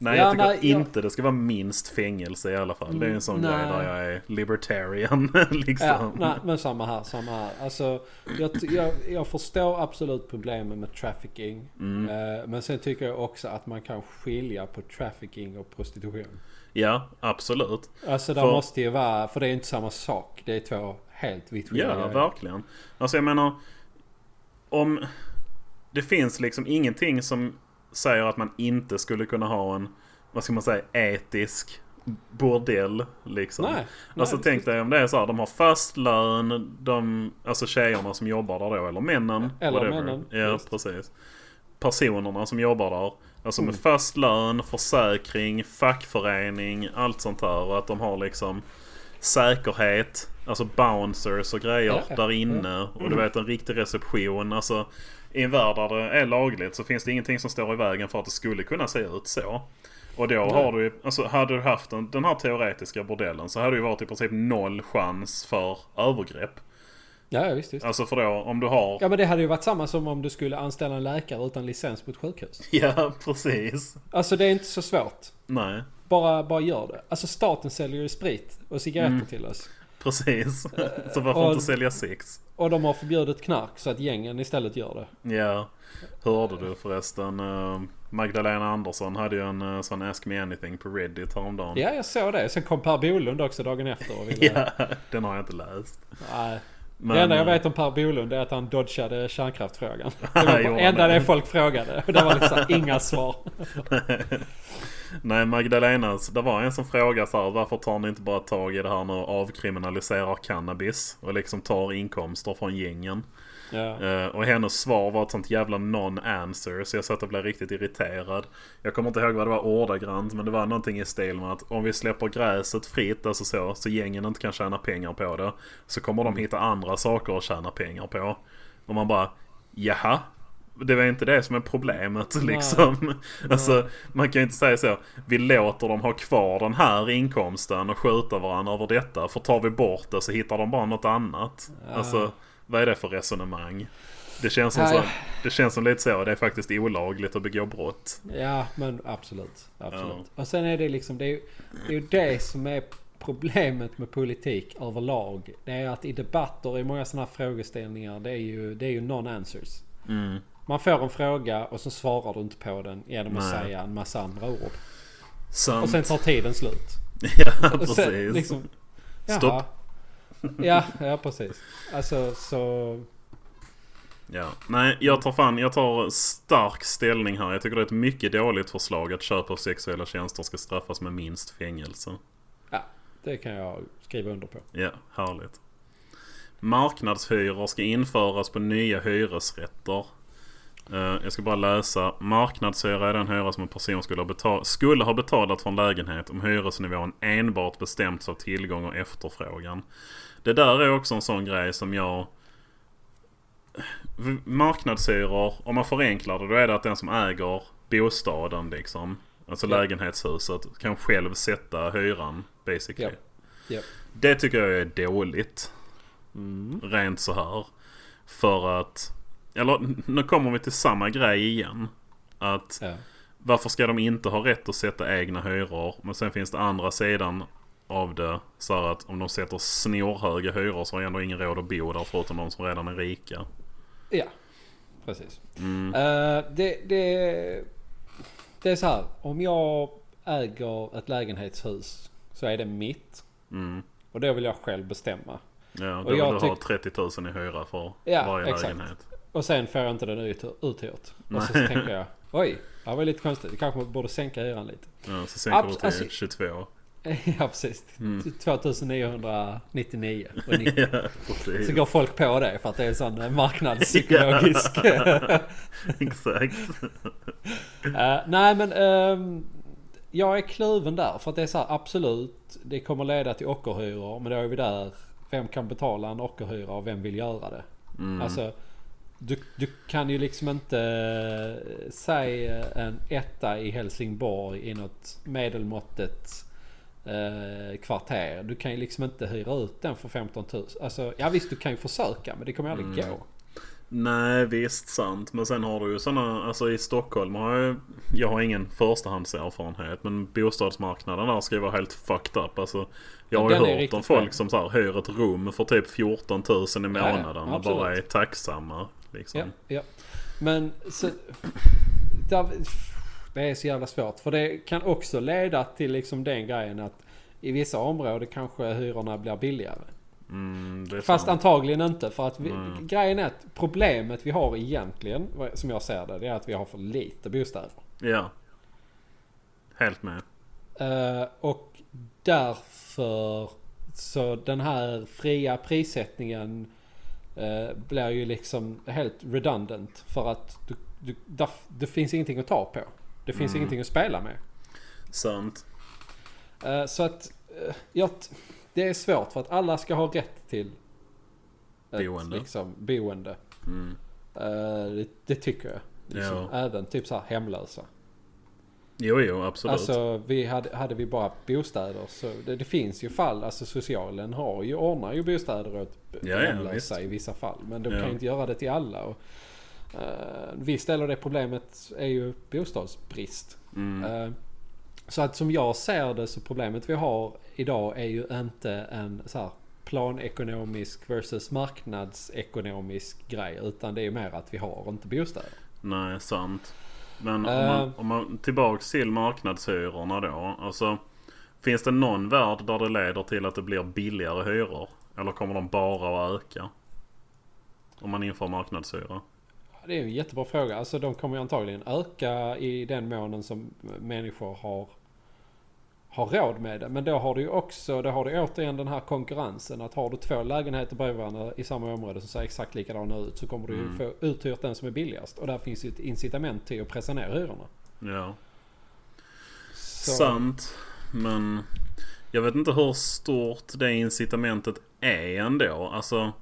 Speaker 2: Nej
Speaker 1: Ja,
Speaker 2: jag tycker
Speaker 1: nej,
Speaker 2: att
Speaker 1: jag-
Speaker 2: inte det ska vara minst fängelse i alla fall. Det är ju en sån
Speaker 1: nej.
Speaker 2: grej där jag är libertarian <laughs> liksom.
Speaker 1: Ja, nej, men samma här, samma här. Alltså, jag, jag, jag förstår absolut problemen med trafficking.
Speaker 2: Mm.
Speaker 1: Eh, Men sen tycker jag också att man kan skilja på trafficking och prostitution.
Speaker 2: Ja, absolut.
Speaker 1: Alltså det
Speaker 2: För-
Speaker 1: måste ju vara, för det är inte samma sak. Det är två helt vitt skilda
Speaker 2: Ja,
Speaker 1: grejer.
Speaker 2: verkligen. Alltså jag menar... Om... Det finns liksom ingenting som säger att man inte skulle kunna ha en, vad ska man säga, etisk bordell liksom.
Speaker 1: Nej, nej,
Speaker 2: alltså
Speaker 1: visst,
Speaker 2: tänk dig om det är så här, de har fast lön, de, alltså tjejerna som jobbar där då, eller männen.
Speaker 1: Eller
Speaker 2: whatever.
Speaker 1: männen,
Speaker 2: Ja,
Speaker 1: visst.
Speaker 2: precis. Personerna som jobbar där. Alltså
Speaker 1: Mm.
Speaker 2: med fast lön, försäkring, fackförening, allt sånt där. Och att de har liksom säkerhet, alltså bouncers och grejer
Speaker 1: Ja. Mm.
Speaker 2: där inne. Och du vet en riktig reception. Alltså i en värld där det är lagligt så finns det ingenting som står i vägen för att det skulle kunna se ut så. Och då har du ju- alltså hade du haft den, den här teoretiska bordellen så hade det ju varit i princip noll chans för övergrepp.
Speaker 1: Ja, ja, visst, visst.
Speaker 2: Alltså för då om du har...
Speaker 1: Ja men det hade ju varit samma som om du skulle anställa en läkare utan licens på ett sjukhus.
Speaker 2: <laughs> Ja, precis.
Speaker 1: Alltså det är inte så svårt.
Speaker 2: Nej,
Speaker 1: Bara, bara gör det. Alltså staten säljer ju sprit och cigaretter
Speaker 2: Mm.
Speaker 1: till oss.
Speaker 2: precis. så varför
Speaker 1: Eh, och-
Speaker 2: inte sälja sex?
Speaker 1: Och de har förbjudit knark så att gängen istället gör det.
Speaker 2: Ja, hörde du förresten? eh, Magdalena Andersson hade ju en eh, sån Ask Me Anything på Reddit häromdagen.
Speaker 1: Ja, jag såg det. Sen kom Per Bolund också dagen efter och ville...
Speaker 2: <laughs> Ja, den har jag inte läst.
Speaker 1: Nej.
Speaker 2: Men,
Speaker 1: det enda jag
Speaker 2: eh,
Speaker 1: vet om Per Bolund är att han
Speaker 2: <laughs>
Speaker 1: dodgade kärnkraftfrågan. Det
Speaker 2: Ja,
Speaker 1: var
Speaker 2: gjorde
Speaker 1: det
Speaker 2: han
Speaker 1: enda
Speaker 2: det?
Speaker 1: det folk frågade. Och det
Speaker 2: <laughs>
Speaker 1: var liksom inga svar.
Speaker 2: Nej, Magdalenas. Det var en som frågade så här, varför tar ni inte bara tag i det här nu och avkriminaliserar cannabis? Och liksom tar inkomster från gängen.
Speaker 1: Ja.
Speaker 2: Eh, och hennes svar var ett sånt jävla non-answer så jag satt och blev riktigt irriterad. Jag kommer inte ihåg vad det var ordagrant men det var någonting i stil med att om vi släpper gräset fritt, alltså så, så gängen inte kan tjäna pengar på det. Så kommer de hitta andra saker att tjäna pengar på. Och man bara, jaha? Det var inte det som är problemet liksom. Alltså, man kan ju inte säga så. Vi låter dem ha kvar den här inkomsten och skjuta varandra över detta. För tar vi bort det så hittar de bara något annat. Alltså, vad är det för resonemang? Det känns som,
Speaker 1: Ja,
Speaker 2: så,
Speaker 1: ja.
Speaker 2: det känns som lite så. Det är faktiskt olagligt att begå brott.
Speaker 1: Ja, men absolut. absolut. Och sen är det liksom, det är, ju- det är ju det som är problemet med politik överlag. Det är att i debatter, i många sådana här frågeställningar, det är ju, det är ju non-answers.
Speaker 2: Mm.
Speaker 1: Man får en fråga och så svarar du inte på den genom att
Speaker 2: Nej.
Speaker 1: säga en massa andra ord.
Speaker 2: Sant.
Speaker 1: Och sen tar tiden slut.
Speaker 2: <laughs>
Speaker 1: <laughs>
Speaker 2: ja,
Speaker 1: Och
Speaker 2: precis.
Speaker 1: sen liksom, jaha.
Speaker 2: Stopp.
Speaker 1: Ja, ja precis. Alltså så...
Speaker 2: Ja. Nej, jag tar fan, jag tar stark ställning här. Jag tycker det är ett mycket dåligt förslag att köp av sexuella tjänster ska straffas med minst fängelse.
Speaker 1: Ja, det kan jag skriva under på.
Speaker 2: Ja, härligt. Marknadshyror ska införas på nya hyresrätter. Eh, jag ska bara läsa. Marknadshyra är den hyra som en person skulle ha, betal- skulle ha betalat för en lägenhet om hyresnivån enbart bestämts av tillgång och efterfrågan. Det där är också en sån grej som jag... V- Marknadshyror, om man förenklar det, då är det att den som äger bostaden liksom, alltså
Speaker 1: Ja.
Speaker 2: lägenhetshuset, kan själv sätta hyran basically.
Speaker 1: Ja. Ja.
Speaker 2: Det tycker jag är dåligt.
Speaker 1: Mm.
Speaker 2: Rent så här. För att... Eller nu kommer vi till samma grej igen. Att
Speaker 1: Ja.
Speaker 2: varför ska de inte ha rätt att sätta egna hyror? Men sen finns det andra sidan av det. Så här att om de sätter snorhöga hyror så har ändå ingen råd att bo där förutom de som redan är rika.
Speaker 1: Ja, precis. Eh, det, det, det är så här. Om jag äger ett lägenhetshus så är det mitt.
Speaker 2: Mm.
Speaker 1: Och det vill jag själv bestämma.
Speaker 2: Ja, då
Speaker 1: Och
Speaker 2: vill du
Speaker 1: jag
Speaker 2: ha
Speaker 1: tyck-
Speaker 2: 30 000 i hyra för
Speaker 1: Ja,
Speaker 2: varje
Speaker 1: exakt.
Speaker 2: lägenhet.
Speaker 1: Och sen får jag inte den ut, uthyrt. Och så,
Speaker 2: Nej.
Speaker 1: tänker jag. Oj, det här var lite konstigt. Vi kanske borde sänka hyran lite. <laughs>
Speaker 2: Ja, så sänker du
Speaker 1: Abs-
Speaker 2: till
Speaker 1: alltså-
Speaker 2: 22.
Speaker 1: ja, precis. 2999 och nick-
Speaker 2: ja,
Speaker 1: Så
Speaker 2: precis.
Speaker 1: går folk på det för att det är en sån eh, marknadspsykologisk...
Speaker 2: <laughs>
Speaker 1: <laughs>
Speaker 2: exakt.
Speaker 1: Alltså- Eh, nej men ehm, jag är kluven där. För att det är så här, absolut, det kommer leda till ockerhyror. Men då är vi där, vem kan betala en ockerhyra och vem vill göra det?
Speaker 2: Mm.
Speaker 1: Alltså, du, du kan ju liksom inte eh, säga en etta i Helsingborg i något medelmåttet eh, kvarter. Du kan ju liksom inte hyra ut den för 15 000. Alltså, ja visst du kan ju försöka men det kommer aldrig gå.
Speaker 2: Nej visst sant. Men sen har du ju sådana, alltså i Stockholm har jag, jag har ingen förstahandserfarenhet. Men bostadsmarknaden där ska ju vara helt fucked up. Alltså, jag
Speaker 1: Ja,
Speaker 2: har ju
Speaker 1: den är
Speaker 2: hört om
Speaker 1: riktigt
Speaker 2: folk
Speaker 1: bra.
Speaker 2: som så här, hyr ett rum för typ 14 000 i
Speaker 1: ja,
Speaker 2: månaden och
Speaker 1: absolut.
Speaker 2: bara är tacksamma. Liksom.
Speaker 1: Ja, ja. Men så, där, det är så jävla svårt. För det kan också leda till liksom den grejen att i vissa områden kanske hyrorna blir billigare.
Speaker 2: Mm, det är
Speaker 1: Fast
Speaker 2: sant. Mm.
Speaker 1: antagligen inte. För att vi, grejen är att problemet vi har egentligen, som jag ser det, det är att vi har för lite bostäder.
Speaker 2: Ja. Helt med.
Speaker 1: Eh, och därför så den här fria prissättningen eh, blir ju liksom helt redundant. För att du, du, där, det finns ingenting att ta på. Det
Speaker 2: Mm.
Speaker 1: finns ingenting att spela med.
Speaker 2: Sant.
Speaker 1: Eh, så att eh, jag, t- det är svårt för att alla ska ha rätt till ett,
Speaker 2: Boende.
Speaker 1: Liksom, boende.
Speaker 2: Mm.
Speaker 1: Eh, det, det tycker jag. Liksom,
Speaker 2: Ja.
Speaker 1: Även typ så här hemlösa.
Speaker 2: Jo, jo, absolut.
Speaker 1: Alltså vi hade, hade vi bara haft bostäder så det, det finns ju fall, alltså socialen har ju, ordnar ju bostäder åt b-
Speaker 2: Ja, ja,
Speaker 1: hemlösa
Speaker 2: visst.
Speaker 1: i vissa fall. Men de
Speaker 2: Ja.
Speaker 1: kan ju inte göra det till alla. Och, eh, en viss del av det problemet är ju bostadsbrist.
Speaker 2: Mm.
Speaker 1: Eh, så att som jag ser det så problemet vi har idag är ju inte en så här planekonomisk versus marknadsekonomisk grej. Utan det är ju mer att vi har inte bostäder.
Speaker 2: Nej, sant. Men om
Speaker 1: Eh.
Speaker 2: man, om man tillbaks till marknadshyrorna då. Alltså, finns det någon värld där det leder till att det blir billigare hyror? Eller kommer de bara att öka? Om man inför marknadshyra.
Speaker 1: Det är en jättebra fråga. Alltså de kommer ju antagligen öka i den månen som människor har, har råd med det. Men då har du ju också, då har du återigen den här konkurrensen. Att har du två lägenheter bredvid varandra i samma område som ser exakt likadana ut så kommer du ju
Speaker 2: Mm.
Speaker 1: få uthyrt den som är billigast. Och där finns ju ett incitament till att pressa ner hyrorna.
Speaker 2: Ja,
Speaker 1: Så,
Speaker 2: sant. Men jag vet inte hur stort det incitamentet är ändå. Alltså,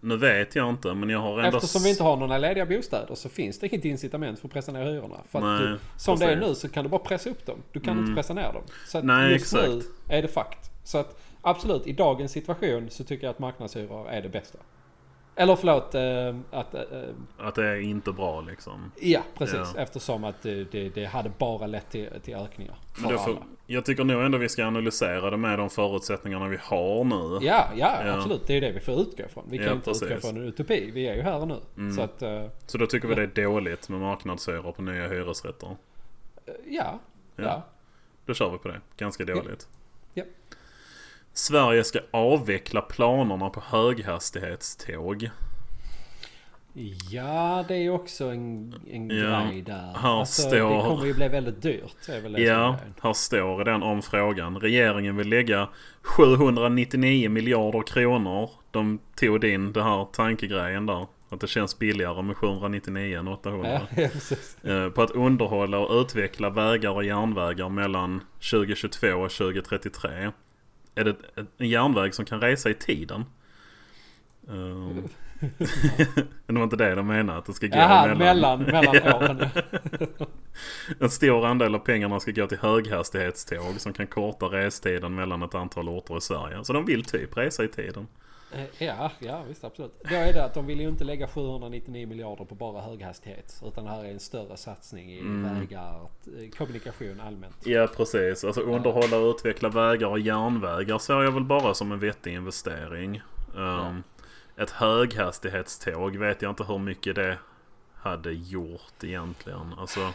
Speaker 2: nu vet jag inte men jag har ändå...
Speaker 1: Eftersom vi inte har några lediga bostäder så finns det inget incitament för att pressa ner hyrorna. För att
Speaker 2: Nej,
Speaker 1: du, som det är
Speaker 2: precis.
Speaker 1: nu så kan du bara pressa upp dem. Du kan
Speaker 2: Mm.
Speaker 1: inte pressa ner dem. Så att
Speaker 2: Nej,
Speaker 1: just nu
Speaker 2: exakt.
Speaker 1: är det fakt. Så att absolut, i dagens situation så tycker jag att marknadshyror är det bästa. Eller förlåt, eh, att... eh, eh,
Speaker 2: Att det är inte bra liksom.
Speaker 1: Ja, precis.
Speaker 2: Ja.
Speaker 1: Eftersom att det, det, det hade bara lett till, till ökningar.
Speaker 2: Men
Speaker 1: För
Speaker 2: då får,
Speaker 1: alla.
Speaker 2: jag tycker nog ändå vi ska analysera det med de förutsättningarna vi har nu.
Speaker 1: Ja, ja,
Speaker 2: Ja.
Speaker 1: absolut. Det är ju det vi får utgå ifrån. Vi kan
Speaker 2: Ja,
Speaker 1: ju inte utgå
Speaker 2: precis.
Speaker 1: från en utopi. Vi är ju här och nu.
Speaker 2: Mm.
Speaker 1: Så att... eh,
Speaker 2: Så då tycker vi det är dåligt med marknadshyror på nya hyresrätter.
Speaker 1: Ja,
Speaker 2: Ja.
Speaker 1: ja.
Speaker 2: Då kör vi på det. Ganska dåligt.
Speaker 1: Ja.
Speaker 2: Sverige ska avveckla planerna på höghastighetståg.
Speaker 1: Ja, det är ju också en, en
Speaker 2: Ja,
Speaker 1: grej där. Alltså,
Speaker 2: här
Speaker 1: Det
Speaker 2: står-
Speaker 1: kommer ju bli väldigt dyrt. Det är väl det som är
Speaker 2: Ja,
Speaker 1: grejen.
Speaker 2: här står den om frågan. Regeringen vill lägga 799 miljarder kronor. De tog in det här tankegrejen där. Att det känns billigare med 799 än 800.
Speaker 1: Ja, <laughs> ja, precis.
Speaker 2: eh, på att underhålla och utveckla vägar och järnvägar mellan 2022 och 2033. Är det ett- en järnväg som kan resa i tiden? Ehm, <laughs> det var inte det de menade, att det ska gå
Speaker 1: Jaha,
Speaker 2: mellan.
Speaker 1: mellan, mellan
Speaker 2: <laughs>
Speaker 1: åren.
Speaker 2: En stor andel av pengarna ska gå till höghastighetståg som kan korta restiden mellan ett antal orter i Sverige. Så de vill typ resa i tiden.
Speaker 1: Eh, Ja, ja, visst absolut. Då är det att de vill ju inte lägga 799 miljarder på bara höghastighet. Utan det här är en större satsning i
Speaker 2: Mm.
Speaker 1: vägar, eh, kommunikation allmänt.
Speaker 2: Ja precis, alltså underhålla och utveckla vägar och järnvägar ser jag väl bara som en vettig investering. Ehm, Ett höghastighetståg vet jag inte hur mycket det hade gjort egentligen. Alltså,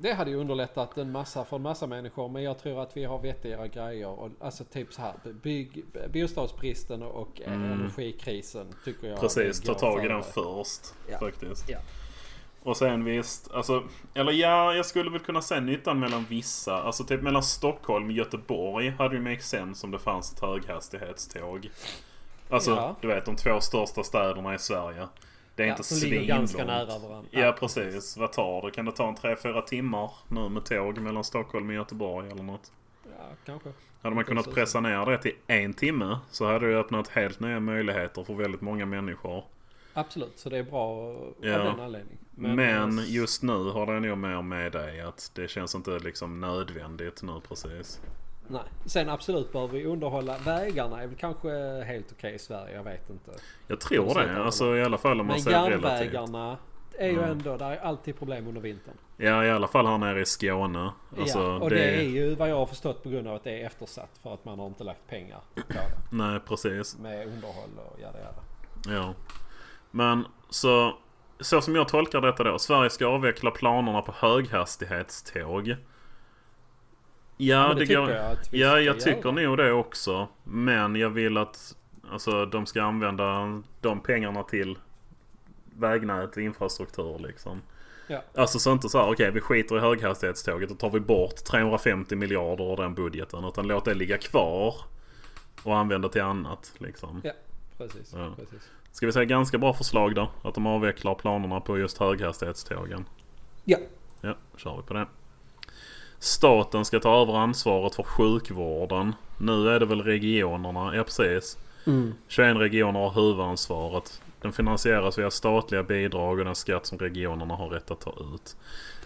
Speaker 1: Det hade ju underlättat en massa för en massa människor. Men jag tror att vi har vettigare grejer. Och, alltså typ så här, bygg, bostadsbristen och eh, energikrisen tycker jag.
Speaker 2: Mm. precis,
Speaker 1: det
Speaker 2: ta
Speaker 1: går
Speaker 2: tag i den
Speaker 1: före.
Speaker 2: först
Speaker 1: Ja.
Speaker 2: faktiskt.
Speaker 1: Ja.
Speaker 2: Och sen visst, alltså, eller ja, jag skulle väl kunna se nyttan mellan vissa. Alltså typ mellan Stockholm och Göteborg hade ju make sense om det fanns ett höghastighetståg. Alltså,
Speaker 1: Ja.
Speaker 2: du vet de två största städerna i Sverige. Det är
Speaker 1: Ja,
Speaker 2: inte
Speaker 1: de ligger ganska
Speaker 2: svinlångt.
Speaker 1: nära varandra.
Speaker 2: Ja precis. Vad tar det? Kan det ta en 3-4 timmar nu med tåg mellan Stockholm och Göteborg eller något?
Speaker 1: Ja, kanske.
Speaker 2: Hade man kunnat
Speaker 1: Precis.
Speaker 2: pressa ner det till en timme så hade det öppnat helt nya möjligheter för väldigt många människor.
Speaker 1: Absolut, så det är bra
Speaker 2: Ja.
Speaker 1: av den anledningen. eh,
Speaker 2: Men, just nu har det nog mer med dig att det känns inte liksom nödvändigt nu precis.
Speaker 1: Nej. Sen absolut bör vi underhålla vägarna. är väl kanske helt okej i Sverige, jag vet inte.
Speaker 2: Jag tror
Speaker 1: Precis,
Speaker 2: det. Alltså i alla fall om man
Speaker 1: Men
Speaker 2: ser relativt.
Speaker 1: järnvägarna är ju
Speaker 2: Mm.
Speaker 1: ändå, där är alltid problem under vintern.
Speaker 2: Ja i alla fall här nere i Skåne. Alltså,
Speaker 1: ja, och
Speaker 2: det...
Speaker 1: det... är ju vad jag har förstått på grund av att det är eftersatt. För att man har inte lagt pengar på det.
Speaker 2: Nej precis.
Speaker 1: Med underhåll och jada jada.
Speaker 2: Ja. Men så, så som jag tolkar detta då. Sverige ska avveckla planerna på höghastighetståg. Ja,
Speaker 1: Men
Speaker 2: det,
Speaker 1: tycker
Speaker 2: går...
Speaker 1: jag att vi
Speaker 2: Ja,
Speaker 1: ska
Speaker 2: jag tycker
Speaker 1: göra.
Speaker 2: nog det också. Men jag vill att alltså, de ska använda de pengarna till vägnät, infrastruktur liksom.
Speaker 1: Ja.
Speaker 2: Alltså så inte så här, okej vi skiter i höghastighetståget och tar vi bort 350 miljarder ur den budgeten. Utan låt det ligga kvar och använda till annat liksom.
Speaker 1: Ja, precis.
Speaker 2: Ja.
Speaker 1: precis.
Speaker 2: Ska vi säga ganska bra förslag då? Att de avvecklar planerna på just höghastighetstågen.
Speaker 1: Ja.
Speaker 2: Ja, då kör vi på det. Staten ska ta över ansvaret för sjukvården. Nu är det väl regionerna? Ja, precis. 21 regioner har huvudansvaret. Den finansieras via statliga bidrag och den skatt som regionerna har rätt att ta ut.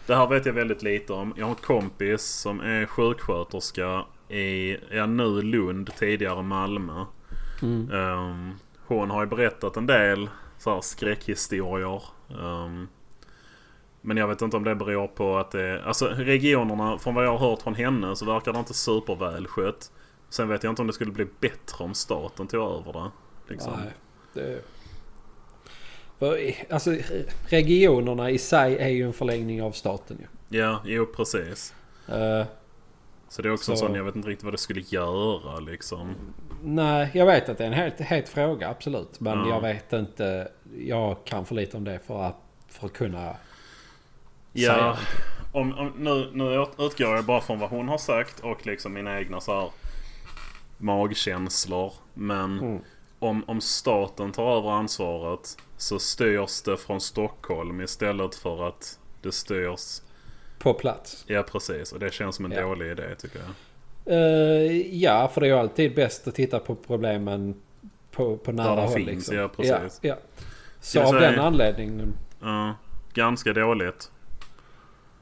Speaker 2: Det här vet jag väldigt lite om. Jag har en kompis som är sjuksköterska i, ja nu Lund, tidigare Malmö.
Speaker 1: Mm.
Speaker 2: Ehm, hon har ju berättat en del så här, skräckhistorier. Ehm, men jag vet inte om det beror på att det... Alltså regionerna, från vad jag har hört från henne så verkar det inte supervälskött. Sen vet jag inte om det skulle bli bättre om staten tog över det. Liksom.
Speaker 1: Nej, det... För, Alltså regionerna i sig är ju en förlängning av staten ju.
Speaker 2: Ja, jo precis.
Speaker 1: Eh,
Speaker 2: Så det är också en
Speaker 1: Så-
Speaker 2: sån, jag vet inte riktigt vad det skulle göra liksom.
Speaker 1: nej, jag vet att det är en helt het fråga, absolut. Men
Speaker 2: Ja.
Speaker 1: jag vet inte. Jag kan för lite om det för att, för att kunna... Säger
Speaker 2: Ja,
Speaker 1: inte.
Speaker 2: om, om, nu, nu ut- utgår jag bara från vad hon har sagt och liksom mina egna så här magkänslor. Men
Speaker 1: Mm.
Speaker 2: om, om staten tar över ansvaret så styrs det från Stockholm istället för att det styrs...
Speaker 1: På plats.
Speaker 2: Ja precis, och det känns som en
Speaker 1: Ja.
Speaker 2: dålig idé tycker jag.
Speaker 1: Eh, ja, för det är ju alltid bäst att titta på problemen på, på nära
Speaker 2: de
Speaker 1: håll.
Speaker 2: finns,
Speaker 1: liksom.
Speaker 2: ja, precis.
Speaker 1: Ja, ja. Så
Speaker 2: Det
Speaker 1: av
Speaker 2: vill säga-
Speaker 1: den anledningen.
Speaker 2: Ja, ganska dåligt.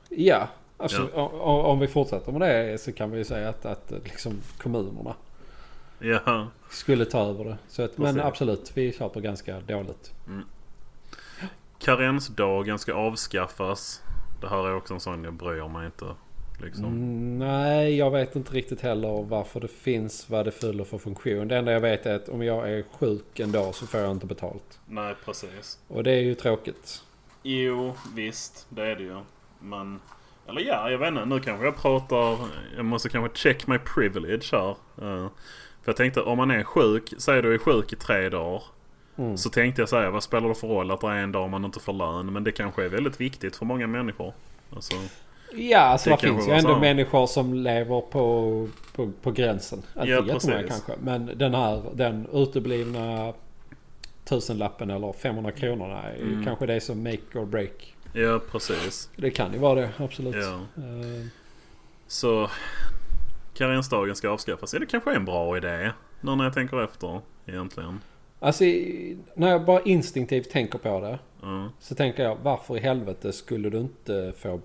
Speaker 1: Ja, alltså, Om, om vi fortsätter med det så kan vi ju säga att, att liksom, kommunerna
Speaker 2: Ja.
Speaker 1: skulle ta över det. Så att, men
Speaker 2: Precis.
Speaker 1: absolut, vi köper ganska dåligt.
Speaker 2: Karensdagen ska avskaffas. Det här är också en sån jag bryr mig inte. Liksom.
Speaker 1: Mm, nej, jag vet inte riktigt heller varför det finns, vad det fyller för funktion. Det enda jag vet är att om jag är sjuk en dag så får jag inte betalt.
Speaker 2: Nej precis.
Speaker 1: Och det är ju tråkigt.
Speaker 2: Jo, visst. Det är det ju. Men... Eller ja, jag vet inte. Nu kanske jag pratar... Jag måste kanske check my privilege här. Eh, för jag tänkte om man är sjuk. Säg du är sjuk i tre dagar.
Speaker 1: Mm.
Speaker 2: Så tänkte jag säga, vad spelar det för roll att det är en dag man inte får lön? Men det kanske är väldigt viktigt för många människor. Alltså,
Speaker 1: Ja, alltså
Speaker 2: Det
Speaker 1: det, finns
Speaker 2: kanske
Speaker 1: ju
Speaker 2: var
Speaker 1: ändå
Speaker 2: så.
Speaker 1: människor som lever på, på, på gränsen. Inte
Speaker 2: Ja,
Speaker 1: jättemånga
Speaker 2: precis.
Speaker 1: kanske. Men den här den uteblivna tusenlappen eller 500 kronorna är ju
Speaker 2: Mm.
Speaker 1: kanske det som make or break.
Speaker 2: ja, precis.
Speaker 1: Det kan ju vara det, absolut.
Speaker 2: Ja.
Speaker 1: Eh,
Speaker 2: Så karensdagen ska avskaffas. Ja, det kanske är en bra idé. Nu när jag tänker efter egentligen.
Speaker 1: Alltså, i- när jag bara instinktivt tänker på det.
Speaker 2: Ja.
Speaker 1: Så tänker jag, varför i helvete skulle du inte få...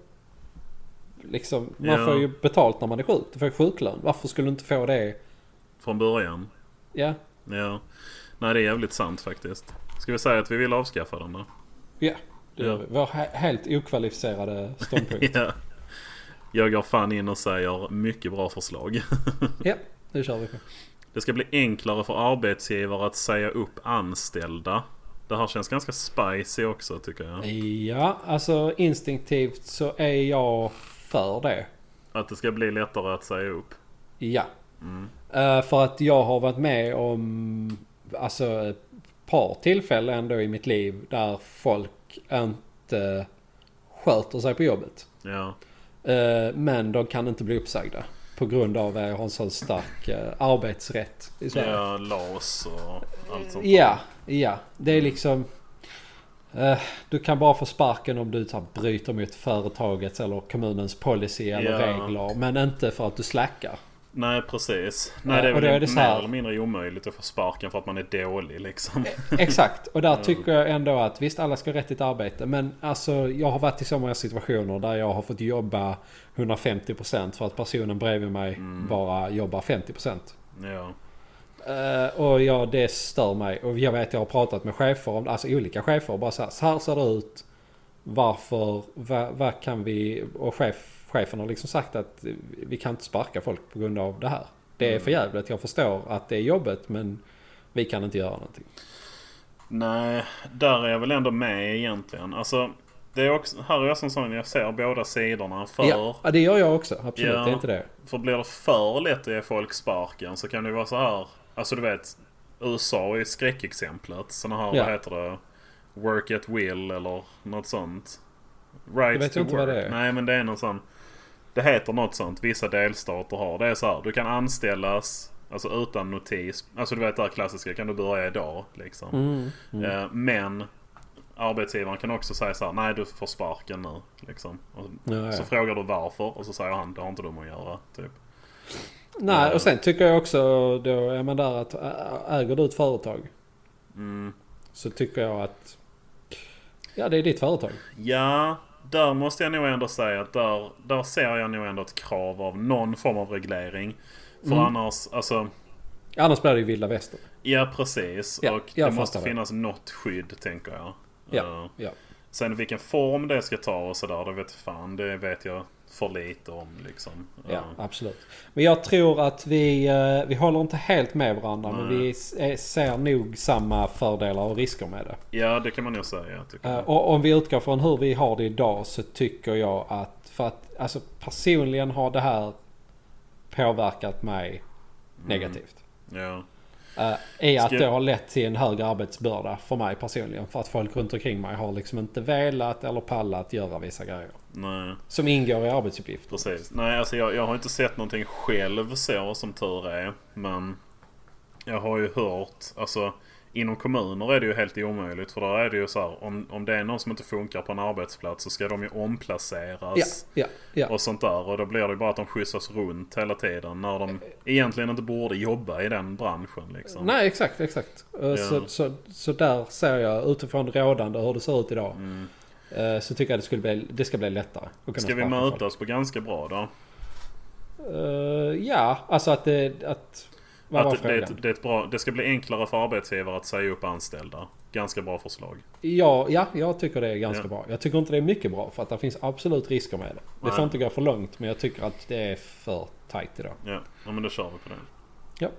Speaker 1: Liksom, man
Speaker 2: Ja.
Speaker 1: får ju betalt när man är sjuk. Du får ju sjuklön. Varför skulle du inte få det?
Speaker 2: Från början.
Speaker 1: Ja,
Speaker 2: Ja. Nej, det är jävligt sant faktiskt. Ska vi säga att vi vill avskaffa den då?
Speaker 1: ja. Det gör
Speaker 2: Ja.
Speaker 1: vi. Vår he- helt okvalificerade
Speaker 2: <laughs>
Speaker 1: ståndpunkt.
Speaker 2: Ja. Jag går fan in och säger mycket bra förslag. <laughs>
Speaker 1: ja, det kör vi på.
Speaker 2: Det ska bli enklare för arbetsgivare att säga upp anställda. Det här känns ganska spicy också tycker jag.
Speaker 1: Ja, alltså instinktivt så är jag för det.
Speaker 2: Att det ska bli lättare att säga upp.
Speaker 1: Ja. Eh, för att jag har varit med om alltså ett par tillfällen ändå i mitt liv där folk inte sköter sig på jobbet.
Speaker 2: Ja,
Speaker 1: Eh, men de kan inte bli uppsagda. På grund av att jag har en sån stark eh, arbetsrätt i Sverige.
Speaker 2: ja LAS och allt sånt.
Speaker 1: Ja, ja. Det är liksom... Eh, Du kan bara få sparken om du så här, bryter mot företagets eller kommunens policy eller
Speaker 2: Ja.
Speaker 1: regler. Men inte för att du slackar.
Speaker 2: Nej, precis. Nej,
Speaker 1: Eh,
Speaker 2: det är
Speaker 1: och
Speaker 2: väl
Speaker 1: då är det så här- Eh.
Speaker 2: mer eller mindre omöjligt att få sparken för att man är dålig liksom.
Speaker 1: Exakt, och där tycker jag ändå att visst alla ska ha rätt till ett arbete men alltså jag har varit i så många situationer där jag har fått jobba 150% för att personen bredvid mig bara jobbar 50%.
Speaker 2: Ja.
Speaker 1: Eh, och ja, det stör mig och jag vet jag har pratat med chefer om alltså olika chefer bara så här, så här ser det ut. Varför, vad, vad kan vi, och chef, chefen har liksom sagt att vi kan inte sparka folk på grund av det här. Det är för jävligt, jag förstår att det är jobbigt men vi kan inte göra någonting.
Speaker 2: Nej, där är jag väl ändå med egentligen. Alltså, det är också, här är jag som sån, jag ser båda sidorna. För,
Speaker 1: Ja, ja, det gör jag också. Absolut,
Speaker 2: Ja.
Speaker 1: det är inte det.
Speaker 2: för blir det för lätt att ge folk sparken så kan det ju vara så här. Alltså du vet, USA är skräckexemplet. Såna här,
Speaker 1: Ja.
Speaker 2: vad heter det? Work at will eller något sånt.
Speaker 1: Jag
Speaker 2: Right
Speaker 1: vet
Speaker 2: to
Speaker 1: inte
Speaker 2: work.
Speaker 1: vad det är.
Speaker 2: Nej, men det är någon sån. Det heter något sånt vissa delstater har. Det är så här, du kan anställas Alltså utan notis. Alltså du vet det här klassiska, kan du börja idag? Liksom.
Speaker 1: Mm.
Speaker 2: Eh, Men arbetsgivaren kan också säga så här, nej du får sparken nu. Liksom. Och
Speaker 1: Ja, ja.
Speaker 2: Så frågar du varför och så säger han, det har inte du med att göra. Typ.
Speaker 1: Nej,
Speaker 2: Ja.
Speaker 1: och sen tycker jag också då, är man där att ä- äger du ett företag
Speaker 2: Mm.
Speaker 1: så tycker jag att ja, det är ditt företag.
Speaker 2: Ja, där måste jag nog ändå säga att där, där ser jag nog ändå ett krav av någon form av reglering.
Speaker 1: Mm.
Speaker 2: För annars, alltså,
Speaker 1: Annars blir det ju vilda västern.
Speaker 2: ja precis.
Speaker 1: Ja,
Speaker 2: och
Speaker 1: jag
Speaker 2: det måste
Speaker 1: fattar det.
Speaker 2: finnas något skydd tänker jag.
Speaker 1: Ja,
Speaker 2: Eh,
Speaker 1: ja.
Speaker 2: Sen vilken form det ska ta och sådär, det vet fan. Det vet jag för lite om liksom.
Speaker 1: Ja,
Speaker 2: Eh,
Speaker 1: absolut. Men jag tror att vi, eh, vi håller inte helt med varandra men
Speaker 2: Nej.
Speaker 1: vi s- eh, ser nog samma fördelar och risker med det.
Speaker 2: ja, det kan man nog säga. Tycker
Speaker 1: Eh,
Speaker 2: jag.
Speaker 1: Och om vi utgår från hur vi har det idag så tycker jag att för att alltså personligen har det här påverkat mig negativt.
Speaker 2: Ja.
Speaker 1: Eh, I att
Speaker 2: Mm. Ska-
Speaker 1: det har lett till en högre arbetsbörda för mig personligen. För att folk runt omkring mig har liksom inte velat eller pallat göra vissa grejer.
Speaker 2: Nej,
Speaker 1: Som ingår i arbetsuppgifter.
Speaker 2: precis. Nej, alltså jag, jag har inte sett någonting själv så som tur är. Men jag har ju hört, alltså inom kommuner är det ju helt omöjligt. För där är det ju så här, om, om det är någon som inte funkar på en arbetsplats så ska de ju
Speaker 1: Ja,
Speaker 2: omplaceras.
Speaker 1: ja, ja.
Speaker 2: Och sånt där. Och då blir det ju bara att de skjutsas runt hela tiden när de egentligen inte borde jobba i den branschen liksom.
Speaker 1: Nej, exakt, exakt. Eh, Så,
Speaker 2: Ja.
Speaker 1: så, så där ser jag utifrån rådande hur det ser ut idag. eh, Så tycker jag det, skulle bli, det ska bli lättare. att kunna
Speaker 2: Mm. Ska vi
Speaker 1: sparka folk.
Speaker 2: mötas på ganska bra då?
Speaker 1: Eh, ja, alltså att det... Att, vad var
Speaker 2: Att det, det, är
Speaker 1: frågan?
Speaker 2: ett- det, är ett bra, det ska bli enklare för arbetsgivare att säga upp anställda. Ganska bra förslag.
Speaker 1: Ja, ja, jag tycker det är ganska
Speaker 2: Ja.
Speaker 1: bra. Jag tycker inte det är mycket bra för att det finns absolut risker med det. Det får
Speaker 2: Nej.
Speaker 1: inte gå för långt men jag tycker att det är för tajt idag.
Speaker 2: Ja, ja men då kör vi på det.
Speaker 1: Ja.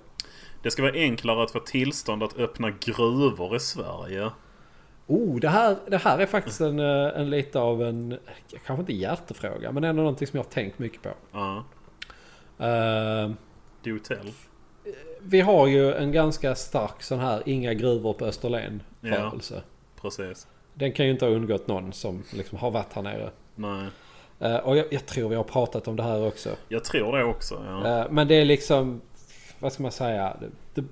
Speaker 2: Det ska vara enklare att få tillstånd att öppna gruvor i Sverige.
Speaker 1: Oh, det här, det här är faktiskt en, eh, en lite av en, kanske inte hjärtefråga, men ändå någonting som jag har tänkt mycket på.
Speaker 2: Ja,
Speaker 1: Eh,
Speaker 2: det är hotell.
Speaker 1: vi har ju en ganska stark sån här inga gruvor på Österlen rörelse.
Speaker 2: Precis.
Speaker 1: Den kan ju inte ha undgått någon som liksom har varit här nere.
Speaker 2: Nej,
Speaker 1: Eh, och jag, jag tror vi har pratat om det här också.
Speaker 2: jag tror det också. Ja.
Speaker 1: Eh, Men det är liksom, vad ska man säga? Det, det,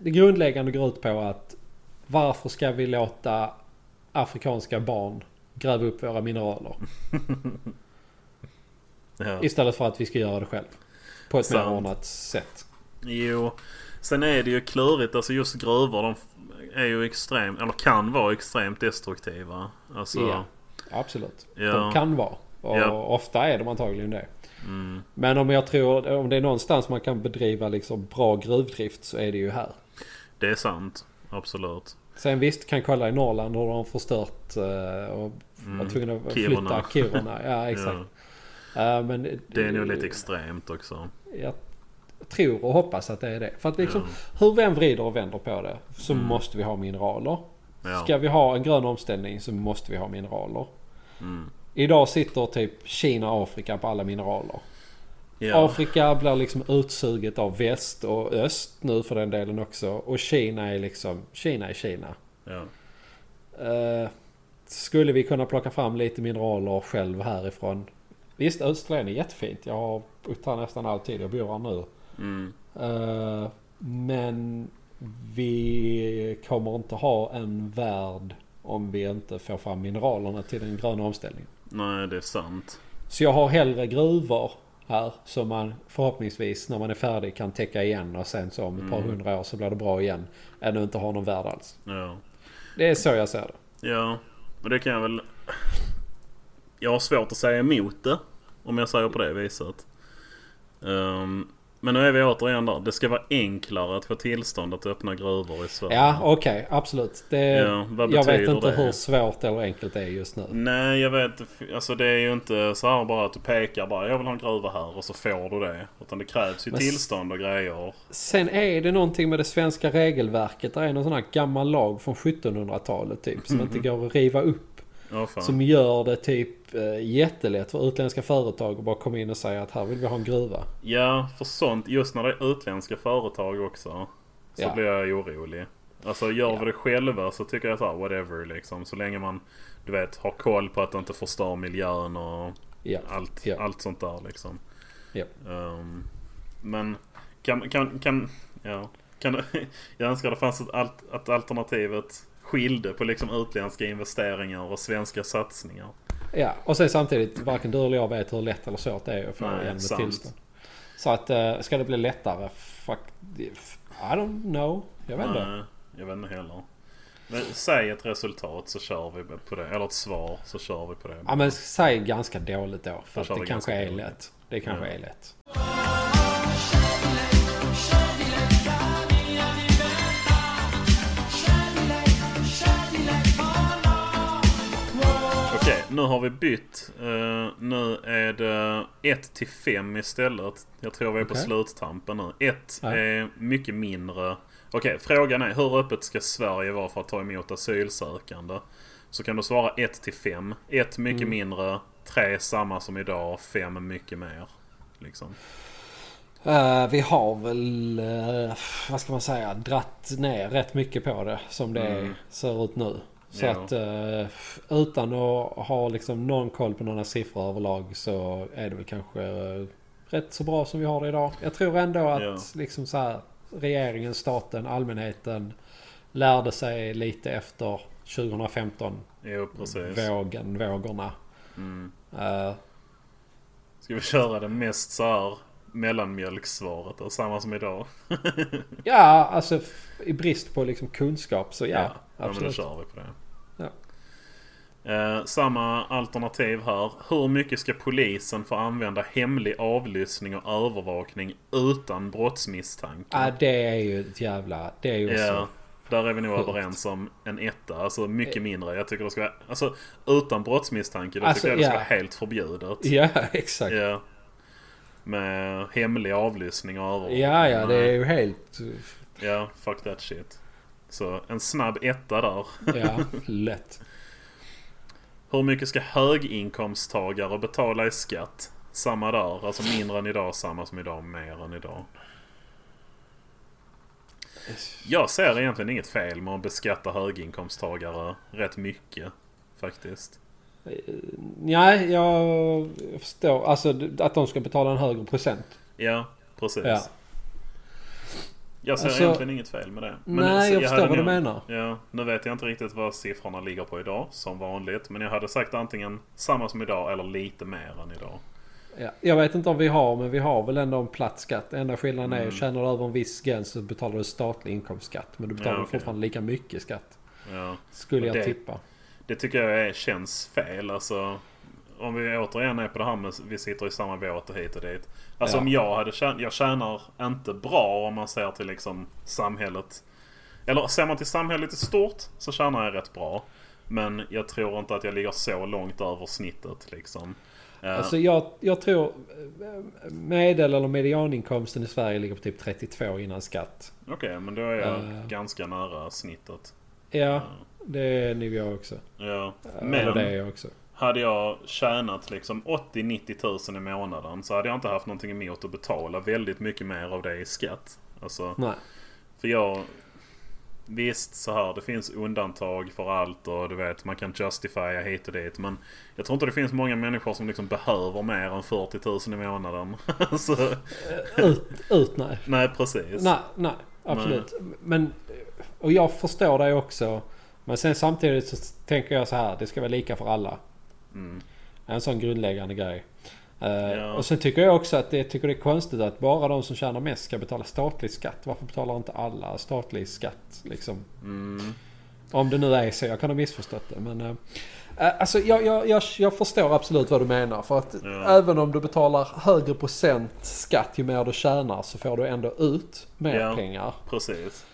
Speaker 1: det grundläggande går ut på att varför ska vi låta afrikanska barn gräva upp våra mineraler?
Speaker 2: Mm. Ja.
Speaker 1: Istället för att vi ska göra det själv. På ett mer
Speaker 2: Sant.
Speaker 1: ordnat sätt.
Speaker 2: Jo, sen är det ju klurigt. Alltså just gruvor de f- är ju extremt, eller kan vara extremt destruktiva. Alltså,
Speaker 1: Ja. Absolut.
Speaker 2: Ja.
Speaker 1: De kan vara. Och
Speaker 2: Ja.
Speaker 1: ofta är de antagligen det.
Speaker 2: Mm,
Speaker 1: Men om jag tror, om det är någonstans man kan bedriva liksom bra gruvdrift så är det ju här.
Speaker 2: det är sant. Absolut.
Speaker 1: Sen visst kan kolla i Norrland hur de har förstört eh, och var tvungna att
Speaker 2: Mm. Kiruna.
Speaker 1: flytta Kiruna. Ja exakt.
Speaker 2: <laughs> Ja,
Speaker 1: Eh, men
Speaker 2: det är nog lite extremt också.
Speaker 1: Jag tror och hoppas att det är det. För att liksom, hur vi än vrider och vänder på det så måste vi ha mineraler.
Speaker 2: Mm. Ja.
Speaker 1: Ska vi ha en grön omställning så måste vi ha mineraler.
Speaker 2: Mm.
Speaker 1: Idag sitter typ Kina och Afrika på alla mineraler.
Speaker 2: Ja.
Speaker 1: Afrika blir liksom utsuget av väst och öst nu för den delen också. Och Kina är liksom, Kina är Kina.
Speaker 2: Ja.
Speaker 1: Eh, skulle vi kunna plocka fram lite mineraler själv härifrån? Visst, Österlen är jättefint. Jag har tar nästan all tid jag bor här nu.
Speaker 2: Mm.
Speaker 1: Eh, men vi kommer inte ha en värld Om vi inte får fram mineralerna till den gröna omställningen.
Speaker 2: Nej, det är sant.
Speaker 1: Så jag har hellre gruvor här som man förhoppningsvis när man är färdig kan täcka igen och sen så om ett par hundra år så blir det bra igen. Än att inte ha någon värld alls.
Speaker 2: Ja.
Speaker 1: Det är så jag ser det.
Speaker 2: Ja, men det kan jag väl... Jag har svårt att säga emot det. Om jag säger på det viset. Ehm, men nu är vi återigen där. Det ska vara enklare att få tillstånd att öppna gruvor i Sverige.
Speaker 1: Ja, okej, absolut. Det,
Speaker 2: Ja, vad
Speaker 1: jag vet
Speaker 2: betyder
Speaker 1: inte
Speaker 2: det?
Speaker 1: hur svårt eller enkelt det är just nu.
Speaker 2: Nej, jag vet Alltså det är ju inte så här bara att du pekar bara jag vill ha en gruva här och så får du det. Utan det krävs ju
Speaker 1: Men s-
Speaker 2: tillstånd och grejer.
Speaker 1: Sen är det någonting med det svenska regelverket. Det är någon sån här gammal lag från 1700-talet typ. Som inte går att riva upp.
Speaker 2: Mhm. Ja, fan.
Speaker 1: Som gör det typ eh, jättelätt för utländska företag att bara komma in och säga att här vill vi ha en gruva.
Speaker 2: Ja, för sånt. Just när det är utländska företag också. Så
Speaker 1: Ja.
Speaker 2: blir jag orolig. Alltså gör vi det själva så tycker jag så här, whatever liksom. Så länge man, du vet, har koll på att inte förstör miljön och
Speaker 1: Ja.
Speaker 2: allt,
Speaker 1: Ja.
Speaker 2: allt sånt där liksom.
Speaker 1: Ja.
Speaker 2: Ehm, men kan, kan, kan, ja. Kan, <laughs> jag önskar det fanns ett, alt, att alternativet skilde på liksom utländska investeringar och svenska satsningar.
Speaker 1: ja. Och sen samtidigt, varken du eller jag vet hur lätt eller svårt det är att få
Speaker 2: Nej,
Speaker 1: igen ett
Speaker 2: sant.
Speaker 1: tillstånd. Så att eh, ska det bli lättare? Fuck, I don't know. Jag vet inte.
Speaker 2: Nej, jag vet inte heller. Men säg ett resultat så kör vi på det. Eller ett svar så kör vi på det.
Speaker 1: Ja men säg ganska dåligt då. För att
Speaker 2: kör
Speaker 1: det
Speaker 2: vi
Speaker 1: kanske
Speaker 2: ganska
Speaker 1: är
Speaker 2: dåligt.
Speaker 1: lätt. Det kanske
Speaker 2: Ja.
Speaker 1: är lätt.
Speaker 2: Okej, nu har vi bytt. Eh, nu är det 1 till 5 istället. Jag tror vi är på
Speaker 1: Okej.
Speaker 2: sluttampen nu. 1
Speaker 1: Ja.
Speaker 2: är mycket mindre. Okej, frågan är hur öppet ska Sverige vara för att ta emot asylsökande? Så kan du svara 1 till 5. 1 mycket
Speaker 1: Mm.
Speaker 2: mindre, 3 samma som idag, 5 mycket mer. Liksom.
Speaker 1: Eh, vi har väl, eh, vad ska man säga, dratt ner rätt mycket på det som det
Speaker 2: Mm.
Speaker 1: är, ser ut nu. Så
Speaker 2: Ja.
Speaker 1: att eh, utan att ha liksom någon koll på några siffror överlag så är det väl kanske eh, rätt så bra som vi har det idag. Jag tror ändå att
Speaker 2: Ja.
Speaker 1: liksom så här, regeringen, staten, allmänheten lärde sig lite efter 2015.
Speaker 2: Jo, precis.
Speaker 1: Vågen, vågorna.
Speaker 2: Mm.
Speaker 1: Eh,
Speaker 2: Ska vi köra det mest så här mellanmjölkssvaret då? Samma som idag?
Speaker 1: ja, alltså f- i brist på liksom kunskap så ja,
Speaker 2: ja men då
Speaker 1: absolut.
Speaker 2: kör vi på det.
Speaker 1: Ja.
Speaker 2: Eh, samma alternativ här. Hur mycket ska polisen få använda hemlig avlyssning och övervakning utan brottsmisstanke?
Speaker 1: Ja, det är ju ett jävla... Ah, Det är ju
Speaker 2: Ja,
Speaker 1: så...
Speaker 2: där är vi nog
Speaker 1: Sjukt. Eh.
Speaker 2: överens om en etta. Alltså mycket mindre. Jag tycker det ska vara... Alltså utan brottsmisstanke, då
Speaker 1: Alltså,
Speaker 2: tycker jag det ska
Speaker 1: ja.
Speaker 2: vara helt förbjudet.
Speaker 1: Ja, <laughs> exakt.
Speaker 2: Ja. Med hemlig avlyssning och övervakning.
Speaker 1: Ja, ja, det
Speaker 2: Nej.
Speaker 1: är ju helt...
Speaker 2: Ja, fuck that shit. Så en snabb etta där.
Speaker 1: Ja, lätt.
Speaker 2: Hur mycket ska höginkomsttagare betala i skatt? Samma där, alltså mindre än idag, samma som idag, mer än idag. Jag ser egentligen inget fel med att beskatta höginkomsttagare rätt mycket. Faktiskt.
Speaker 1: Nej, jag förstår. Alltså att de ska betala en högre procent.
Speaker 2: Ja, precis.
Speaker 1: Ja.
Speaker 2: Jag ser
Speaker 1: Alltså-
Speaker 2: egentligen inget fel med det.
Speaker 1: Nej,
Speaker 2: så
Speaker 1: jag förstår
Speaker 2: hade
Speaker 1: vad du
Speaker 2: nog-
Speaker 1: menar.
Speaker 2: Ja, nu vet jag inte riktigt vad siffrorna ligger på idag, som vanligt. Men jag hade sagt antingen samma som idag eller lite mer än idag.
Speaker 1: Ja. Jag vet inte om vi har, men vi har väl ändå en platt skatt. Enda skillnaden
Speaker 2: Mm.
Speaker 1: är att tjänar du över en viss gräns så betalar du statlig inkomstskatt. Men du betalar
Speaker 2: Ja, okej.
Speaker 1: fortfarande lika mycket skatt.
Speaker 2: Ja.
Speaker 1: Skulle
Speaker 2: Men
Speaker 1: jag
Speaker 2: det-
Speaker 1: tippa.
Speaker 2: Det tycker jag är, känns fel. Alltså, om vi återigen är på det här med vi sitter i samma båt och hit och dit. Alltså
Speaker 1: Ja.
Speaker 2: om jag hade tjänat, jag tjänar inte bra om man ser till liksom samhället. Eller ser man till samhället i stort så tjänar jag rätt bra. Men jag tror inte att jag ligger så långt över snittet liksom. Eh,
Speaker 1: Alltså jag, jag tror eh, medel eller medianinkomsten i Sverige ligger på typ 32 innan skatt.
Speaker 2: Okej, men då är jag
Speaker 1: Eh.
Speaker 2: ganska nära snittet. Eh,
Speaker 1: Ja, det är nog jag också.
Speaker 2: Ja.
Speaker 1: Eller
Speaker 2: Men
Speaker 1: det är jag också.
Speaker 2: Hade jag tjänat liksom 80-90 tusen i månaden så hade jag inte haft någonting emot att betala väldigt mycket mer av det i skatt. Alltså,
Speaker 1: Nej.
Speaker 2: för jag... Visst så här, det finns undantag för allt och du vet man kan justifiera hit och dit. Men jag tror inte det finns många människor som liksom behöver mer än 40 tusen i månaden. <laughs> så,
Speaker 1: Ut, ut nej.
Speaker 2: nej precis.
Speaker 1: Nej, nej. Absolut. Men, och jag förstår dig också. Men sen samtidigt så tänker jag så här. Det ska vara lika för alla.
Speaker 2: Mm.
Speaker 1: En sån grundläggande grej. Eh,
Speaker 2: Ja.
Speaker 1: Och sen tycker jag också att det, tycker det är konstigt att bara de som tjänar mest ska betala statlig skatt. Varför betalar inte alla statlig skatt? Liksom?
Speaker 2: Mm.
Speaker 1: Om det nu är så. Jag kan ha missförstått det. Men, eh, eh, alltså, jag, jag, jag, jag förstår absolut vad du menar. För att
Speaker 2: Ja.
Speaker 1: även om du betalar högre procent skatt ju mer du tjänar så får du ändå ut mer
Speaker 2: Ja.
Speaker 1: pengar.
Speaker 2: Precis.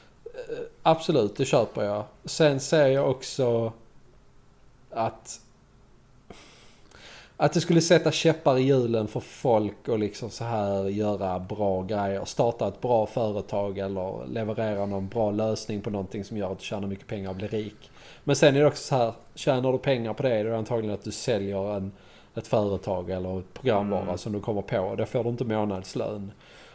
Speaker 1: Absolut, det köper jag. Sen ser jag också att... Att det skulle sätta käppar i hjulen för folk och liksom så här göra bra grejer. Starta ett bra företag eller leverera någon bra lösning på någonting som gör att du tjänar mycket pengar och blir rik. Men sen är det också så här, tjänar du pengar på det då är det antagligen att du säljer en, ett företag eller ett programvara
Speaker 2: Mm.
Speaker 1: som du kommer på. Då får du inte månadslön.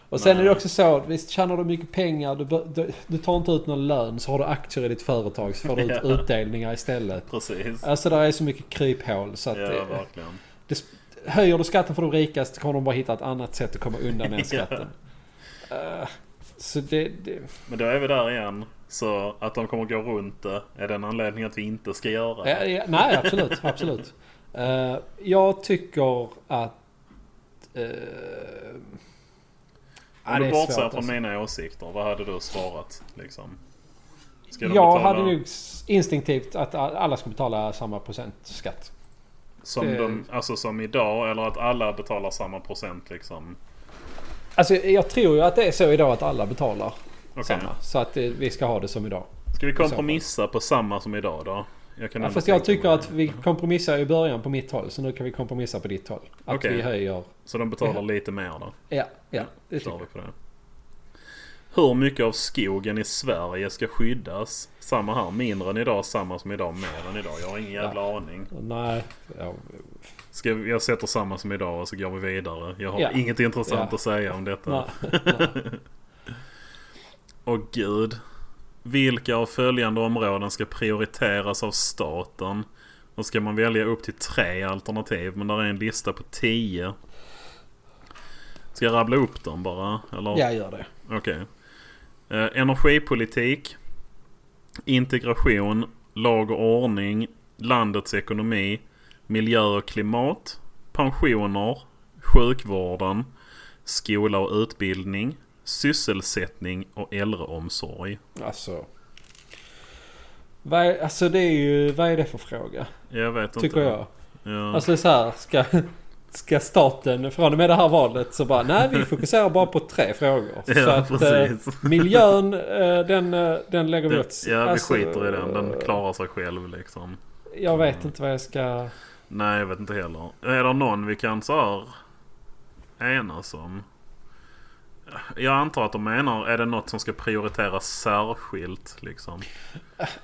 Speaker 1: Och sen är det
Speaker 2: Nej.
Speaker 1: också så, visst tjänar du mycket pengar, du, bör- du, du tar inte ut någon lön så har du aktier i ditt företag så får du ut
Speaker 2: <laughs> Ja.
Speaker 1: utdelningar istället.
Speaker 2: Precis.
Speaker 1: Alltså där är så mycket kryphål så att
Speaker 2: Ja,
Speaker 1: det,
Speaker 2: verkligen.
Speaker 1: det, höjer du skatten för de rikaste kommer de bara hitta ett annat sätt att komma undan den
Speaker 2: <laughs> Ja.
Speaker 1: skatten. Eh, så det, det,
Speaker 2: Men då är vi där igen. Så att de kommer gå runt det är den anledningen att vi inte ska göra
Speaker 1: Ja,
Speaker 2: det.
Speaker 1: ja, nej, absolut. absolut. Eh, jag tycker att... Uh,
Speaker 2: Om du bortser
Speaker 1: alltså.
Speaker 2: från mina åsikter, vad hade du svarat? Liksom? Ska de
Speaker 1: Jag
Speaker 2: betala
Speaker 1: hade nog s- instinktivt att a- alla ska betala samma procent skatt.
Speaker 2: som,
Speaker 1: det-
Speaker 2: de, alltså som idag eller att alla betalar samma procent liksom?
Speaker 1: Alltså jag tror ju att det är så idag att alla betalar
Speaker 2: Okej.
Speaker 1: samma. Så att eh, vi ska ha det som idag.
Speaker 2: Ska vi
Speaker 1: fall.
Speaker 2: kompromissa på samma som idag då? Jag kan
Speaker 1: Ja,
Speaker 2: ändå
Speaker 1: fast
Speaker 2: tänka
Speaker 1: jag tycker
Speaker 2: mig-
Speaker 1: att vi kompromissar i början på mitt håll. Så nu kan vi kompromissa på ditt håll. Att
Speaker 2: Okej.
Speaker 1: vi höjer...
Speaker 2: Så de betalar lite mer då?
Speaker 1: Ja, ja. Det tycker
Speaker 2: Kör
Speaker 1: jag.
Speaker 2: vi på det. Hur mycket av skogen i Sverige ska skyddas? Samma här, mindre än idag, samma som idag, mer än idag. Jag har ingen jävla aning.
Speaker 1: Nej, ja,
Speaker 2: Ska, jag sätter samma som idag och så går vi vidare. Jag har
Speaker 1: Ja.
Speaker 2: inget intressant
Speaker 1: Ja.
Speaker 2: att säga om detta.
Speaker 1: nej.
Speaker 2: Och gud. Vilka av följande områden ska prioriteras av staten? Då ska man välja upp till tre alternativ, men där är en lista på tio. Ska jag rabbla upp dem bara? Eller?
Speaker 1: Jag gör det.
Speaker 2: Okej. Eh, energipolitik. Integration. Lag och ordning. Landets ekonomi. Miljö och klimat. Pensioner. Sjukvården. Skola och utbildning. Sysselsättning och äldreomsorg.
Speaker 1: Alltså. Vad är, alltså det är ju, vad är det för fråga?
Speaker 2: Jag vet inte.
Speaker 1: Tycker jag.
Speaker 2: Ja.
Speaker 1: Alltså det är så här, ska, ska staten från och med det här valet så bara nej vi fokuserar bara på tre frågor.
Speaker 2: <laughs> <laughs> Ja,
Speaker 1: så att eh,
Speaker 2: precis.
Speaker 1: miljön eh, den, eh, den lägger vi
Speaker 2: Den,
Speaker 1: åt
Speaker 2: ja, vi
Speaker 1: alltså,
Speaker 2: skiter i den. Den
Speaker 1: eh,
Speaker 2: klarar sig själv liksom.
Speaker 1: Jag vet inte vad jag ska...
Speaker 2: Nej, jag vet inte heller. Är det någon vi kan så här enas om? Jag antar att de menar, är det något som ska prioriteras särskilt liksom?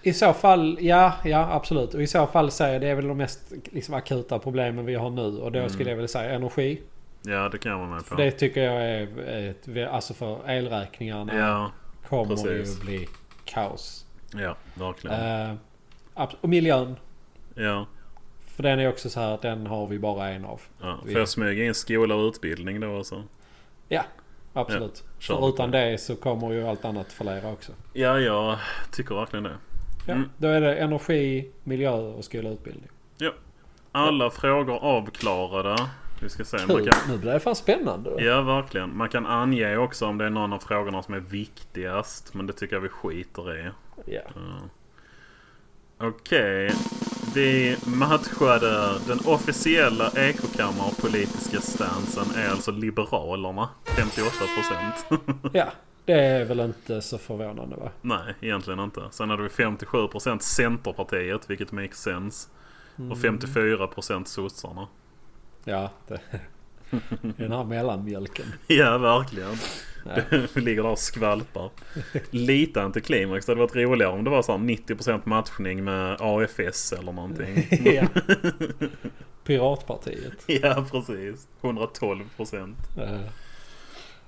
Speaker 1: I så fall, ja, ja absolut. Och i så fall säger jag det är väl de mest liksom, akuta problemen vi har nu. Och då skulle jag vilja säga energi.
Speaker 2: Mm. Ja, det kan jag vara med på.
Speaker 1: För det tycker jag är, ett, alltså för elräkningarna
Speaker 2: Ja,
Speaker 1: kommer
Speaker 2: precis.
Speaker 1: ju bli kaos.
Speaker 2: ja, verkligen.
Speaker 1: Eh, abs- och miljön.
Speaker 2: ja,
Speaker 1: För den är också så här, den har vi bara en av.
Speaker 2: ja.
Speaker 1: vi-
Speaker 2: Får jag smyga in skola och utbildning då alltså. också?
Speaker 1: Ja, absolut.
Speaker 2: kör vi
Speaker 1: för
Speaker 2: på
Speaker 1: utan det så kommer ju allt annat fallera också.
Speaker 2: Ja, jag tycker verkligen det.
Speaker 1: Ja,
Speaker 2: Mm.
Speaker 1: Då är det energi, miljö och skola och utbildning.
Speaker 2: Alla frågor avklarade. Vi ska se. Man
Speaker 1: Kul.
Speaker 2: kan,
Speaker 1: Nu blir det fan spännande.
Speaker 2: ja, verkligen. Man kan ange också om det är någon av frågorna som är viktigast. Men det tycker jag vi skiter i.
Speaker 1: Ja.
Speaker 2: Ja. Okej. Vi matchade den officiella ekokammarpolitiska stansen är alltså Liberalerna. 58%.
Speaker 1: ja, det är väl inte så förvånande va?
Speaker 2: <laughs> Nej, egentligen inte. Sen hade vi 57% Centerpartiet, vilket makes sense. Och 54% sossarna. <laughs>
Speaker 1: Ja, det... <laughs> den här mellanmjölken.
Speaker 2: Ja, verkligen.
Speaker 1: Nej.
Speaker 2: <laughs> Vi ligger där och skvalpar. Lite antiklimax. Det hade varit roligare om det var så här 90% matchning med AFS eller
Speaker 1: <laughs>
Speaker 2: någonting.
Speaker 1: ja. Piratpartiet.
Speaker 2: Ja, precis. 112%.
Speaker 1: Eh,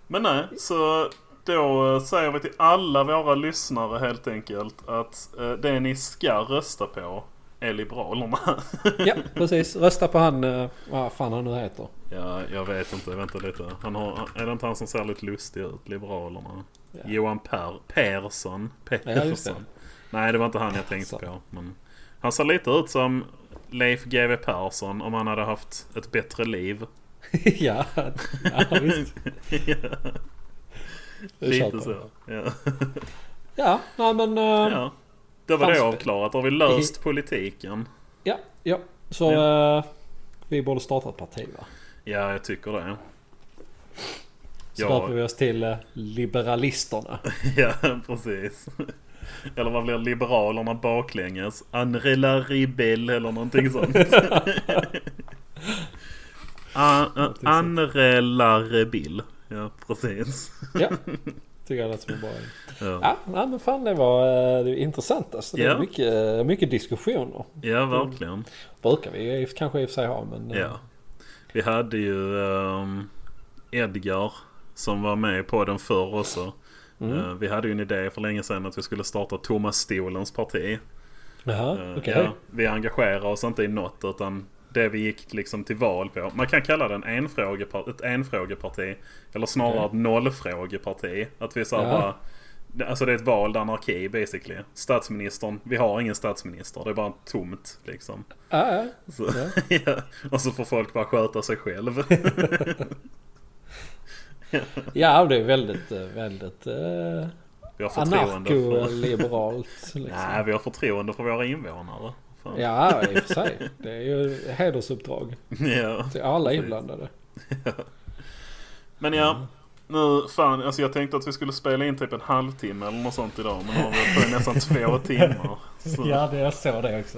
Speaker 2: Men nej, så då eh, säger vi till alla våra lyssnare helt enkelt att eh, det ni ska rösta på är Liberalerna. <laughs>
Speaker 1: Ja, precis. Rösta på han, eh, vad fan han nu heter. <laughs>
Speaker 2: ja, jag vet inte. Vänta lite. Han har, är det inte han som ser lite lustig ut? Liberalerna.
Speaker 1: Ja.
Speaker 2: Johan per, Persson.
Speaker 1: Ja, just det.
Speaker 2: Persson. Nej, det var inte han jag tänkte
Speaker 1: Persson.
Speaker 2: på. Men han ser lite ut som Leif GW Persson om han hade haft ett bättre liv.
Speaker 1: ja, ja, visst. Det
Speaker 2: lite
Speaker 1: köper jag.
Speaker 2: så. Ja.
Speaker 1: Ja, nej men... eh, ja.
Speaker 2: Ja. Det var det
Speaker 1: Fanns-
Speaker 2: avklarat. Har vi löst politiken?
Speaker 1: ja, Så... eh, vi borde starta ett parti va?
Speaker 2: Ja, jag tycker det.
Speaker 1: Så
Speaker 2: Ja.
Speaker 1: döper vi oss till eh, Liberalisterna.
Speaker 2: <laughs> Ja, precis. Eller vad blir Liberalerna baklänges? Anrela Ribel eller någonting sånt. Ah, An- An- Anrela Rebil. ah, Ja, precis.
Speaker 1: Ja, <laughs> tycker jag lät som en bra idé.
Speaker 2: Ja,
Speaker 1: Ja, nej, men fan det var, eh, det var intressant alltså. Det
Speaker 2: Ja.
Speaker 1: var mycket, eh, mycket diskussioner.
Speaker 2: ja verkligen.
Speaker 1: Brukar vi i- kanske i och för sig ha men... eh,
Speaker 2: Ja. Vi hade ju ehm, Edgar som var med på den förr också. Eh, vi hade ju en idé för länge sedan att vi skulle starta Thomas Stolens parti.
Speaker 1: Jaha,
Speaker 2: Eh,
Speaker 1: okej.
Speaker 2: ja, vi engagerar oss inte i något utan det vi gick liksom till val på. Man kan kalla det en enfrågepar- ett enfrågeparti. Eller snarare
Speaker 1: Okej.
Speaker 2: ett nollfrågeparti. Att vi så här
Speaker 1: Ja.
Speaker 2: bara, det- Alltså det är ett val där anarki basically. Statsministern, vi har ingen statsminister. Det är bara tomt liksom.
Speaker 1: Ja, ja.
Speaker 2: Så, <laughs> ja. Och så får folk bara sköta sig själv. <laughs>
Speaker 1: ja, det är väldigt, eh, väldigt eh,
Speaker 2: Vi har förtroende för... <laughs>
Speaker 1: anarko-liberalt.
Speaker 2: Nej,
Speaker 1: Liksom.
Speaker 2: vi har förtroende för våra invånare. <laughs> Fan.
Speaker 1: Ja, i och för sig. Det är ju hedersuppdrag
Speaker 2: ja.
Speaker 1: till alla
Speaker 2: Precis.
Speaker 1: inblandade.
Speaker 2: Men ja, nu fan, alltså jag tänkte att vi skulle spela in typ en halvtimme eller något sånt idag. Men nu har vi hållit på i nästan två timmar. Så, ja.
Speaker 1: det jag såg det
Speaker 2: <laughs>
Speaker 1: också.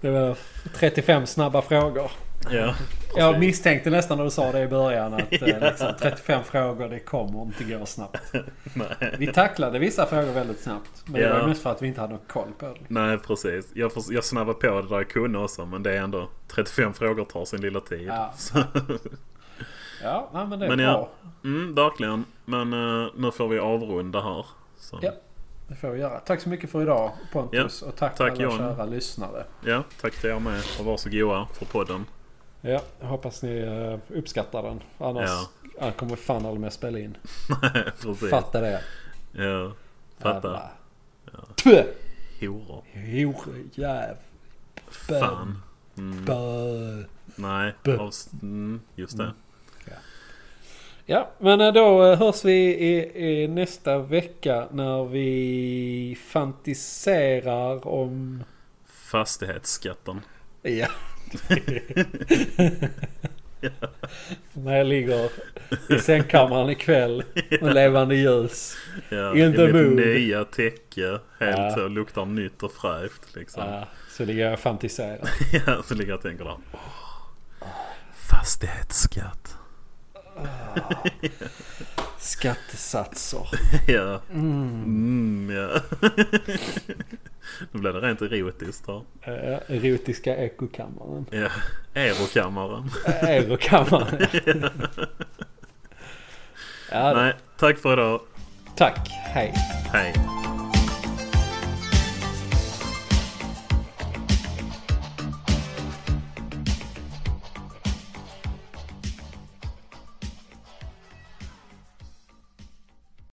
Speaker 1: Det var 35 snabba frågor. Jag
Speaker 2: precis.
Speaker 1: misstänkte nästan när du sa det i
Speaker 2: <laughs>
Speaker 1: början att eh, liksom, 35 frågor det kommer inte gå snabbt.
Speaker 2: Nej.
Speaker 1: Vi tacklade vissa frågor väldigt snabbt. Men det var
Speaker 2: Ja.
Speaker 1: ju mest för att vi inte hade någon koll på det.
Speaker 2: Nej, precis. Jag, förs- jag snabbade på det där jag kunde också. Men det är ändå 35 frågor tar sin lilla tid.
Speaker 1: Ja.
Speaker 2: <laughs> Så,
Speaker 1: Ja, nej, men det är
Speaker 2: Men
Speaker 1: bra.
Speaker 2: ja. mm, verkligen. Men eh, nu får vi avrunda här. Så,
Speaker 1: Ja. Det får vi göra. Tack så mycket för idag Pontus. Och tack,
Speaker 2: Tack,
Speaker 1: alla
Speaker 2: Johan.
Speaker 1: kära lyssnare.
Speaker 2: ja, tack till er med. Och varsågoda för podden. <laughs>
Speaker 1: Ja, jag hoppas ni eh, uppskattar den. Annars
Speaker 2: Ja.
Speaker 1: ja. kommer vi fan aldrig mer spela in.
Speaker 2: precis.
Speaker 1: Fatta det.
Speaker 2: Ja. Fatta.
Speaker 1: Jävla- Tvö!
Speaker 2: Horor.
Speaker 1: Horjäv...
Speaker 2: Fan. Mm,
Speaker 1: bö.
Speaker 2: nej.
Speaker 1: Bö.
Speaker 2: Avs- mm, just det.
Speaker 1: Ja, men eh, då eh, hörs vi i, i nästa vecka när vi fantiserar om...
Speaker 2: Fastighetsskatten.
Speaker 1: Ja. <laughs> När jag ligger i sängkammaren ikväll med levande ljus.
Speaker 2: Ja,
Speaker 1: In the
Speaker 2: i mitt
Speaker 1: mood.
Speaker 2: nya täcke.
Speaker 1: Ja.
Speaker 2: Helt så luktar nytt och fräscht liksom. Ja. <laughs>
Speaker 1: Ja, så ligger jag och fantiserar.
Speaker 2: så ligger jag och tänker där. Åh, fastighetsskatt.
Speaker 1: Skattesatser.
Speaker 2: <laughs> ja. Mm, ja. <laughs> Nu blev det rent erotiskt här.
Speaker 1: Eh, Erotiska ekokammaren.
Speaker 2: Ja. Erokammaren.
Speaker 1: Eh, Eurokammaren. ja,
Speaker 2: Nej, tack för idag.
Speaker 1: tack. Hej.
Speaker 2: Hej.